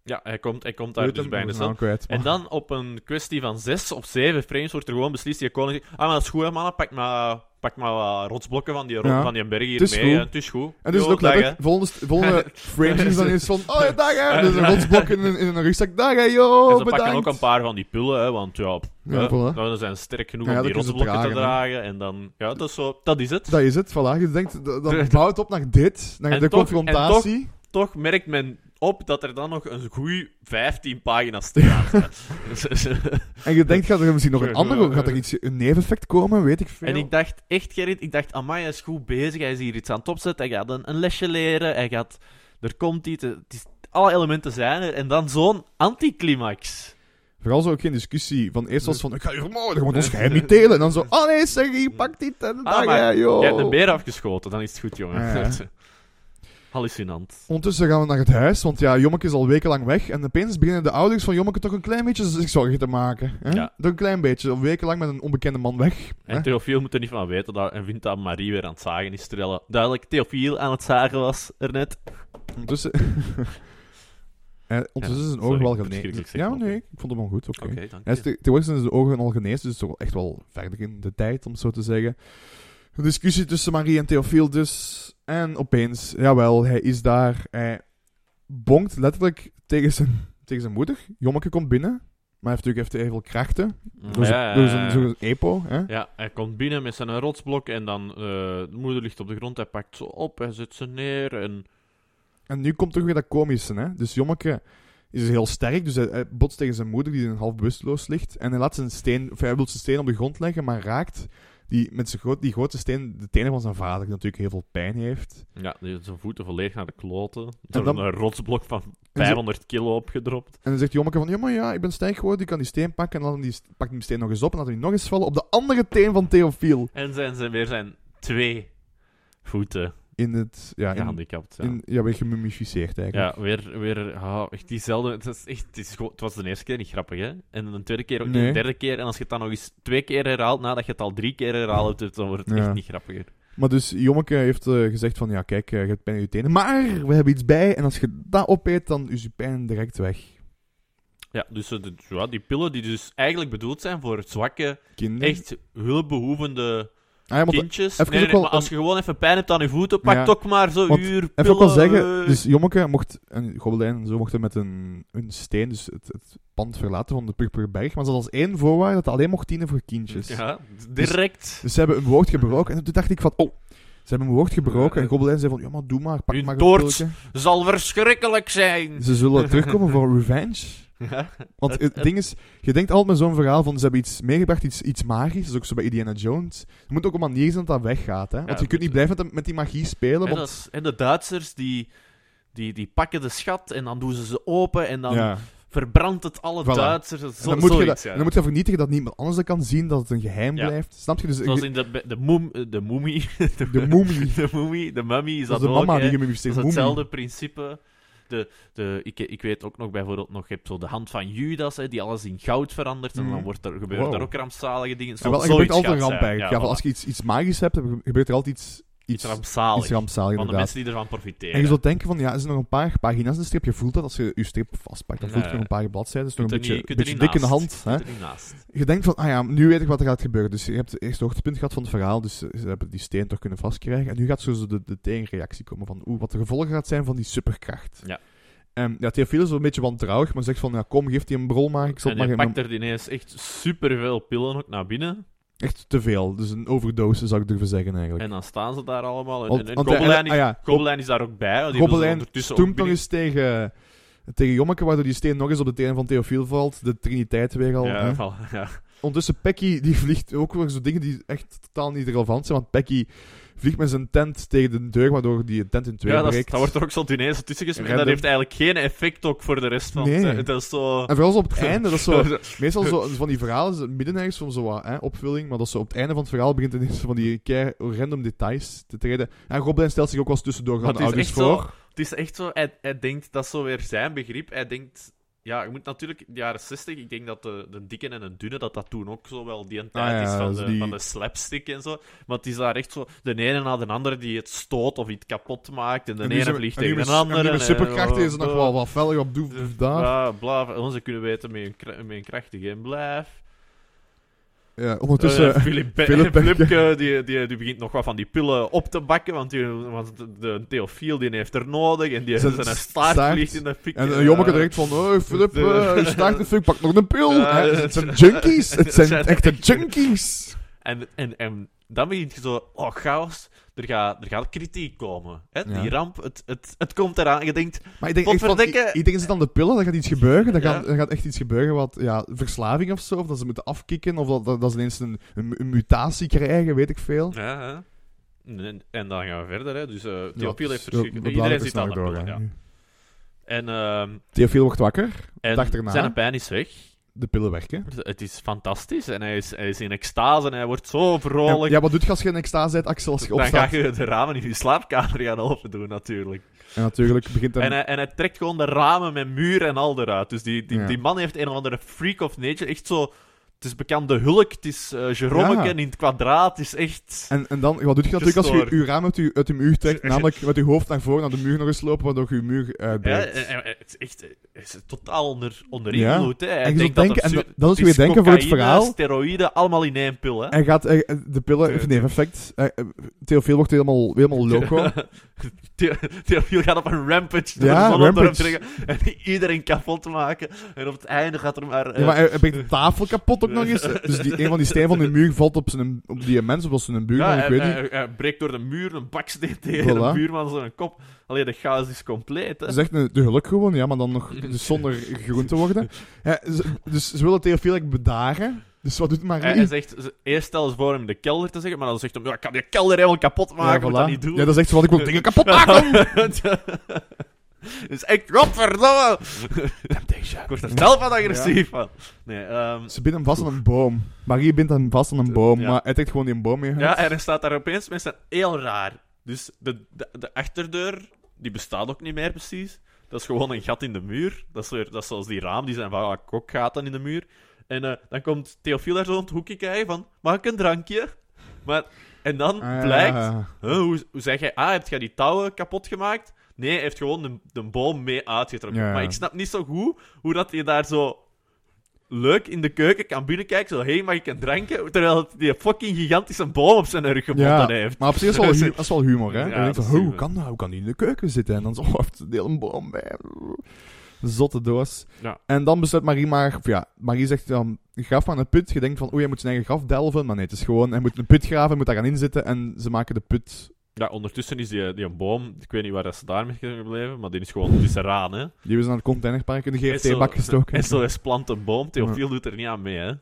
B: Ja, hij komt, hij komt daar
A: Weet
B: dus
A: hem,
B: bij
A: ik
B: in
A: ben
B: de
A: zijn
B: cel.
A: naam kwijt, maar-
B: En dan op een kwestie van zes of zeven frames wordt er gewoon beslist. Die koning zegt, ah, maar dat is goed, hè, mannen. Pak maar, pak maar wat rotsblokken van die, rot,
A: Ja.
B: van die berg hier
A: Het is
B: mee.
A: goed.
B: hè. Het is goed.
A: En dus
B: Jo,
A: het ook
B: dag,
A: lekker. Volgende, st- volgende frames is dan eens van. Oh ja, dag hè! Dus een rotsblok in, een- in een rugzak. Dag hè,
B: hè.
A: yo!
B: En ze pakken
A: Oh, bedankt!
B: ook een paar van die pillen, hè, want ja,
A: Ja,
B: Ja,
A: voilà.
B: nou, ze zijn sterk genoeg
A: Ja,
B: om
A: dat
B: die
A: kunnen ze
B: rotsblokken te
A: dragen, hè.
B: dragen. En dan, ja, dat is, zo, dat is het.
A: Dat is het, voilà. Je denkt, dat, dat
B: Terug-
A: bouwt op naar dit. Naar
B: En
A: de
B: toch-
A: confrontatie.
B: Toch merkt men op dat er dan nog een goeie 15 pagina's te gaan zijn. Dus-
A: En, je denkt, gaat er misschien nog een
B: Ja,
A: ander.
B: ja,
A: Gaat er
B: ja.
A: iets, een neveneffect komen? Weet ik veel.
B: en ik dacht echt, Gerrit, ik dacht, amai, hij is goed bezig. Hij is hier iets aan het opzetten. Hij gaat een, een lesje leren. Hij gaat, er komt iets. eh, Het is, alle elementen zijn er. En dan zo'n anticlimax.
A: Vooral zo ook geen discussie. Van eerst was het van. Ik ga je vermoorden, je moet ons geheim niet delen. En dan zo. Oh nee, zeg, hier, pak dit. En
B: Ah,
A: dag
B: maar
A: hè, yo!
B: Je hebt een beer afgeschoten, dan is het goed, jongen.
A: Oh. Ja,
B: Hallucinant.
A: Ondertussen gaan we naar het huis, want ja, Jommeke is al wekenlang weg. En opeens beginnen de ouders van Jommeke toch een klein beetje zich zorgen te maken. Hè?
B: Ja.
A: Toch een klein beetje. Al Wekenlang met een onbekende man weg.
B: En Theofiel moet er niet van weten dat, en vindt dat Marie weer aan het zagen is, terwijl duidelijk Theofiel aan het zagen was er net.
A: Ondertussen... Eh, ondertussen
B: Ja,
A: is zijn
B: sorry,
A: ogen wel
B: ik moet
A: genezen.
B: schrikkelijk
A: Ja,
B: zeggen,
A: nee,
B: oké.
A: ik vond hem wel goed. Oké.
B: Oké, dank
A: Hij is
B: je.
A: te- Tegenwoordig zijn zijn ogen al genezen, dus toch wel echt wel verder in de tijd, om het zo te zeggen. Een discussie tussen Marie en Theofiel dus. En opeens, jawel, hij is daar. Hij bonkt letterlijk tegen zijn, tegen zijn moeder. Jommeke komt binnen, maar hij heeft natuurlijk even veel krachten. Door
B: Ja,
A: zijn-
B: ja,
A: door
B: ja,
A: zijn
B: ja.
A: zo'n EPO, hè?
B: Ja, hij komt binnen met zijn rotsblok en dan eh, de moeder ligt op de grond, hij pakt ze op, hij zet ze neer en...
A: En nu komt toch weer dat komische, hè? Dus Jommeke is heel sterk, dus hij, hij botst tegen zijn moeder, die een half bewusteloos ligt. En hij laat zijn steen, of hij wil zijn steen op de grond leggen, maar raakt die, met zijn groot, die grote steen de tenen van zijn vader, die natuurlijk heel veel pijn heeft.
B: Ja, die- zijn voeten volledig naar de kloten.
A: En
B: Door
A: dan-
B: een rotsblok van
A: En, ze-
B: 500 kilo opgedropt.
A: en dan zegt Jommeke van, ja maar ja, ik ben sterk geworden, ik kan die steen pakken. En dan laat hem die, st- pakt hij die steen nog eens op en laat hem die nog eens vallen op de andere teen van Theofiel.
B: En zijn ze weer zijn twee voeten
A: In het, ja, in,
B: gehandicapt. Ja.
A: in, ja, weer gemummificeerd eigenlijk.
B: Ja, weer, weer ah, echt diezelfde. Het, is echt, het, is gewoon- het was de eerste keer niet grappig, hè? En de tweede keer ook niet,
A: Nee.
B: de derde keer. En als je het dan nog eens twee keer herhaalt, nadat je het al drie keer herhaald hebt, dan wordt het
A: Ja.
B: echt niet grappiger.
A: Maar dus Jommeke heeft eh, gezegd van, ja kijk, eh, je hebt pijn in je tenen, maar we hebben iets bij. En als je dat opeet, dan is je pijn direct weg.
B: Ja, dus eh, de- ja, die pillen die dus eigenlijk bedoeld zijn voor zwakke,
A: Kinderen.
B: echt hulpbehoevende
A: Ah, ja, want
B: kindjes. Nee,
A: even ook
B: nee, nee,
A: wel
B: maar als je gewoon even pijn hebt aan je voeten, pak
A: Ja.
B: toch maar zo'n
A: Want
B: uur
A: Even
B: pillen.
A: ook wel zeggen, dus Jommeke mocht, en Gobelijn en zo mochten met een, een steen dus het, het pand verlaten van de Purperberg, maar ze had als één voorwaarde dat het alleen mocht dienen voor kindjes.
B: Ja, direct.
A: Dus ze hebben een woord gebroken en toen dacht ik van, oh, ze hebben een woord gebroken en Gobelijn zei van, ja maar doe maar, pak
B: Hun
A: maar een
B: toorts.
A: pilletje.
B: Zal verschrikkelijk zijn.
A: Ze zullen terugkomen voor revenge.
B: Ja.
A: Want het, ding is, je denkt altijd met zo'n verhaal van ze hebben iets meegebracht, iets, iets magisch, dat is ook zo bij Indiana Jones. Er moet ook een manier zijn dat dat weggaat, hè. Want
B: Ja,
A: je kunt niet blijven met, met die magie spelen,
B: En,
A: want...
B: dat is- en de Duitsers die, die, die pakken de schat en dan doen ze ze open en dan
A: Ja.
B: verbrandt het alle
A: Voilà.
B: Duitsers. Dat is
A: En
B: Zo,
A: dan, moet je
B: zoiets,
A: dat,
B: ja.
A: en dan moet je dat vernietigen dat niemand anders dat kan zien, dat het een geheim
B: Ja.
A: blijft. Snap je? Dus
B: Zoals
A: je-
B: in de, de, moem, de moemie.
A: de mummy.
B: De moemie, de mummy is
A: Dat
B: dat,
A: is de
B: ook.
A: mama
B: hè.
A: die gemummificeerd
B: dat
A: is.
B: is
A: mummy.
B: hetzelfde principe. de, de, ik, ik weet ook nog bijvoorbeeld nog, je hebt zo de hand van Judas, hè, die alles in goud verandert. En
A: Mhm.
B: dan wordt er, gebeuren
A: Wow.
B: daar ook rampzalige dingen. Zo,
A: Ja, wel, er
B: zoiets
A: gebeurt altijd een
B: gaat
A: ramp
B: zijn.
A: eigenlijk. Ja,
B: Ja,
A: wel, als
B: voilà.
A: je iets, iets magisch hebt, dan gebeurt er altijd iets,
B: Iets rampzalig.
A: iets rampzaligs,
B: van de
A: inderdaad.
B: mensen die ervan
A: En je
B: profiteren.
A: zult denken van, ja, er zijn nog een paar pagina's in de strip. Je voelt dat als je je strip vastpakt. Dan voelt je
B: Nee.
A: nog een paar bladzijden. Het is
B: Kunt
A: nog
B: er
A: een beetje,
B: niet- kunt er
A: beetje
B: niet
A: dik in de
B: naast.
A: hand. Hè?
B: Zit er niet naast.
A: Je denkt van, ah ja, nu weet ik wat er gaat gebeuren. Dus je hebt het eerste hoogtepunt gehad van het verhaal. Dus ze ze hebben die steen toch kunnen vastkrijgen. En nu gaat zo zo de, de tegenreactie komen van oeh, wat de gevolgen gaat zijn van die superkracht.
B: Ja.
A: En ja, Theophilus is wel een beetje wantrouwig, maar zegt van, ja, kom, geef die een brol maar. Ik zal
B: en
A: het
B: hij
A: maar
B: pakt er ineens echt superveel pillen ook naar binnen.
A: Echt te veel. Dus een overdose, zou ik durven zeggen eigenlijk.
B: En eh, dan staan ze daar allemaal. En,
A: Want-
B: en, en
A: want hij-
B: Gobelijn is,
A: ah ja,
B: Gobelijn is daar ook bij. want Die hebben ze
A: Gobelijn
B: ondertussen ook
A: stoemt nog
B: binnen-
A: eens tegen, tegen Jommeke, waardoor die steen nog eens op de tenen van Theofiel valt. De triniteit weer al. hè.
B: Ja, voilà, ja.
A: Ondertussen, Pecky die vliegt ook weer zo dingen die echt totaal niet relevant zijn. Want Pecky vliegt met zijn tent tegen de deur, waardoor die de tent in twee
B: Ja, dat, is-
A: breekt.
B: dat wordt er ook zo ineens tussen gesmeerd.
A: Random.
B: Dat heeft eigenlijk geen effect ook voor de rest van
A: Nee.
B: het- Dat is zo...
A: En vooral zo op het einde, dat is zo, meestal zo, van die verhalen, is het midden ergens van zo wat hè, opvulling, maar dat ze op het einde van het verhaal begint ineens van die kei random details te treden. En Goblin stelt zich ook wel eens tussendoor
B: Maar
A: gaan
B: het is
A: ouders
B: echt
A: voor.
B: zo- Het is echt zo... Hij, hij denkt, dat is zo weer zijn begrip. Hij denkt... Ja, je moet natuurlijk... De jaren 60, ik denk dat de, de dikke en de dunne, dat dat toen ook zo wel die een tijd
A: Ah ja,
B: is van
A: dus
B: de,
A: die-
B: van de slapstick en zo. Maar het is daar echt zo... De ene na de andere die het stoot of iets kapot maakt. En de
A: En nu
B: ene
A: zijn we-
B: vliegt
A: en nu
B: tegen de
A: met- en nu
B: andere.
A: met
B: en-
A: superkrachten is het nog
B: eh,
A: wel wat fel, wat doe, doe daar.
B: Ja, blaaf. Onze kunnen weten met een, kra- met een krachtige en blijf.
A: Ja,
B: Tussen
A: ondertussen...
B: Filip
A: Philip Beck-
B: Flipke, eh, die, die, die begint nog wat van die pillen op te bakken, want, die, want de- de Theofiel die heeft er nodig en die
A: Zijn
B: zijn, een
A: staart.
B: staart, vliegt in de fik.
A: en
B: eh,
A: een jommeke direct van, oh, Filip,
B: de-
A: eh, je staart de fuck, pak nog een pil.
B: Ja,
A: Hè, het
B: het zijn-
A: zijn junkies, het
B: het
A: zijn
B: zijn
A: echte
B: echt-
A: junkies.
B: En, en, en dan begint je zo, oh chaos, er gaat, er gaat kritiek komen. Hè?
A: Ja.
B: Die ramp, het, het, het komt eraan. Je denkt,
A: Maar ik denk echt van,
B: Potverdikke.
A: i- iedereen zit aan de pillen, dan gaat iets gebeuren. Dan
B: Ja.
A: gaat, dan gaat echt iets gebeuren wat, ja, verslaving of zo. Of dat ze moeten afkicken, of dat, dat, dat ze ineens een, een, een mutatie krijgen, weet ik veel.
B: ja, hè. En, en dan gaan we verder. Hè? Dus eh
A: Ja,
B: Theofiel heeft
A: dus, ja, we
B: verschrikkelijk...
A: bladeren
B: Iedereen
A: er
B: zit
A: snel
B: aan de
A: door,
B: pillen,
A: hè.
B: ja. En, ehm,
A: Theofiel wordt wakker, Dag
B: en
A: erna.
B: zijn pijn is weg.
A: de pillen werken.
B: Het is fantastisch en hij is, hij is in extase en hij wordt zo vrolijk.
A: Ja, wat doet je als je in extase bent, Axel, als je
B: dan ga
A: opstaat?
B: je de ramen in je slaapkamer gaan open doen, natuurlijk.
A: En natuurlijk begint dan...
B: En hij, en hij trekt gewoon de ramen met muur en al eruit. Dus die, die,
A: Ja.
B: die man heeft een of andere freak of nature. Echt zo. Het is bekende hulk, het is eh Jeromeke
A: Ja.
B: in het kwadraat. Het is echt.
A: En, en dan, wat doet je natuurlijk als je
B: Gestoord.
A: je raam uit je, uit je muur trekt? Namelijk met je hoofd naar voren, naar de muur nog eens lopen, waardoor je je muur
B: Ja,
A: eh, uitbreekt.
B: en- en- en het is echt eh, hij is totaal onder, onder
A: Ja.
B: invloed. hè. Hij
A: En je
B: denkt
A: zult
B: dat
A: denken- en
B: er
A: da-
B: su-
A: dat is
B: het
A: weer denken voor het
B: cocaïne,
A: verhaal.
B: steroïden, allemaal in één pil. Hè?
A: Hij gaat eh, de pillen, of nee, effect. eh, eh, Theofiel wordt helemaal, helemaal loco.
B: Theo- Theofiel gaat op een rampage door
A: Ja,
B: de zon op te
A: rampage.
B: dringen en iedereen kapot maken. En op het einde gaat er maar...
A: Ja, maar
B: eh,
A: hij, hij breekt de tafel kapot ook nog eens. Dus die, een van die stenen van de muur valt op, zijn, op die mens, of op zijn
B: ja,
A: buurman,
B: eh,
A: ik
B: hij-
A: weet niet.
B: hij- hij breekt door de muur, een baksteen tegen
A: Voilà.
B: een buurman zijn kop. Alleen de chaos is compleet. Hè?
A: Ze zegt een- de geluk gewoon, ja, maar dan nog dus zonder groen te worden. Ja, ze- dus ze willen Theofiel eigenlijk bedaren. Dus wat doet
B: hij, hij
A: Marie?
B: zegt, Eh, ze- eerst stel eens voor hem in de kelder te zeggen, maar dan zegt hij, ja, ik kan die kelder helemaal kapot maken, moet
A: voilà.
B: dat niet doen.
A: Ja, dat zegt ze, want ik wil dingen kapot maken!
B: Het is echt, Dus godverdomme! Ik word er zelf van agressief van. Nee, ehm,
A: Ze bindt hem vast aan een boom. Marie bindt hem vast aan een boom,
B: Ja.
A: maar hij trekt gewoon die boom mee.
B: Ja, en hij staat daar opeens met zijn heel raar. Dus de, de, de achterdeur, die bestaat ook niet meer precies. Dat is gewoon een gat in de muur. Dat is, weer, dat is zoals die raam, die zijn van ah, kokgaten in de muur. En eh, dan komt Theofiel daar zo om het hoekje kijken van, mag ik een drankje? Maar, en dan
A: Ah, ja.
B: blijkt, huh, hoe, hoe zeg jij, ah, heb jij die touwen kapot gemaakt? Nee, hij heeft gewoon de, de boom mee uitgetrokken.
A: Ja, ja.
B: Maar ik snap niet zo goed hoe dat hij daar zo leuk in de keuken kan binnenkijken. Zo, hé, hey, mag ik een drankje? Terwijl het die fucking gigantische boom op zijn rug
A: Ja,
B: gebonden heeft.
A: maar op zich is wel, hu- dat is wel humor, hè?
B: Ja,
A: dan denk je,
B: dat is
A: hoe
B: humor.
A: kan dat? Hoe kan die in de keuken zitten? En dan zo, oh, heeft een hele boom bij. Zotte doos.
B: Ja.
A: En dan besluit Marie maar, of ja, Marie zegt dan, graf maar een put. Je denkt van, oeh, hij moet zijn eigen graf delven. Maar nee, het is gewoon, hij moet een put graven, hij moet daar gaan inzitten. En ze maken de put,
B: Ja, ondertussen is die, die een boom, ik weet niet waar dat ze daarmee zijn gebleven, maar die is gewoon tussenaan, hè.
A: die is naar het containerpark in de
B: Is zo-
A: GFT-bak gestoken.
B: En zo is plant een boom, Theofiel doet er niet aan mee, hè.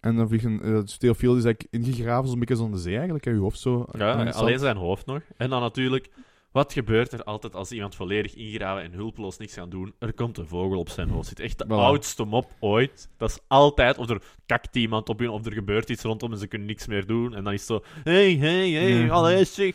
A: En dan vliegt een, uh, Theofiel is eigenlijk ingegraven, zo'n beetje zo'n de zee eigenlijk, hè, je hoofd zo.
B: Ja,
A: aan het
B: alleen
A: zand.
B: zijn hoofd nog. En dan natuurlijk, wat gebeurt er altijd als iemand volledig ingraven en hulpeloos niks kan doen? Er komt een vogel op zijn hoofd. zit echt de
A: Voilà.
B: oudste mop ooit. Dat is altijd, of er kakt iemand op hun, of er gebeurt iets rondom en ze kunnen niks meer doen. En dan is het zo, hé, hé, hé,
A: Ja.
B: allee, zeg.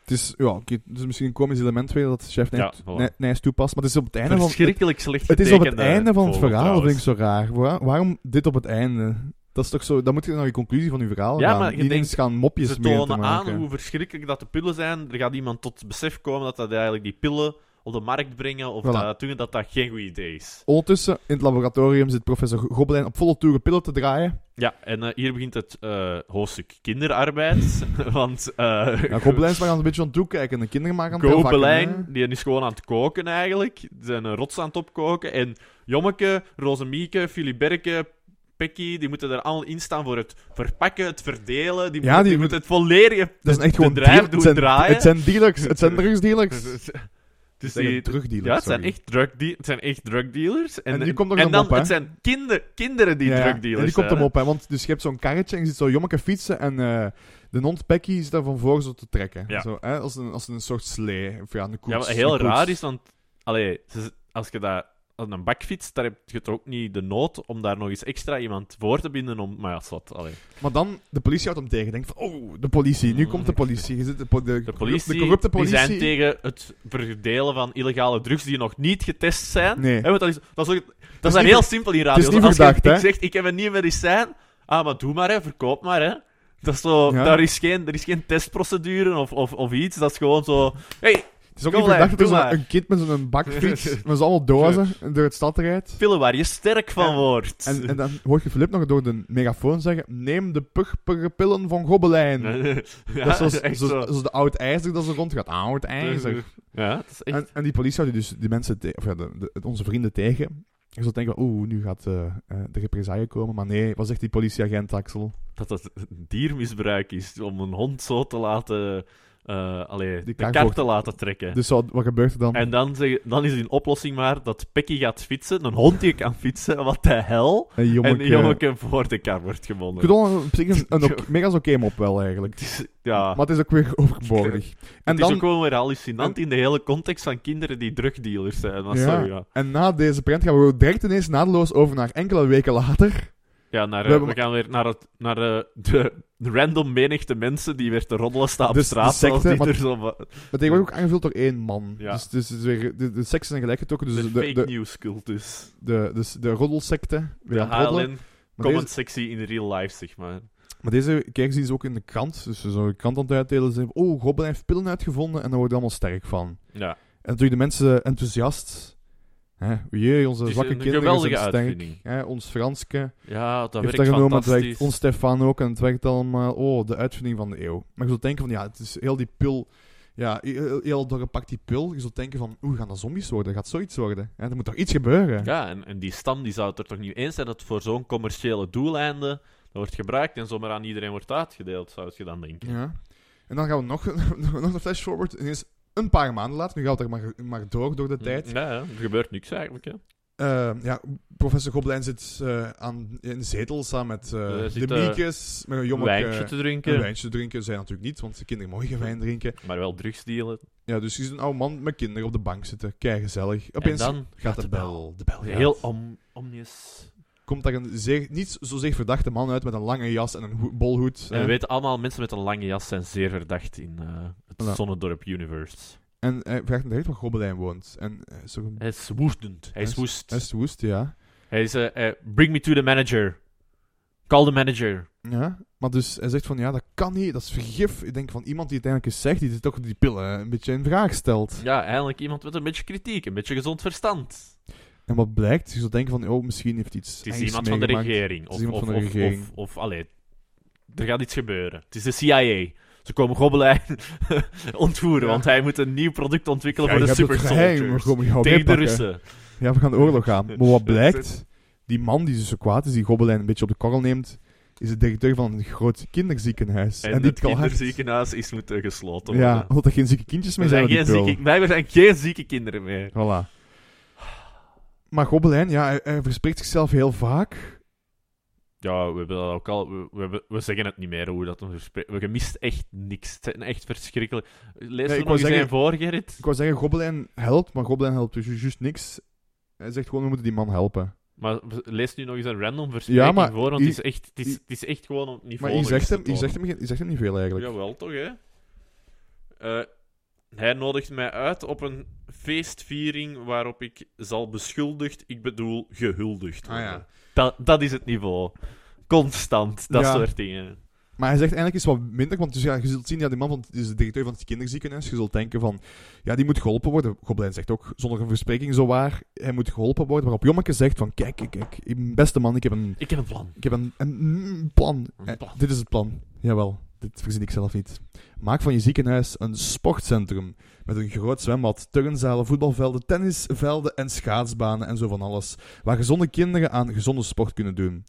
A: Het is, ja, oké, het is misschien een komisch element weer dat chef
B: Ja,
A: Nijs
B: voilà.
A: Nij- Nijs toepast, maar het is op het einde van... Het,
B: Verschrikkelijk slecht
A: het is op het
B: getekende
A: einde van het
B: vogel,
A: verhaal, dat
B: trouwens.
A: vind ik zo raar. Waar- waarom dit op het einde? Dat is toch zo... Dan moet je naar je conclusie van je verhaal
B: Ja,
A: gaan.
B: maar je
A: Niet eens
B: denkt,
A: gaan mopjes
B: Ze
A: meer te
B: tonen
A: maken.
B: aan hoe verschrikkelijk dat de pillen zijn. Er gaat iemand tot het besef komen dat, dat eigenlijk die pillen op de markt brengen of
A: Voilà.
B: dat, doen, dat dat geen goed idee is.
A: Ondertussen, in het laboratorium zit professor Gobelijn op volle toeren pillen te draaien.
B: Ja, en eh, hier begint het eh, hoofdstuk kinderarbeid. want eh
A: Ja, Gobelijn is maar aan een beetje aan het toekijken en de kinderen maken aan het
B: Gobelijn,
A: heel
B: die is gewoon aan het koken eigenlijk. Ze zijn een rots aan het opkoken. En Jommeke, Rozemieke, Filiberke, Pekkie, die moeten er allemaal in staan voor het verpakken, het verdelen. Die,
A: Ja,
B: moeten-
A: die
B: die
A: moet-
B: moeten het volledige
A: Dat is echt gewoon
B: bedrijf
A: deal-
B: doen
A: het zijn,
B: draaien.
A: Het zijn dealers, het zijn drugsdealers. Het
B: dus
A: zijn
B: die,
A: drugdealers,
B: ja, het zijn,
A: sorry.
B: echt drug het zijn echt drugdealers. En,
A: En die komt nog een
B: dan,
A: mop, hè?
B: het zijn kinder, kinderen die
A: Ja, ja.
B: drugdealers
A: En die komt
B: zijn.
A: hem op, hè, want dus je hebt zo'n karretje en je ziet zo jommeke fietsen en eh, de hond Pekkie zit daar van voor zo te trekken.
B: Ja.
A: Zo, hè, als, een, als een soort slee, of ja, een koets.
B: Ja, wat heel
A: een koets.
B: raar is, want allee, ze- als je dat aan een bakfiets, daar heb je toch ook niet de nood om daar nog eens extra iemand voor te binden om... Maar ja, zwart, allee.
A: Maar dan, de politie houdt hem tegen. Denkt van, oh, de politie, nu komt de politie. Je zit de, po- de,
B: Mm. De politie,
A: de corrupte politie.
B: die zijn tegen het verdelen van illegale drugs die nog niet getest zijn.
A: Nee.
B: Hè, want dat is, dat is, ook- dat is
A: niet
B: dan heel
A: ver-
B: simpel in radio.
A: het is niet
B: Als je-
A: verdacht, hè?
B: Ik zeg, ik heb een nieuw medicijn. Ah, maar doe maar, hè, verkoop maar, hè. Dat is zo,
A: Ja.
B: daar is geen, er is geen testprocedure of, of, of iets. Dat is gewoon zo... hey,
A: Het is ook
B: Kom,
A: niet verdacht dat er
B: doe
A: zo'n-
B: maar.
A: een kind met zo'n bakfiets, met z'n allemaal dozen, door het stad rijdt.
B: pillen waar je sterk van
A: Ja.
B: wordt.
A: En, en dan hoort je Filip nog door de megafoon zeggen: Neem de pugperpillen van Gobelijn.
B: Ja,
A: dat is zoals,
B: echt
A: zoals,
B: zo.
A: zoals de oud ijzer dat ze rondgaat. Ah, Oud ijzer.
B: Ja, het is echt...
A: En, en die politie houden dus die mensen, te- of ja, de, de- onze vrienden tegen. Je zou denken: Oeh, nu gaat eh, eh, de represaille komen. Maar nee, wat zegt die politieagent Axel?
B: dat dat diermisbruik is om een hond zo te laten... eh allee, de
A: Die
B: kar,
A: kar voor-
B: te laten trekken.
A: Dus wat, wat gebeurt er dan?
B: En dan, zeg, dan is een oplossing maar dat Pekkie gaat fietsen, een hond die kan fietsen, wat de hel.
A: Een
B: En
A: jongetje.
B: die jommeke voor de kar wordt
A: Ik
B: gewonnen.
A: bedoel, op zich een, een ok- mega oké mop wel eigenlijk.
B: Het is, ja,
A: Maar het is ook weer overbodig. En
B: het is
A: dan,
B: ook gewoon weer hallucinant in de hele context van kinderen die drugdealers zijn. Maar
A: Ja.
B: sorry, ja.
A: en na deze print gaan we direct ineens naadloos over naar enkele weken later.
B: Ja, naar,
A: We
B: eh, we,
A: hebben-
B: gaan weer naar, het, naar eh, de random menigte mensen die weer te roddelen staan op
A: Dus de
B: straat. zoals
A: secte,
B: die
A: maar-
B: er zo va-
A: Maar die wordt ook aangevuld door één man.
B: Ja.
A: Dus, dus het is weer, de, de seksen zijn gelijk getrokken. Dus
B: de,
A: de,
B: fake
A: de, de,
B: news cultus.
A: de, dus de roddelsecte. Weer
B: De
A: aan het roddelen.
B: HLN
A: Maar
B: comment
A: deze,
B: sexy in real life, zeg maar.
A: maar deze keer zien ze ook in de krant. Dus ze zo'n krant aan het uitdelen. Ze zeggen, oh, Goblin heeft pillen uitgevonden. En daar worden we allemaal sterk van.
B: Ja,
A: En natuurlijk de mensen enthousiast. Hè, jee, onze
B: het is
A: zwakke
B: Dus een
A: kinderen
B: geweldige
A: zijn sterk.
B: uitvinding.
A: Hè, ons Franske
B: Ja, dat
A: heeft dat
B: werkt
A: genomen. Het
B: fantastisch.
A: werkt ons Stefan ook. En het werkt allemaal. Oh, de uitvinding van de eeuw. Maar je zult denken van, ja, het is heel die pil... Ja, heel, heel dorp pakt die pil. Je zult denken van, oeh, gaan dat zombies worden? Gaat zoiets worden? Hè, er moet toch iets gebeuren?
B: Ja, en, en die stam die zou het er toch niet eens zijn dat het voor zo'n commerciële doeleinde dat wordt gebruikt en zomaar aan iedereen wordt uitgedeeld, zou je dan denken.
A: Ja. En dan gaan we nog, nog een flash forward. Ineens een paar maanden later. Nu gaat het er maar, maar door, door de tijd.
B: Mm, Hm, Ja, ja, er gebeurt niks eigenlijk. Hè.
A: Eh, ja, professor Gobelijn zit eh, aan, in de zetel samen met eh,
B: Eh,
A: de
B: zit, eh,
A: Miekes. Met een
B: Een
A: jommeke.
B: wijntje te drinken,
A: eh, Een wijntje te drinken. Zij natuurlijk niet, want de kinderen mogen geen wijn drinken.
B: maar wel drugs dealen.
A: Ja, dus je ziet een oude man met kinderen op de bank zitten. Kei gezellig.
B: En
A: Opeens Oh
B: dan
A: gaat de bel. De bel gaat.
B: heel om, omnius.
A: Komt daar een zeer, niet zozeer verdachte man uit met een lange jas en een ho- bolhoed. eh,
B: En
A: hè.
B: we weten allemaal, mensen met een lange jas zijn zeer verdacht in eh, het
A: Voilà.
B: Zonnedorp universe.
A: En hij vraagt direct waar Gobelijn woont. En eh, zo een
B: Hij is woestend. Hij is woest.
A: hij is woest, ja.
B: Hij is, eh, eh, bring me to the manager. Call the manager.
A: Ja, maar dus hij zegt van ja, dat kan niet, dat is vergif. Ik denk van iemand die het eigenlijk eens zegt, die dit toch die pillen een beetje in vraag stelt.
B: Ja, eigenlijk iemand met een beetje kritiek, een beetje gezond verstand.
A: En wat blijkt, je zou denken van oh, misschien heeft hij iets.
B: Het is
A: engs
B: iemand van de
A: meegemaakt.
B: regering.
A: is
B: Of,
A: iemand
B: of,
A: van de
B: of,
A: regering.
B: of, of, allee, er gaat iets gebeuren. Het is de CIA. Ze komen Gobelijn ontvoeren,
A: Ja.
B: want hij moet een nieuw product ontwikkelen
A: Ja, je
B: voor de
A: hebt
B: super
A: het geheim, we
B: soldiers.
A: komen jou
B: Tegen de
A: meepakken.
B: Russen.
A: Ja, we gaan de oorlog gaan. Maar wat blijkt, die man die dus zo kwaad is, die Gobelijn een beetje op de korrel neemt, is de directeur van een groot kinderziekenhuis.
B: En,
A: die
B: het
A: klaagt.
B: kinderziekenhuis is moeten gesloten worden.
A: Ja, omdat er geen zieke kindjes meer
B: er
A: zijn.
B: zijn
A: met
B: geen
A: die pil.
B: zieke, wij zijn geen zieke kinderen meer.
A: Voilà. Maar Gobelijn, ja, hij, hij verspreekt zichzelf heel vaak.
B: Ja, we hebben dat ook al. We, we, hebben- we zeggen het niet meer hoe dat ons verspreekt. We gemist echt niks. Het zijn echt verschrikkelijk. Lees
A: Nee,
B: er nog
A: ik wou
B: eens
A: zeggen-
B: een voor, Gerrit.
A: Ik wou zeggen, Gobelijn helpt, maar Gobelijn helpt dus ju- juist niks. Hij zegt gewoon, we moeten die man helpen.
B: Maar lees nu nog eens een random verspreking
A: Ja, maar
B: voor, want
A: i-
B: het, is echt, het, is,
A: i-
B: het is echt gewoon op het niveau.
A: Maar je
B: nog eens
A: zegt, hem,
B: te
A: je,
B: tonen.
A: zegt hem, geen- je zegt hem niet veel eigenlijk.
B: Jawel, toch, hè? Eh, Hij nodigt mij uit op een feestviering waarop ik zal beschuldigd, ik bedoel gehuldigd
A: Ah,
B: worden.
A: ja.
B: dat, dat is het niveau. Constant, dat
A: Ja.
B: soort dingen.
A: Maar hij zegt eigenlijk iets wat minder, want dus ja, je zult zien, ja, die man van, is de directeur van het kinderziekenhuis. Je zult denken van, ja, die moet geholpen worden. Gobelijn zegt ook, zonder een verspreking zo waar, hij moet geholpen worden. Waarop Jommeke zegt van, kijk, kijk, kijk, beste man, ik heb een,
B: Ik heb een plan.
A: ik heb een, een plan.
B: Een
A: Eh,
B: plan.
A: dit is het plan. Jawel, dit verzin ik zelf niet. Maak van je ziekenhuis een sportcentrum. Met een groot zwembad, turnzalen, voetbalvelden, tennisvelden en schaatsbanen en zo van alles. Waar gezonde kinderen aan gezonde sport kunnen doen.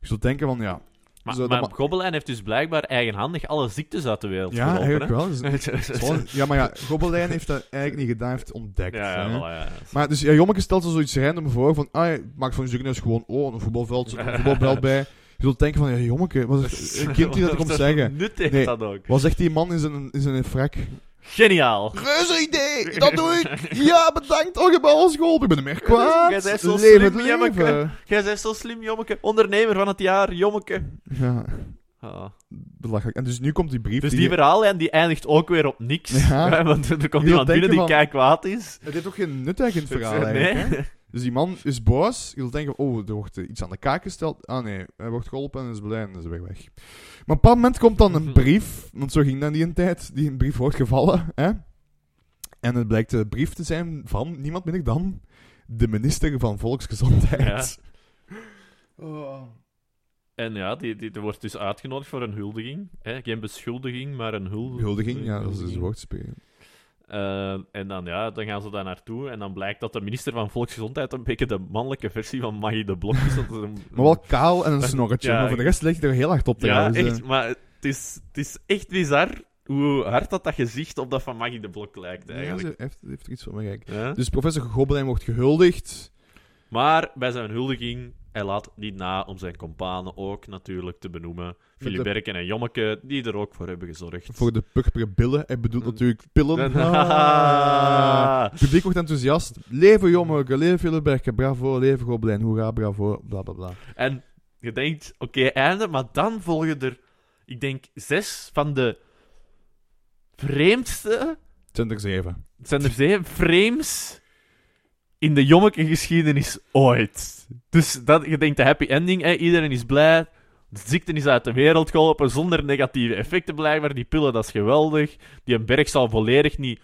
A: Je zult denken van, ja...
B: Maar,
A: Zo, dat
B: maar
A: ma-
B: Gobelijn heeft dus blijkbaar eigenhandig alle ziektes uit de wereld
A: Ja,
B: geholpen,
A: eigenlijk
B: hè?
A: wel. Dus- Gewoon- Ja, maar ja, Gobelijn heeft dat eigenlijk niet gedaan, hij heeft het ontdekt.
B: ja,
A: hè.
B: ja, voilà, ja.
A: Maar dus ja, Jommeke stelt zo zoiets random voor van, ah, ja, maak van je ziekenhuis gewoon, oh, een voetbalveld, er zit een voetbalveld bij. Je zult denken van, ja, Jommeke, wat is het, een kind die dat komt zeggen.
B: Nut heeft
A: Nee.
B: dat ook.
A: Wat zegt die man in zijn, in zijn frak?
B: Geniaal.
A: Reuze idee, dat doe ik. Ja, bedankt, oh, je hebt alles geholpen. Ik ben er meer kwaad.
B: Jij bent zo
A: Leef het
B: slim, Jommeke.
A: leven.
B: Jij bent zo slim, Jommeke. Ondernemer van het jaar, Jommeke.
A: Ja,
B: Ah.
A: belachelijk. En dus nu komt die brief.
B: Dus die verhaallijn die eindigt ook weer op niks.
A: Ja.
B: Ja, want er komt
A: Je
B: iemand
A: denkt
B: binnen die
A: van-
B: kijk kwaad is.
A: Het heeft ook geen nut eigenlijk in het verhaal
B: Nee.
A: eigenlijk, hè? Dus die man is boos. Je zult denken, oh, er wordt eh, iets aan de kaak gesteld. Ah nee, hij wordt geholpen en is blij en is weer weg. Maar op een bepaald moment komt dan een
B: Mhm.
A: brief. Want zo ging dat die een tijd. Die een brief wordt gevallen. Hè? En het blijkt de brief te zijn van niemand minder dan de minister van Volksgezondheid. Oh.
B: En ja, die, die, die wordt dus uitgenodigd voor een huldiging. Hè? Geen beschuldiging, maar een hul...
A: Huldiging, ja, dat is dus
B: huldiging.
A: woordspelen.
B: Ehm, en dan, ja, dan gaan ze daar naartoe. En dan blijkt dat de minister van Volksgezondheid een beetje de mannelijke versie van Maggie de Blok is. want dat is een-
A: Maar wel kaal en een snorretje.
B: Ja,
A: maar voor de rest ligt hij er heel hard op te
B: Ja,
A: gaan. Dus, eh,
B: echt. Maar het is, het is echt bizar hoe hard dat, dat gezicht op dat van Maggie de Blok lijkt,
A: Ja,
B: eigenlijk.
A: ze heeft, heeft er iets van me gek.
B: Ja.
A: Dus professor Gobelijn wordt gehuldigd.
B: Maar bij zijn huldiging, hij laat niet na om zijn companen ook natuurlijk te benoemen. Philip Berken en Jommeke, die er ook voor hebben gezorgd.
A: Voor de purperen billen. Hij bedoelt
B: Mm.
A: natuurlijk pillen. Ah.
B: Ah.
A: Het publiek wordt enthousiast. Leven Jommeke, leven Villeberken, bravo, leven Gobelijn, hoera, bravo, bla bla bla.
B: En je denkt, oké, einde. Maar dan volgen er, ik denk, zes van de vreemdste...
A: Het zijn er zeven.
B: Het zijn er zeven frames in de Jommeke-geschiedenis ooit. Dus dat, je denkt de happy ending, hè? iedereen is blij. De ziekte is uit de wereld geholpen zonder negatieve effecten blijkbaar. Die pillen, dat is geweldig. Die een berg zal volledig, niet,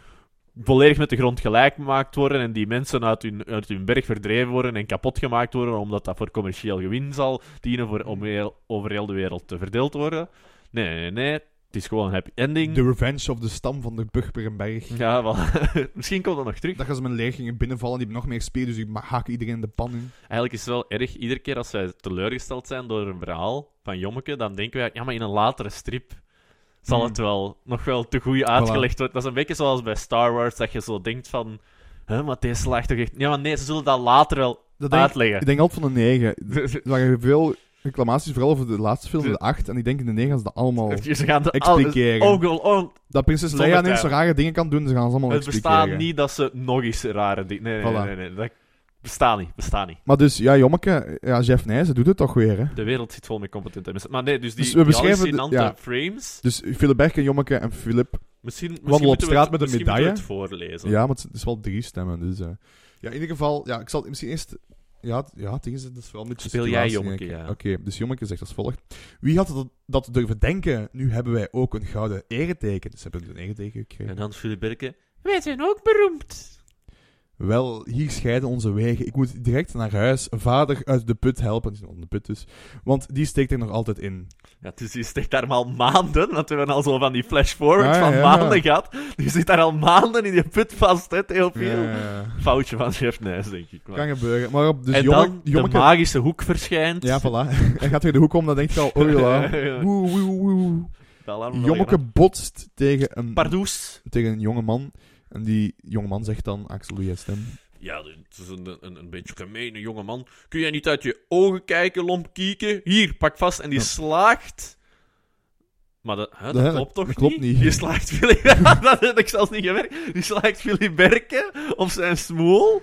B: volledig met de grond gelijk gemaakt worden. En die mensen uit hun, uit hun berg verdreven worden en kapot gemaakt worden, omdat dat voor commercieel gewin zal dienen voor, om heel, over heel de wereld te verdeeld te worden. Nee, nee, nee, nee. Het is gewoon een happy ending.
A: The Revenge of the Stam van de Burperenberg.
B: Ja, wel. Misschien komt dat nog terug.
A: Dat gaan ze met leergingen binnenvallen, die hebben nog meer spieren, dus die ma- haken iedereen in de pan in.
B: Eigenlijk is het wel erg, iedere keer als wij teleurgesteld zijn door een verhaal van Jommeke, dan denken wij, ja, maar in een latere strip zal
A: Hmm.
B: het wel nog wel te goed uitgelegd worden. Dat is een beetje zoals bij Star Wars, dat je zo denkt van, hè, maar deze slaagt toch echt... Ja, maar nee, ze zullen dat later wel
A: Dat denk, ik
B: uitleggen.
A: denk altijd van de negen. Er waren veel reclamaties, vooral over de laatste film, de acht, en ik denk in de negen gaan ze dat allemaal...
B: Ze gaan de
A: Oh. Expliceren.
B: Oh, gewoon- oh,
A: Dat prinses
B: Zonder
A: Leia ineens zo
B: twijfel.
A: rare dingen kan doen, ze gaan ze allemaal
B: het
A: expliceren.
B: bestaat niet dat ze nog eens rare dingen... Nee, nee,
A: Voilà.
B: nee, nee, nee, dat bestaat niet, bestaat niet.
A: Maar dus, ja, Jommeke, ja, Jeff Nijs, doet het toch weer, hè.
B: De wereld zit vol met competente mensen. Maar nee, dus die,
A: Dus we
B: die
A: beschrijven de-
B: hallucinante
A: ja.
B: frames...
A: Dus Philip en Jommeke en Philip
B: Misschien, misschien
A: Wandelen op
B: moeten we
A: straat
B: het-
A: met een
B: misschien moeten we
A: medaille.
B: het voorlezen.
A: Ja, maar het is- het is wel drie stemmen. Dus, eh. Ja, in ieder geval, ja, ik zal het misschien eerst. Ja, t- ja, het ding is, dat is vooral een beetje
B: Speel
A: situatie,
B: jij, Jommeke,
A: denk ik.
B: ja.
A: Oké, dus Jommeke zegt als volgt. Wie had dat, dat durven denken? Nu hebben wij ook een gouden ereteken. Dus hebben we een ereteken gekregen.
B: En dan Philip Berken. Wij zijn ook beroemd.
A: Wel, hier scheiden onze wegen. Ik moet direct naar huis. Vader uit de put helpen. Die is nog in de put dus. Want die steekt er nog altijd in.
B: Ja, dus die zit daar maar al maanden, want we hebben al zo van die flashforward
A: Ah,
B: van
A: ja.
B: maanden gehad. Die zit daar al maanden in die put vast, hè, heel veel.
A: Ja,
B: Foutje van chef Nijs, denk ik. maar.
A: Eh, kan gebeuren. Maar op, dus
B: en
A: Jommeke...
B: dan
A: Jommeke-
B: de magische hoek verschijnt.
A: ja, voilà. Hij gaat weer de hoek om, dan denkt hij al, oh ja.
B: Ja.
A: Woe, woe, woe.
B: De alarm wel
A: Jommeke
B: gedaan.
A: botst tegen een...
B: Pardoes.
A: tegen een jonge man. En die jonge man zegt dan, Axel, doe jij stem?
B: Ja, het is een, een, een beetje gemene jongeman. Kun jij niet uit je ogen kijken, lomp kieken? Hier, pak vast. En die
A: Ja.
B: slaagt. Maar dat, hè, dat
A: Dat-
B: klopt toch
A: dat klopt niet.
B: Die slaagt Philip... dat heb ik zelfs niet gemerkt. Die slaagt Philip Berken op zijn smoel.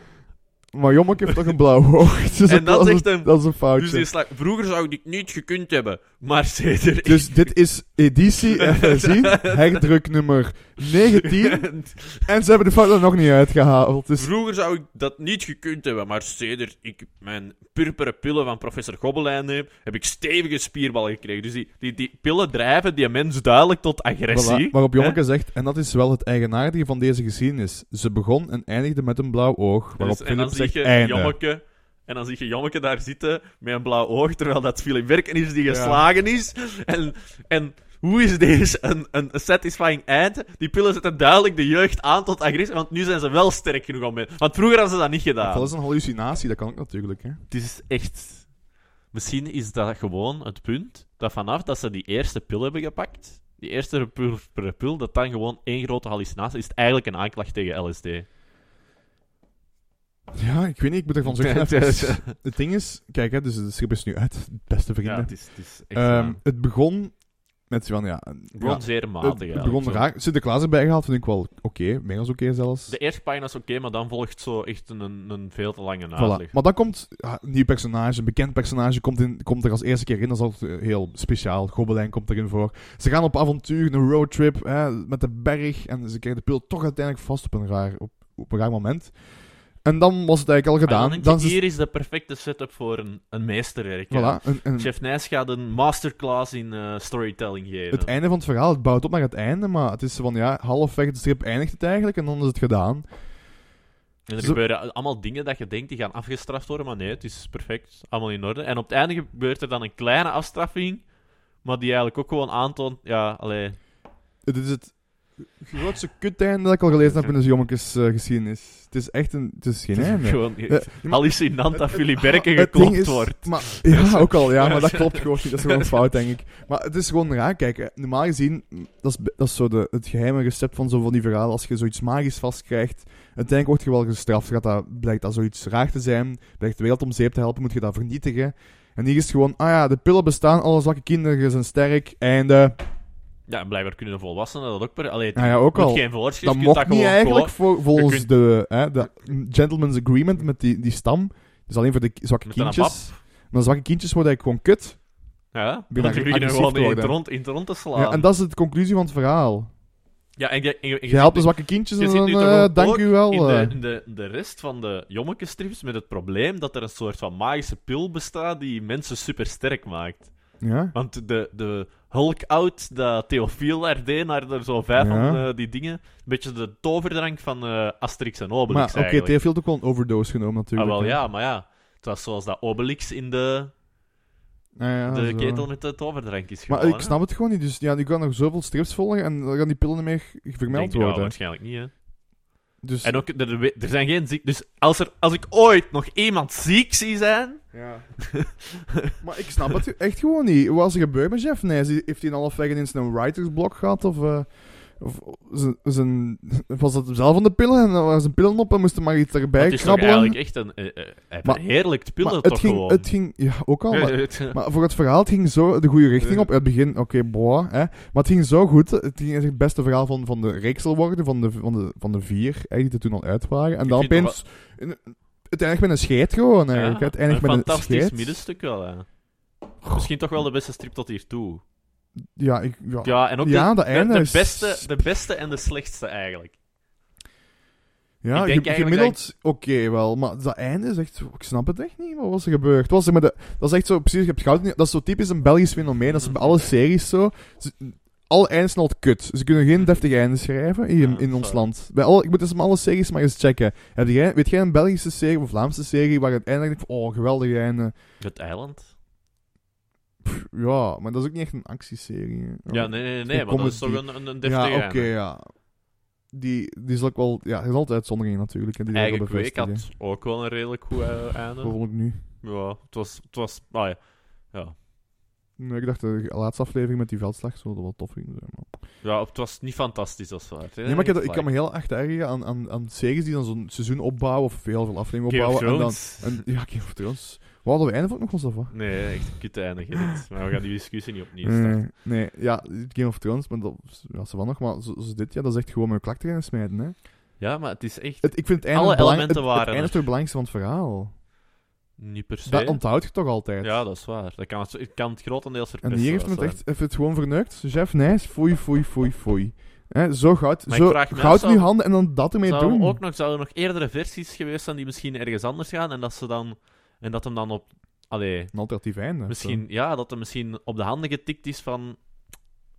A: Maar Jommeke heeft toch een blauw oog. Dus
B: En dat
A: is
B: zegt
A: een,
B: hem.
A: dat is een foutje.
B: Dus die slaagt... Vroeger zou ik dit niet gekund hebben. Maar zeker...
A: Dus dit is editie, even zien, herdruk nummer 19. En ze hebben de fout er nog niet uitgehaald. Dus
B: Vroeger zou ik dat niet gekund hebben, maar sedert ik mijn purperen pillen van professor Gobbelijn neem, heb ik stevige spierballen gekregen. Dus die, die, die pillen drijven die mens duidelijk tot agressie.
A: Voilà, waarop Jonneke zegt, en dat is wel het eigenaardige van deze geschiedenis. Ze begon en eindigde met een blauw oog. Waarop
B: Dus- en
A: Philip
B: dan zie
A: zegt,
B: je
A: einde.
B: Jommeke... En dan zie je Jommeke daar zitten met een blauw oog, terwijl dat Philip Werken is die
A: Ja.
B: geslagen is. En, en hoe is deze een, een satisfying eind? Die pillen zetten duidelijk de jeugd aan tot agressie, want nu zijn ze wel sterk genoeg om mee. Want vroeger hadden ze dat niet gedaan.
A: Dat is een hallucinatie, dat kan ook natuurlijk. Hè.
B: Het is echt. Misschien is dat gewoon het punt dat vanaf dat ze die eerste pil hebben gepakt, die eerste pil, pil- pil, dat dan gewoon één grote hallucinatie is, het eigenlijk een aanklacht tegen LSD.
A: Ja, ik weet niet, ik moet ervan
B: Ja,
A: zeggen.
B: het is-
A: even- Het ding is, kijk, hè, dus de schip is nu uit, beste
B: Ja,
A: vrienden.
B: het is, het is echt.
A: Ehm,
B: waar.
A: het begon met van, ja... een-
B: Het begon
A: ja,
B: zeer matig.
A: het, het
B: eigenlijk,
A: begon
B: zo.
A: raar. Sinterklaas erbij gehaald, vind ik wel oké, meer dan oké zelfs.
B: De eerste pagina is oké, maar dan volgt zo echt een, een, een veel te lange
A: Voilà.
B: uitleg.
A: Maar dan komt ja, een nieuw personage, een bekend personage komt, in, komt er als eerste keer in. Dat is altijd eh, heel speciaal. Gobelijn komt erin voor. Ze gaan op avontuur, een roadtrip hè, met de berg. En ze krijgen de pil toch uiteindelijk vast op een raar, op, op een raar moment. En dan was het eigenlijk al
B: Maar
A: gedaan.
B: dan denk je,
A: Dan is,
B: hier is de perfecte setup voor een, een meesterwerk. hè.
A: voilà, een- een-
B: Chef Nijs gaat een masterclass in eh, storytelling geven.
A: het einde van het verhaal, het bouwt op naar het einde. Maar het is van ja, halfweg de strip eindigt het eigenlijk. En dan is het gedaan.
B: En er
A: Zo-
B: gebeuren allemaal dingen dat je denkt die gaan afgestraft worden, maar nee, het is perfect, allemaal in orde. En op het einde gebeurt er dan een kleine afstraffing, maar die eigenlijk ook gewoon aantoont, ja, allee,
A: Het is het grootste kuteinde dat ik al gelezen heb in de jommekes eh, geschiedenis. Het is echt een... Het is geen
B: het is
A: einde.
B: gewoon
A: Eh, ja, maar-
B: hallucinant dat Philip Berken
A: Het ding
B: geklopt
A: is-
B: wordt.
A: Maar, ja, ook al, ja, maar dat klopt gewoon niet. Dat is gewoon een fout, denk ik. Maar het is gewoon raar. Kijk, eh, normaal gezien, mm, dat is, be- dat is zo de, het geheime recept van zo van die verhalen. Als je zoiets magisch vastkrijgt, uiteindelijk word je wel gestraft. Gaat dat, blijkt dat zoiets raar te zijn, blijkt de wereld om zeep te helpen, moet je dat vernietigen. En hier is het gewoon, ah ja, de pillen bestaan, alle zwakke kinderen zijn sterk, einde.
B: Ja, en blijkbaar kunnen de volwassenen dat ook per... Allee, het
A: Nou ja, ook
B: moet
A: al.
B: geen voorschrift,
A: Dat
B: je kunt
A: mocht
B: dat
A: niet
B: gewoon
A: eigenlijk
B: kopen.
A: voor, volgens
B: kunt-
A: de, hè, de gentleman's agreement met die, die stam. Dus alleen voor de k- zwakke
B: Met een
A: kindjes. Maar zwakke kindjes worden eigenlijk gewoon kut.
B: Ja,
A: ben
B: want die
A: ag-
B: beginnen
A: agressief
B: gewoon
A: te
B: in het
A: worden.
B: rond, in het rond te slaan.
A: Ja, en dat is de conclusie van het verhaal.
B: Ja, en je- en je- en je
A: Je helpt de
B: zit-
A: zwakke kindjes
B: je
A: en
B: zit
A: dan
B: nu toch
A: eh,
B: ook
A: dank u wel.
B: In de,
A: eh.
B: in de, de rest van de jommekenstrips met het probleem dat er een soort van magische pil bestaat die mensen super sterk maakt.
A: Ja.
B: Want de, de Hulk-out dat Theofiel daar deed, naar er zo vijf
A: Ja.
B: van eh, die dingen, een beetje de toverdrank van eh, Asterix en
A: Maar
B: Obelix
A: oké,
B: eigenlijk.
A: Theo heeft ook wel een overdose genomen
B: ah,
A: natuurlijk.
B: wel
A: hè.
B: ja, maar ja. Het was zoals dat Obelix in de,
A: Ja, ja,
B: de
A: zo.
B: ketel met de toverdrank is
A: Maar
B: gevallen.
A: ik snap het gewoon niet. Dus ja, die gaan nog zoveel strips volgen en dan gaan die pillen niet meer g- vermeld worden.
B: waarschijnlijk niet, hè.
A: dus,
B: En ook, er, er- er zijn geen ziek... Dus als, er, als ik ooit nog iemand ziek zie zijn...
A: ja. maar ik snap het echt gewoon niet. Wat is er gebeurd met Jeff Nijs? Heeft hij een halfweg ineens een writersblok gehad? Of, eh, of zijn- zijn, was dat zelf van de pillen? En dan waren zijn pillen op en moesten maar iets erbij
B: Het is toch
A: krabbelen?
B: eigenlijk echt een... eh, eh, hij
A: Maar-
B: verheerlijkt pillen
A: maar
B: toch
A: het ging,
B: gewoon.
A: Het ging, ja, ook al. maar-
B: ging...
A: Maar voor het verhaal, het ging zo de goede richting op. In het begin, oké, boah. Hè. Maar het ging zo goed. Het ging echt het beste verhaal van, van de reeks al worden. Van de, van, de, van de vier, hè, die er toen al uit waren. En
B: Ik
A: dan
B: vind het
A: opeens... een- Het eindigt met een scheet gewoon, eigenlijk. het eindigt
B: een
A: met een
B: fantastisch
A: scheet.
B: middenstuk wel, hè. Misschien toch wel de beste strip tot hiertoe.
A: Ja, ik... Ja. Ja.
B: Ja, en ook
A: Ja,
B: de,
A: dat
B: de-
A: einde
B: de,
A: is-
B: beste, de beste en de slechtste eigenlijk. ik denk
A: ge-
B: eigenlijk
A: gemiddeld oké wel, maar dat einde is echt... Ik snap het echt niet, wat was er gebeurd? Wat Was er met de, dat is echt zo, precies, je hebt goud in- Dat is zo typisch een Belgisch fenomeen, dat is
B: Mhm.
A: bij alle series zo. Ze- alle eindes zijn al kut. Ze kunnen geen deftig einde schrijven hier in-
B: Ja,
A: in ons
B: sorry.
A: land. Bij alle, ik moet dus maar alle series maar eens checken. Heb jij, weet jij een Belgische serie of Vlaamse serie waar het einde denkt van, oh, geweldig einde.
B: Het eiland?
A: Pff, ja, maar dat is ook niet echt een actieserie. hè.
B: Ja, nee, nee, nee,
A: Geen
B: maar dat is toch
A: comedy.
B: een, een, een
A: Ja,
B: deftige
A: oké,
B: einde.
A: ja. Die, die is ook wel... Ja, er is altijd uitzonderingen natuurlijk. hè, Die dat
B: Eigen
A: wel
B: kweek
A: bevestigen.
B: had ook wel een redelijk goed eh, einde.
A: Bijvoorbeeld nu.
B: Ja, het was... Het was ah, ja. Ja.
A: Nee, ik dacht de laatste aflevering met die veldslag zou dat wel tof vinden. zijn, maar-
B: ja, het was niet fantastisch als waar.
A: Nee, maar ik, heb- ik kan me heel echt ergeren aan, aan, aan series die dan zo'n seizoen opbouwen of heel veel afleveringen
B: Game of
A: opbouwen. En dan,
B: Thrones.
A: en, ja, Game of Thrones. Wat hadden we einde van nog ons af?
B: Nee, echt een kutte einde, Gerrit. Maar we gaan die discussie niet opnieuw starten.
A: Nee, nee, ja, Game of Thrones, maar dat ja, ze van nog, maar zo- zoals dit, ja, dat is echt gewoon mijn klak te gaan smijten. Hè.
B: Ja, maar het is echt...
A: Het, ik vind het einde
B: Alle
A: het belang-
B: elementen
A: het,
B: waren
A: het einde
B: er.
A: is toch het belangrijkste van het verhaal.
B: Niet per se.
A: Dat onthoud je toch altijd.
B: ja, dat is waar. Dat kan, het- ik kan het grotendeels
A: En
B: verpesten.
A: hier heeft
B: Dus dat
A: men het
B: zijn.
A: echt even het gewoon verneukt. Chef Nijs, foei, foei, foei, foei. Hè, zo goud.
B: Maar ik
A: Zo
B: vraag me af,
A: goud in
B: zou-
A: uw handen en dan dat ermee
B: Zou
A: doen.
B: Ook nog, zouden er nog eerdere versies geweest zijn die misschien ergens anders gaan en dat ze dan... En dat hem dan op... Allee,
A: Een alternatief einde.
B: misschien... Ja, dat hem misschien op de handen getikt is van...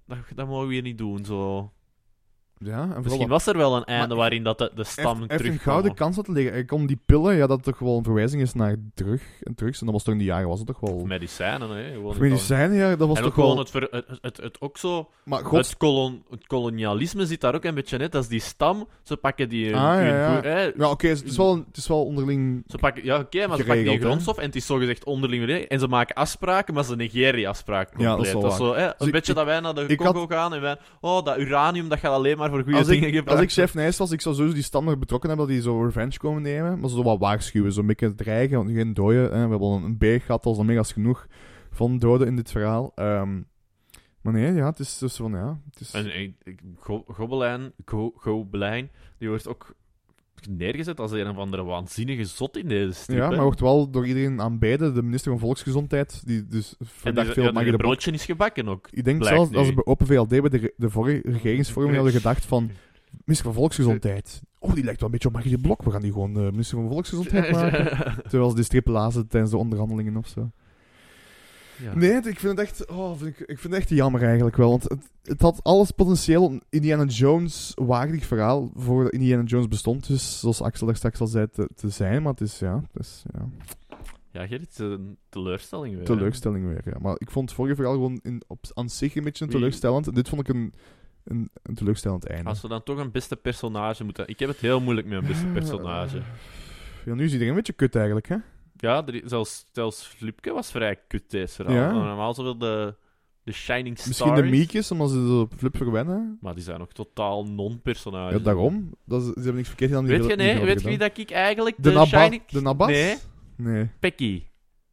B: Dat, dat mogen we hier niet doen, zo.
A: Zo. Ja, en
B: Misschien
A: vooral
B: was er wel een einde
A: Maar-
B: waarin dat de, de stam
A: Hij heeft
B: terugkwam.
A: een gouden kans had liggen. Ik om die pillen, ja, dat toch wel een verwijzing is naar terug en drugs. En dat was toch in die jaren was het toch wel.
B: Of medicijnen, hè. Gewoon
A: Of
B: het al-
A: medicijnen, ja, dat was
B: en ook
A: toch
B: gewoon
A: wel.
B: het, ver- het, het, het ook zo...
A: Maar god,
B: Het, kolon- het kolonialisme zit daar ook een beetje net. Dat is die stam. Ze pakken die... hun-
A: Ah, ja,
B: hun
A: ja.
B: boer- hè,
A: ja, oké, dus het, is wel, het is wel onderling.
B: Ze pakken, ja, oké, maar ze
A: Geregeld,
B: pakken die
A: hè?
B: grondstof en het is zogezegd onderling weer. En ze maken afspraken, maar ze negeren die afspraak
A: Ja,
B: compleet.
A: dat is wel
B: zo, hè, een
A: Dus ik-
B: beetje
A: ik-
B: dat wij naar de
A: ik
B: Congo gaan en wij... Oh, dat uranium, dat gaat alleen maar voor goede
A: Als
B: dingen
A: ik, als
B: gebruikt
A: ik chef Nijs was, ik zou sowieso die stammer betrokken hebben dat die zo revenge komen nemen. Maar ze zo wat waarschuwen, zo'n beetje dreigen, want geen doden. Hè. We hebben al een, een berg gehad, dat was dan meer als genoeg van doden in dit verhaal. Ehm, maar nee, ja, het is dus van, ja... Het is,
B: En ik- ik- Go- Gobelijn, Go- Gobelijn, die wordt ook neergezet als een of andere waanzinnige zot in deze strip.
A: ja,
B: hè.
A: maar wordt wel door iedereen aanbeden. De minister van Volksgezondheid, die dus
B: en
A: verdacht
B: die,
A: veel
B: ja,
A: mag
B: die
A: de
B: broodje is gebakken ook.
A: Ik denk
B: Blijkt
A: zelfs
B: nu.
A: als we bij Open VLD bij de, re- de vorige regeringsvorming hadden gedacht van minister van Volksgezondheid. Oh, die lijkt wel een beetje op Margriet Blok. We gaan die gewoon eh, minister van Volksgezondheid maken. Terwijl ze die strip lazen tijdens de onderhandelingen of zo.
B: Ja.
A: Nee, het- ik vind het echt, oh, vind ik, ik vind het echt jammer eigenlijk wel. Want het, het had alles potentieel een Indiana Jones waardig verhaal voor Indiana Jones bestond. Dus zoals Axel daar straks al zei, te, te zijn. Maar het is, ja, het is, ja
B: Ja, Gerrit, het is een teleurstelling weer. hè.
A: teleurstelling weer. Ja. Maar ik vond het vorige verhaal gewoon in, op, aan zich een beetje een
B: Wie-
A: teleurstellend. En dit vond ik een, een, een teleurstellend einde.
B: Als we dan toch een beste personage moeten... Ik heb het heel moeilijk met een beste personage.
A: Ja, nu is iedereen een beetje kut eigenlijk, hè?
B: Ja, er is- zelfs, zelfs Flipke was vrij kut deze verhaal.
A: Ja.
B: Normaal zoveel de, de Shining Stars.
A: Misschien de miekjes, omdat ze op Flip verwennen.
B: Maar die zijn ook totaal non-personages.
A: Ja, daarom. Dat is, ze hebben niks verkeerd gedaan. die
B: Ah, Weet je,
A: hebben-
B: nee,
A: die
B: weet je
A: hebben
B: wie dat ik eigenlijk...
A: gedaan.
B: De,
A: De, Naba
B: Shining...
A: de Nabas?
B: Nee,
A: Nee.
B: Becky.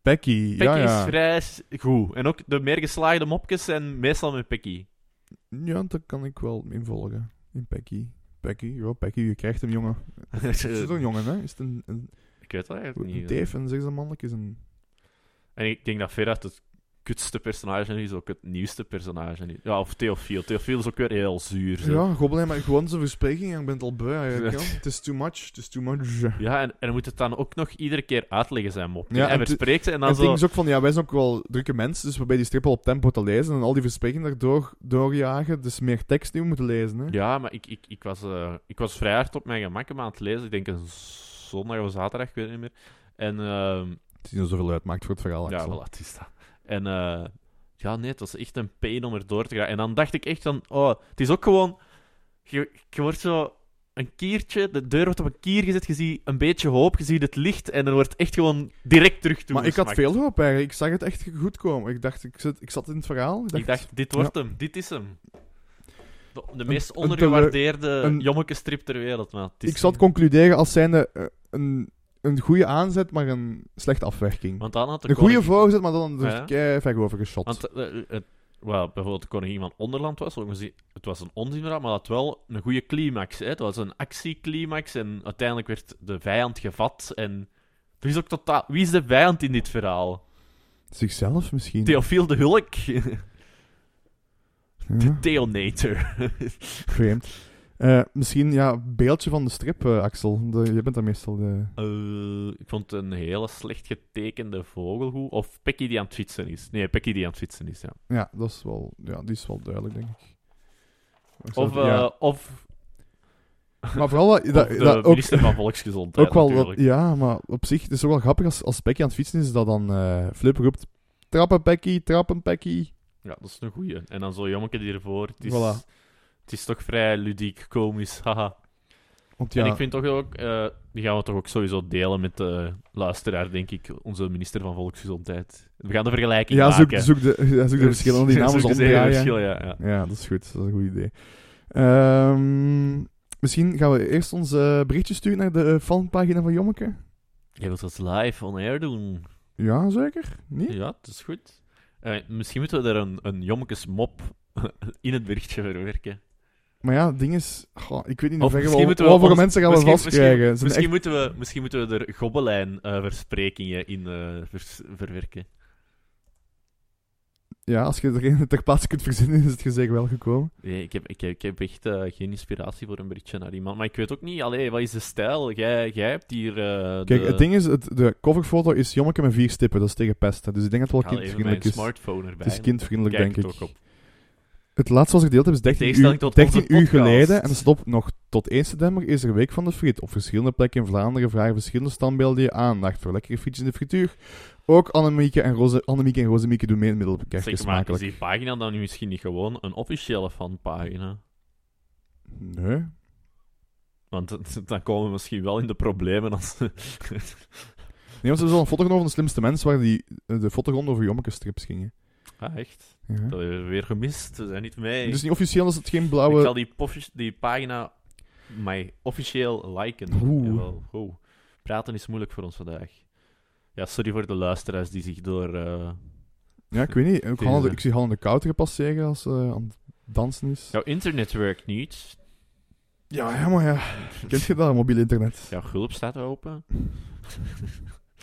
A: Becky,
B: Becky
A: ja, ja.
B: is vrij s- goed. En ook de meer geslaagde mopjes zijn meestal met Becky.
A: Ja, daar kan ik wel in volgen. In Becky. Becky, ja, Becky, je krijgt hem, jongen. Is het een jongen, hè? Is het een, een,
B: ik weet dat
A: een,
B: eigenlijk niet. eh,
A: Dave, een zesde mannelijk is een...
B: En ik denk dat Verat het kutste personage is, ook het nieuwste personage is. Ja, of Theofiel. Theofiel is ook weer heel zuur. zo.
A: Ja, gobbelijn, maar gewoon zijn verspreking. ja, Ik ben het al beu eigenlijk.
B: Ja.
A: ja. Het is too much, het is too much.
B: Ja, en, en hij moet het dan ook nog iedere keer uitleggen, zijn mop.
A: Ja,
B: Ja,
A: en
B: hij
A: te-
B: verspreekt ze en
A: en
B: dan
A: het
B: zo...
A: ding is ook van, ja, wij zijn ook wel drukke mensen, dus we bij die strip al op tempo te lezen en al die versprekingen daardoor doorjagen, dus meer tekst die we moeten lezen, hè.
B: Ja, maar ik, ik, ik, was, eh, ik was vrij hard op mijn gemak hem aan het lezen. Ik denk een zondag of zaterdag, ik weet het niet meer. En ehm,
A: Het is niet zoveel uitmaakt voor het verhaal,
B: ja,
A: Axel.
B: voilà, het is dat. En eh, ja, nee, het was echt een pain om er door te gaan. En dan dacht ik echt van, oh, het is ook gewoon... Je, je wordt zo een kiertje, de deur wordt op een kier gezet, je ziet een beetje hoop, je ziet het licht en er wordt echt gewoon direct terug toe.
A: Maar ik had veel hoop eigenlijk. Ik zag het echt goed komen. Ik dacht, ik, zit, ik zat in het verhaal. Ik dacht,
B: Ik dacht, dit wordt hem, dit is hem. De, de meest
A: een
B: ondergewaardeerde
A: een-
B: jommekenstrip ter wereld, man. Het is
A: ik zal het concluderen als zijnde eh, een, een goede aanzet, maar een slechte afwerking.
B: Want dan had de
A: een goede
B: koning-
A: voorzet, maar dan er
B: Ja.
A: kei ver over geschot.
B: Want eh, eh, het- wel, bijvoorbeeld de koningin van Onderland was, ook gezien- het was een onzinverhaal, maar dat wel een goede climax. Hè? Het was een actieclimax en uiteindelijk werd de vijand gevat. En er is ook totaal... Wie is de vijand in dit verhaal?
A: Zichzelf misschien.
B: Theofiel de Hulk?
A: Ja.
B: Theonator.
A: Vreemd. Eh, misschien, ja, beeldje van de strip, eh, Axel. De, jij bent daar meestal de...
B: Eh, ik vond het een hele slecht getekende vogelhoe. Of Pekkie die aan het fietsen is. Nee, Pekkie die aan het fietsen is, ja.
A: Ja, dat is wel... Ja, die is wel duidelijk, denk ik. Ik zou
B: Of,
A: het- ja.
B: eh, of,
A: Maar vooral dat,
B: of
A: dat,
B: de
A: dat ook,
B: minister van Volksgezondheid,
A: ook wel... wat-
B: natuurlijk.
A: ja, maar op zich, het is ook wel grappig als, als Becky aan het fietsen is, dat dan eh, Flip roept... Trappen, Becky, trappen, Becky.
B: Ja, dat is een goeie. En dan zo'n jongetje die ervoor. Het is,
A: Voilà.
B: het is toch vrij ludiek, komisch. Haha.
A: Want ja,
B: En ik vind toch ook, eh, die gaan we toch ook sowieso delen met de luisteraar, denk ik. Onze minister van Volksgezondheid. We gaan de vergelijking
A: ja zoek,
B: maken.
A: zoek, de, ja, zoek de verschillen, die
B: Zoek
A: namen
B: eens even
A: omdraaien.
B: het verschil, ja, ja.
A: Ja, dat is goed. Dat is een goed idee. Ehm, misschien gaan we eerst ons eh, berichtje sturen naar de eh, fanpagina van Jommeke.
B: Jij wilt dat live on air doen.
A: Ja, zeker. Nee?
B: Ja, dat is goed. Eh, misschien moeten we er een, een jommekes mop in het berichtje verwerken.
A: Maar ja, het ding is... goh, ik weet niet in
B: Of
A: hoeverre
B: misschien
A: we,
B: moeten
A: we
B: we
A: hoeveel
B: ons-
A: mensen gaan we
B: misschien-
A: vastkrijgen. Zijn
B: Misschien, moeten we, misschien moeten we er gobbelijn-versprekingen in eh, vers- verwerken.
A: echt- ja, als je er een ter plaatse kunt verzinnen, is het gezegd wel gekomen.
B: Nee, ik heb, ik heb, ik heb echt eh, geen inspiratie voor een berichtje naar iemand. Maar ik weet ook niet, allee, wat is de stijl? Jij, jij hebt hier... eh,
A: Kijk,
B: de...
A: het ding is, het, de coverfoto is jommeke met vier stippen. Dat is tegen pest. hè. Dus ik denk dat
B: Ik
A: het
B: haal
A: wel
B: even mijn
A: kindvriendelijk is.
B: smartphone erbij.
A: Het is kindvriendelijk,
B: Kijk
A: denk
B: het
A: ik.
B: ook op.
A: Het laatste wat ik gedeeld heb is 13 uur,
B: Tegenstelling tot onze
A: 13 uur
B: podcast.
A: geleden. En dat stop nog tot 1 september is er Week van de Friet. Op verschillende plekken in Vlaanderen vragen verschillende standbeelden je aandacht voor lekkere frietjes in de frituur. Ook Annemieke en, Roze, Annemieke en Rozemieke doen mee in het middelkerk.
B: Zeg
A: Is
B: maar, is
A: smakelijk.
B: die pagina dan misschien niet gewoon een officiële fanpagina?
A: Nee.
B: Want dat- dan komen we misschien wel in de problemen als...
A: Nee, want ze hebben zo'n foto genomen van de slimste mensen waar die eh, de fotogronden over jommeke strips gingen.
B: ah, echt?
A: Ja.
B: Dat hebben we weer gemist. We zijn niet mee.
A: Dus niet officieel is het geen
B: Ik
A: blauwe...
B: zal die, poffi- die pagina mij officieel liken.
A: Oeh.
B: Jawel. Oeh. Praten is moeilijk voor ons vandaag. Ja, sorry voor de luisteraars die zich door... eh,
A: Ja, ik weet niet. Ook
B: Deze.
A: Hanne de- ik zie Hanne de Kouter passeren als ze eh, aan het dansen is.
B: Jouw internet werkt niet.
A: Ja, helemaal ja. Kent je dat, mobiel internet?
B: Jouw hulp staat open.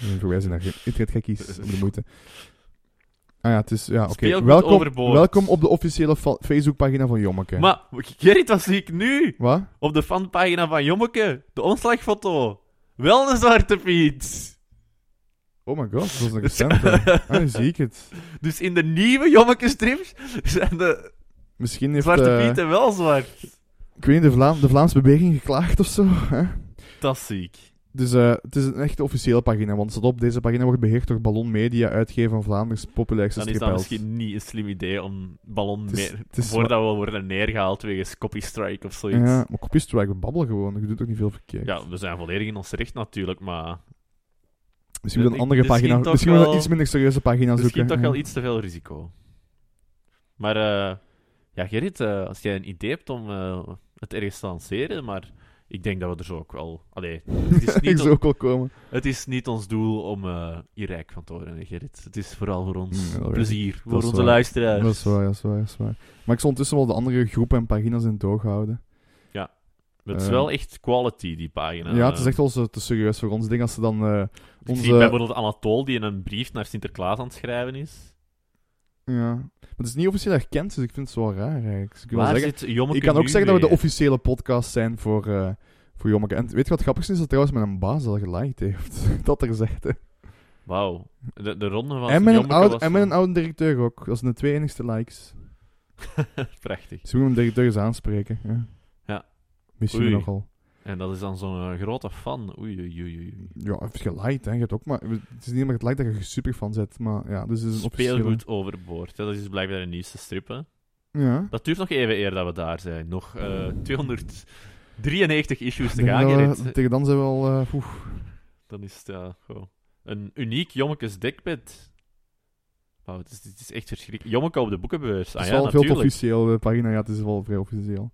A: Een verwijzing naar internetgekkies om de moeite. Ah ja, het is... Ja, oké.
B: Speelgoed
A: Welkom,
B: overboord.
A: welkom op de officiële fa- Facebookpagina van Jommeke.
B: Maar, Gerrit, wat zie ik nu?
A: Wat?
B: Op de fanpagina van Jommeke. De omslagfoto. Wel een zwarte piet.
A: Oh my god, dat is een recente. ah, nu zie ik het.
B: Dus in de nieuwe Jommeke strips zijn de
A: Misschien heeft...
B: zwarte
A: eh,
B: pieten wel zwart.
A: ik weet niet, de, Vlaam, de Vlaamse beweging geklaagd of zo. Hè?
B: Dat zie ik.
A: Dus eh, het is een echte officiële pagina, want het staat op, deze pagina wordt beheerd door Ballon Media, uitgever van Vlaanders populairste
B: Dan is dat
A: stripheld.
B: misschien niet een slim idee om ballon
A: Het is-
B: meer...
A: het is
B: voordat we worden neergehaald wegens copy strike of zoiets.
A: Ja,
B: Ja.
A: maar kopjes terwijl we babbelen gewoon, je doet ook niet veel verkeerd.
B: we zijn volledig in ons recht natuurlijk, maar...
A: Misschien moet
B: Ik-
A: een andere
B: misschien
A: pagina,
B: toch
A: misschien moet
B: wel-
A: een iets minder serieuze pagina
B: Misschien
A: zoeken.
B: toch
A: ja.
B: wel iets te veel risico. Maar, eh, ja, Gerrit, eh, als jij een idee hebt om eh, het ergens te lanceren, maar ik denk dat we er zo ook wel... Allee, het is
A: Ik
B: niet,
A: zou ook wel komen.
B: het is niet ons doel om eh, hier rijk van te worden, hè, Gerrit. Het is vooral voor ons
A: Hmm, dat weet
B: plezier, voor
A: is
B: onze
A: waar.
B: luisteraars.
A: Dat is waar, dat is waar, dat is waar. Maar ik zal ondertussen wel de andere groepen en pagina's in het oog houden.
B: Het is
A: Eh.
B: wel echt quality, die pagina.
A: Ja, het is echt wel zo te serieus voor ons. Ik denk als ze dan eh,
B: Ik
A: onze...
B: zie bijvoorbeeld Anatol die in een brief naar Sinterklaas aan het schrijven is.
A: ja. Maar het is niet officieel erkend, dus ik vind het wel raar eigenlijk. Dus ik, wil
B: Waar
A: zeggen,
B: zit Jommeke
A: ik kan ook
B: nu
A: zeggen dat we
B: mee?
A: de officiële podcast zijn voor, eh voor Jommeke. En weet je wat grappig is? Dat trouwens met een baas al geliked heeft. dat er zegt, hè.
B: Wauw. De, de ronde van
A: En met, een
B: Jommeke
A: oude,
B: was
A: en met een
B: wel-
A: oude directeur ook. Dat zijn de twee enigste likes.
B: Prachtig.
A: Ze moeten hem directeur eens aanspreken. Ja.
B: Ja.
A: Misschien
B: Oei.
A: nogal.
B: En dat is dan zo'n eh, grote fan. Oei, oei, oei, oei.
A: Ja, of geliked, hè. Je hebt ook maar... Het is niet meer het like dat je super van zet, maar ja, dus het is een officiële...
B: Speelgoed overboord. hè. Dat is dus blijkbaar de nieuwste strip, hè.
A: Ja.
B: Dat duurt nog even eer dat we daar zijn. Nog eh 293 issues
A: Ik
B: te
A: denk
B: gaan,
A: dat we-
B: Gerrit.
A: tegen dan zijn we al... eh, oeh.
B: Dan is het, ja, goh. Een uniek Jommekes dekbed. Wauw, het is, het is echt verschrikkelijk. Jommeke op de boekenbeurs.
A: het
B: Ah
A: is
B: ja,
A: wel veel te
B: natuurlijk.
A: officieel, de pagina. Ja, het is wel vrij officieel.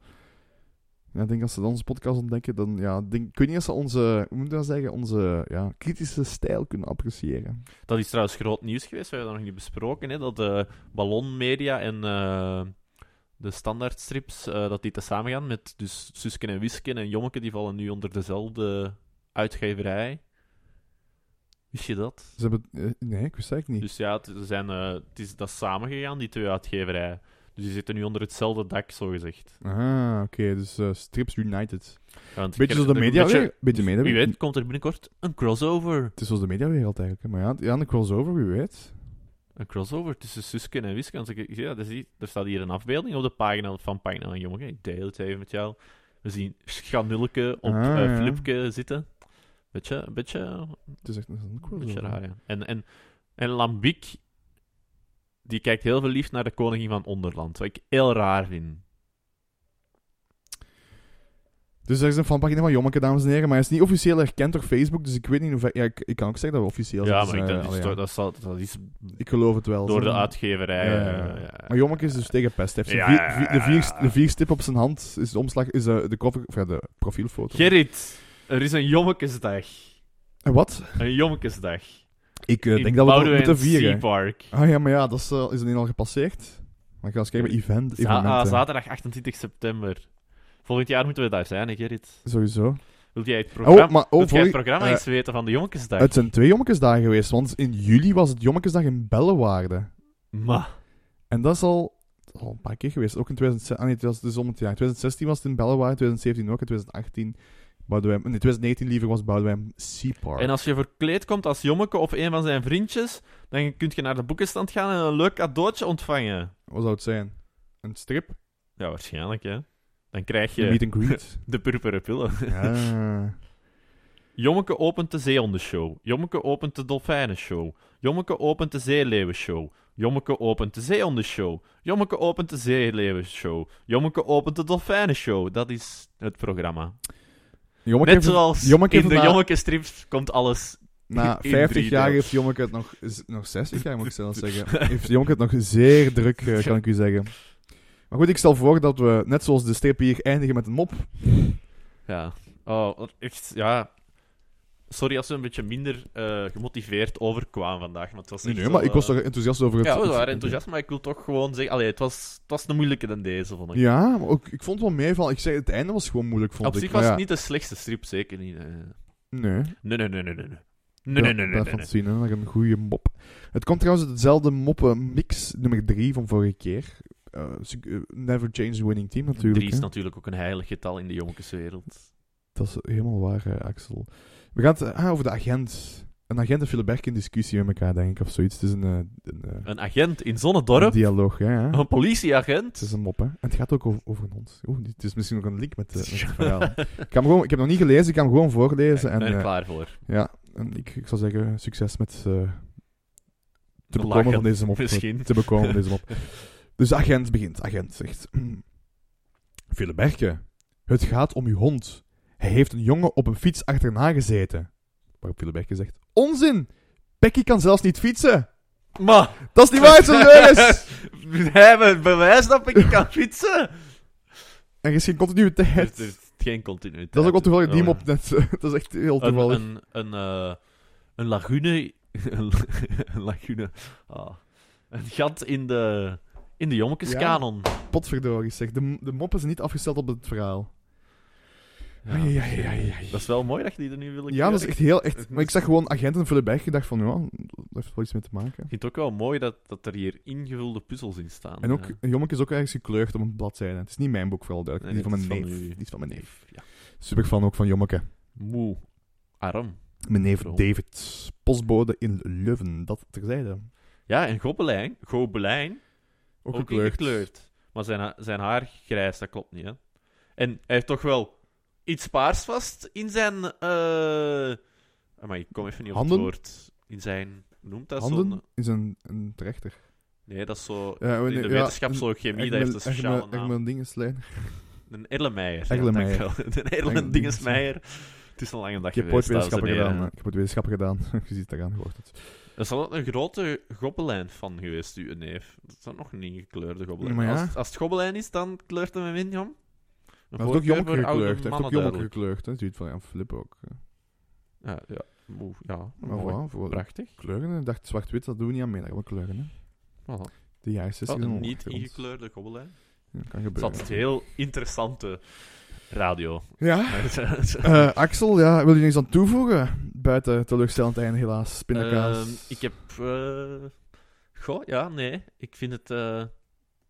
A: Ja, ik denk als ze dan onze podcast ontdekken, dan... Ja, ik denk, ik weet niet of ze onze... Hoe moet ik dat zeggen? Onze ja, kritische stijl kunnen appreciëren.
B: Dat is trouwens groot nieuws geweest, we hebben dat nog niet besproken, hè, dat de Ballon Media en eh, de standaardstrips, eh, dat die te samen gaan met dus Susken en Wisken en Jommeke, die vallen nu onder dezelfde uitgeverij. Wist je dat?
A: Ze hebben... eh, nee, ik wist het eigenlijk niet.
B: Dus ja, het, zijn, eh, het is dat is samengegaan, die twee uitgeverijen. Dus die zitten nu onder hetzelfde dak, zogezegd.
A: Ah, oké. dus eh, Strips United.
B: Want
A: Beetje
B: ik-
A: zoals de media...
B: beetje-
A: beetje media.
B: Wie weet komt er binnenkort een crossover.
A: Het is zoals de mediawereld eigenlijk. hè. Maar ja, ja, een crossover, wie weet.
B: Een crossover tussen Susken en Wisken. Als ik- Ja, daar zie- er staat hier een afbeelding op de pagina van pagina van Jongen. Ik deel het even met jou. We zien Schanulke op
A: Ah,
B: eh,
A: ja.
B: Flipke zitten. Beetje, een beetje, een
A: Het is echt een- een crossover.
B: beetje raar, ja. En, en, en Lambiek, die kijkt heel verliefd naar de koningin van Onderland. Wat ik heel raar vind.
A: Dus er is een fanpagina van Jommeke, dames en heren. Maar hij is niet officieel erkend door Facebook, dus ik weet niet hoe... Ja, ik, ik kan ook zeggen dat we officieel
B: ja,
A: zijn.
B: maar ik,
A: dus,
B: dat, is,
A: eh, allee,
B: toch- dat, zal- dat is
A: Ik geloof het wel.
B: door
A: zo.
B: de uitgeverij.
A: Ja, ja,
B: eh,
A: ja.
B: ja, ja.
A: Maar Jommeke is dus tegen pest. Hij heeft
B: Ja,
A: zijn
B: ja,
A: vier-
B: ja,
A: vier- de, vier,
B: ja.
A: de vierstip op zijn hand is de omslag, is eh, de, cover, of ja, de profielfoto.
B: Gerrit, er is een Jommekesdag.
A: En wat?
B: Een Jommekesdag.
A: Ik eh,
B: in
A: denk dat we dat
B: Boudewijn
A: moeten vieren.
B: Seapark.
A: Ah ja, maar ja, dat is, eh, is er niet al gepasseerd? Maar ik ga eens kijken bij event,
B: Za- ah,
A: evenementen.
B: zaterdag 28 september. Volgend jaar moeten we daar zijn, hè, Gerrit.
A: Sowieso.
B: Wil jij het
A: Oh,
B: programma,
A: maar oh,
B: wilt jij het
A: volg-
B: programma
A: eh,
B: eens weten van de Jonkensdag?
A: Het zijn twee jommekesdagen geweest, want in juli was het jommekesdag in Bellewaarde.
B: Maar,
A: En dat is al, dat is al een paar keer geweest. Ook in 2016, ah nee, het was dus om het jaar. 2016 was het in Bellewaarde, 2017 ook, en 2018 Boudewijn, nee, 2019 liever was Boudewijn Sea Park.
B: en als je verkleed komt als jommeke of een van zijn vriendjes, dan kun je naar de boekenstand gaan en een leuk cadeautje ontvangen.
A: Wat zou het zijn? Een strip?
B: Ja, waarschijnlijk, hè. Dan krijg
A: Een meet
B: je
A: and greet?
B: de purperen pillen.
A: ja.
B: Jommeke opent de zeehondenshow. Jommeke opent de dolfijnenshow. Jommeke opent de zeeleeuwenshow. Jommeke opent de zeehondenshow. Jommeke opent de zeeleeuwenshow. Jommeke opent de dolfijnenshow. Dat is het programma.
A: Jommeke
B: Net
A: heeft-
B: zoals
A: Jommeke
B: in de
A: na-
B: jommeke strips komt alles.
A: Na
B: in
A: 50
B: drie
A: jaar
B: delen.
A: heeft Jommeke het nog, is, nog 60 jaar moet ik zelfs zeggen. Heeft Jommeke het nog zeer druk, eh, kan ik u zeggen. Maar goed, ik stel voor dat we, net zoals de strip hier, eindigen met een mop.
B: Ja. Oh, wat echt, ja. Sorry als we een beetje minder eh, gemotiveerd overkwamen vandaag. Maar het was
A: Nee,
B: echt
A: nee, maar
B: wel,
A: ik was
B: eh,
A: toch enthousiast over het...
B: Ja, we waren
A: het-
B: enthousiast, maar ik wil toch gewoon zeggen... Allee, het was, het was een moeilijke dan deze, vond ik.
A: Ja, maar ook, ik vond het wel meevallen. Ik zeg, het einde was gewoon moeilijk, vond
B: Op
A: ik.
B: zich
A: maar
B: was het
A: ja.
B: niet de slechtste strip, zeker niet. eh.
A: Nee.
B: Nee, nee, nee, nee, nee. nee. Nee, nee, nee, nee, nee,
A: van
B: nee.
A: zien, hè. Dat is een goede mop. Het komt trouwens uit hetzelfde moppenmix, nummer 3 van vorige keer. Eh, never change the winning team, natuurlijk.
B: Drie is
A: hè.
B: natuurlijk ook een heilig getal in de jonkenswereld.
A: Dat is helemaal waar, eh, Axel. We gaan het eh, ah, over de agent. Een agent en Philip Berk in discussie met elkaar, denk ik, of zoiets. Het is een, eh, een, eh,
B: Een agent in
A: een
B: Zonnedorp,
A: dialoog, ja, ja.
B: een
A: Het
B: politieagent.
A: is een mop, hè. En het gaat ook over, over ons. Oeh, dit is misschien ook een link met, eh, met het verhaal. ik, ga hem gewoon, ik heb nog niet gelezen, ik ga hem gewoon voorlezen.
B: Ik
A: En,
B: ben er
A: eh,
B: klaar voor.
A: ja, en ik, ik zou zeggen, succes met eh te
B: De
A: bekomen van
B: lachen,
A: deze mop.
B: misschien.
A: Te bekomen van deze mop. Dus de agent begint. Agent zegt... Vele Berke, het gaat om uw hond. Hij heeft een jongen op een fiets achterna gezeten. Waarop Vele Berke zegt... Onzin! Becky kan zelfs niet fietsen!
B: Maar,
A: Dat is niet waar, zo'n leugens!
B: hij heeft bewijs dat ik kan fietsen.
A: Er is geen continuïteit.
B: Het is geen continuïteit.
A: Dat is ook wel toevallig die
B: Oh,
A: mop net. Dat is echt heel
B: Een,
A: toevallig.
B: een, een, eh, een lagune... Een, lagune... ah. Een gat in de... In de jonkenskanon.
A: Potverdorie zeg. De, de mop is niet afgesteld op het verhaal.
B: Ja.
A: Ai, ai, ai, ai.
B: Dat is wel mooi dat je die er nu wil
A: Ja, dat is echt heel... Echt,
B: het
A: maar ik
B: is-
A: zag gewoon agenten voor de berg. Ik dacht van, ja, dat heeft wel iets mee te maken.
B: Ik vind het ook wel mooi dat, dat er hier ingevulde puzzels in staan.
A: En ook,
B: Ja.
A: Jommeke is ook ergens gekleurd op een bladzijde. Het is niet mijn boek, vooral duidelijk.
B: Nee,
A: die, van
B: dit
A: mijn
B: is
A: neef.
B: van u.
A: die is van mijn neef.
B: Ja.
A: Super fan ook van Jommeke.
B: Moe. Arm.
A: Mijn neef
B: Waarom?
A: David, postbode in Leuven. Dat terzijde.
B: Ja, en Gobelijn, Gobelijn
A: Ook,
B: ook
A: gekleurd.
B: ingekleurd. Maar zijn, ha- zijn haar grijs, dat klopt niet, hè. En hij heeft toch wel iets paars vast in zijn... Maar ik kom even niet op
A: Handen?
B: het woord. In zijn... Hoe noemt dat
A: Handen
B: zo'n...
A: is een, een trechter.
B: Nee, dat is zo...
A: Ja,
B: in de
A: ja,
B: wetenschap
A: een-
B: zo chemie, dat heeft een speciale naam.
A: Ermel Dingeslijner.
B: Een Erlenmeijer. Ja,
A: Erlenmeyer.
B: dankjewel. Een Erlendingesmeijer. Het is een lange dag
A: Ik heb ooit
B: geweest,
A: wetenschappen
B: dames en heren.
A: gedaan. hè. Ik heb ooit wetenschappen gedaan. Je ziet het eraan, je hoort het.
B: Er is altijd een grote gobbelijn-fan geweest, uw neef. Dat is dan nog een ingekleurde gobbelijn.
A: Maar ja.
B: als, als het gobbelijn is, dan kleurt hem hem in, jong. Een
A: Maar hij heeft ook
B: voorkeur
A: Jommeke
B: voor oude
A: gekleurd. Hij heeft ook
B: mannen
A: Jommeke
B: duidelijk.
A: gekleurd. hè. Het ziet van, ja, Flip ook. eh. hè.
B: Ja, ja. Oeh, ja.
A: Maar
B: mooi.
A: voilà, Oh, voor
B: Prachtig.
A: kleuren. hè. Ik dacht, zwart-wit, dat doen we niet aan mee. Daar hebben we kleuren, hè.
B: Voilà.
A: De jaren 60
B: Wat
A: zijn
B: een
A: al
B: niet
A: achter ons.
B: ingekleurde gobbelijn.
A: Ja, kan
B: Het is
A: gebeuren.
B: altijd heel interessante radio.
A: Ja. Eh, Axel, ja, wil je nog iets aan toevoegen? Buiten teleurstellend einde, helaas. Pindakaas.
B: Ehm, ik heb... eh, Goh, ja, nee. Ik vind het eh,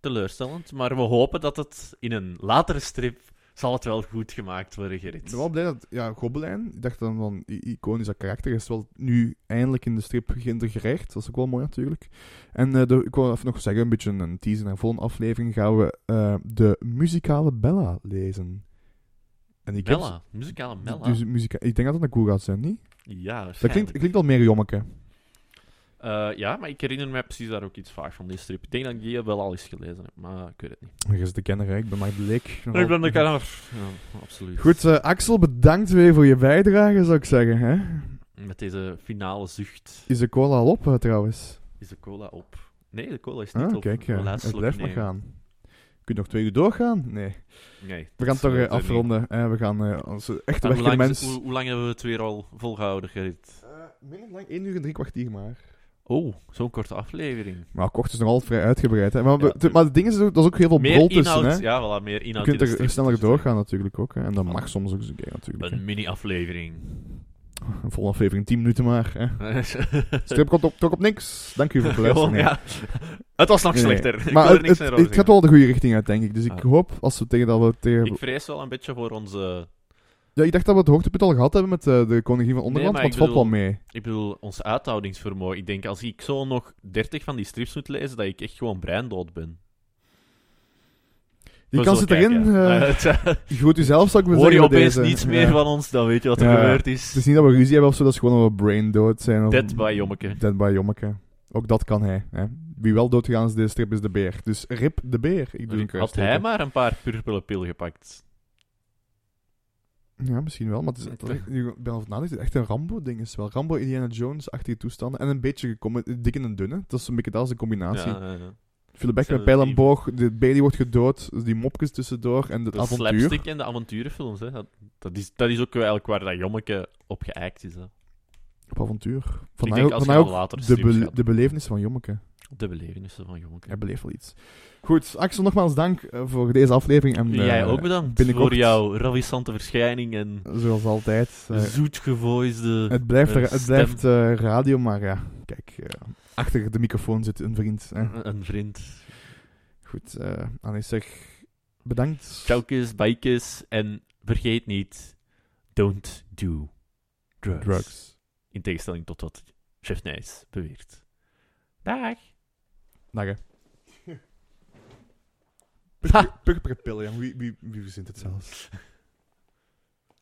B: teleurstellend. Maar we hopen dat het in een latere strip... zal het wel goed gemaakt worden,
A: Ik
B: Gerrit.
A: ben wel blij dat... Ja, Gobelijn, ik dacht dan van... i- Iconisch dat karakter is wel nu eindelijk in de strip geïntegreerd. Dat is ook wel mooi, natuurlijk. En eh, de, ik wil even nog zeggen, een beetje een teaser naar de volgende aflevering gaan we eh, de muzikale Bella lezen. En ik heb-
B: Mella, muzikale Mella.
A: Dus muzika ik denk dat dat een cool gaat zijn, niet?
B: ja,
A: Dat klinkt,
B: waarschijnlijk.
A: klinkt al meer jommeke.
B: Eh, ja, maar ik herinner me precies daar ook iets vaak van die strip. Ik denk dat ik die wel al eens gelezen heb, maar ik weet het niet.
A: Je is de kenner, hè. Ik ben Mike de Leek.
B: Ik ben de kenner. Ja, absoluut.
A: Goed, eh, Axel, bedankt weer voor je bijdrage, zou ik zeggen. Hè?
B: Met deze finale zucht
A: Is de cola al op, eh, trouwens?
B: is de cola op. Nee, de cola is niet
A: Ah,
B: op.
A: kijk,
B: De
A: ja.
B: laatste
A: het
B: slok
A: blijft maar
B: nemen.
A: gaan. Kun je nog twee uur doorgaan? Nee.
B: Nee,
A: We
B: dat
A: gaan toch eh,
B: gebeurt er niet.
A: afronden. hè. we gaan eh, onze echte
B: Maar Hoe
A: werkende
B: lang,
A: mens...
B: hoe, hoe lang hebben we het weer al volgehouden, Gerrit?
A: minder lang, één uur en drie kwartier maar.
B: Oh, zo'n korte aflevering.
A: Maar kort is nog altijd vrij uitgebreid. Hè. Maar, we-
B: Ja.
A: te- maar het ding is, ook- dat is ook heel veel
B: Meer
A: brol tussen.
B: inhoud,
A: Hè.
B: ja, voilà, meer inhoud.
A: Je kunt
B: in de
A: er
B: strip
A: sneller
B: tussen.
A: doorgaan natuurlijk ook. Hè. En dat mag soms ook eens een keer natuurlijk. hè.
B: Een mini-aflevering.
A: Een volle aflevering, 10 minuten maar. Hè. Strip komt op, toch op niks. Dank u voor het luisteren.
B: Gewoon,
A: hè.
B: ja. Het was nog
A: Nee, nee.
B: slechter. Ik
A: Maar
B: wil er
A: het,
B: niks
A: het,
B: meer
A: het
B: over
A: gaat
B: zeggen.
A: wel de goede richting uit, denk ik. Dus ik
B: Ah.
A: hoop, als we tegen dat we tegen...
B: Ik vrees wel een beetje voor onze...
A: Ja, ik dacht dat we het hoogtepunt al gehad hebben met eh, de koningin van Onderland,
B: maar
A: maar het
B: ik
A: valt wel
B: bedoel-
A: mee.
B: Ik bedoel, ons uithoudingsvermogen. Ik denk, als ik zo nog 30 van die strips moet lezen, dat ik echt gewoon breindood ben.
A: Die
B: We
A: kans zit
B: zullen
A: erin.
B: kijken, ja.
A: eh,
B: Eh, tja,
A: je goed jezelf, zou ik maar
B: Hoor je
A: zeggen. bij
B: opeens
A: deze.
B: niets meer
A: Ja.
B: van ons, dan weet je wat er
A: Ja.
B: gebeurd
A: Het
B: is.
A: is niet dat we ruzie hebben of zo, dat is gewoon dat we brain dood zijn. Of...
B: Dead by Jommeke.
A: Dead by Jommeke. Ook dat kan hij. Hè. Wie wel doodgegaan is in deze strip is de beer. Dus rip de beer. Ik doe een
B: Had
A: kruisteken.
B: hij maar een paar purpele pil gepakt.
A: Ja, misschien wel, maar het is,
B: Nee,
A: het- ik ben al van nadenken, het is echt een Rambo-ding is wel. Rambo, Indiana Jones-achtige toestanden. En een beetje gekomen, dik en een dunne. Dat is een beetje dat is de
B: Ja,
A: combinatie.
B: ja, ja.
A: Philip Beck
B: Zijn
A: met pijl
B: die-
A: en boog, de Bailey wordt gedood, dus die mopjes tussendoor en het
B: de
A: avontuur.
B: slapstick en de avonturenfilms. Hè. Dat, dat, is, dat is ook eigenlijk waar dat jommeke op geëikt is. Hè.
A: Op avontuur.
B: ik
A: Vandaar
B: denk
A: ook,
B: als je
A: vandaar
B: dan
A: ook
B: later
A: de,
B: strips
A: be-
B: gaat.
A: de belevenissen van Jommeke.
B: De belevenissen van jommeke.
A: Hij beleeft wel iets. Goed, Axel, nogmaals dank eh, voor deze aflevering. En,
B: Jij
A: eh,
B: ook bedankt
A: binnenkort-
B: voor jouw ravissante verschijning en
A: Zoals altijd. eh,
B: zoetgevoisde...
A: het blijft,
B: een
A: er- het
B: stem.
A: blijft eh, radio, maar ja, kijk, eh, achter de microfoon zit een vriend. hè.
B: Een vriend.
A: Goed, eh Anis, zeg bedankt.
B: Chowkes, bijkes en vergeet niet, don't do drugs.
A: Drugs.
B: In tegenstelling tot wat Chef Nijs beweert. Dag.
A: Dag. hè.
B: Ha.
A: Puk- puk- puk- pillen, ja. Wie, wie, wie verzint het zelfs?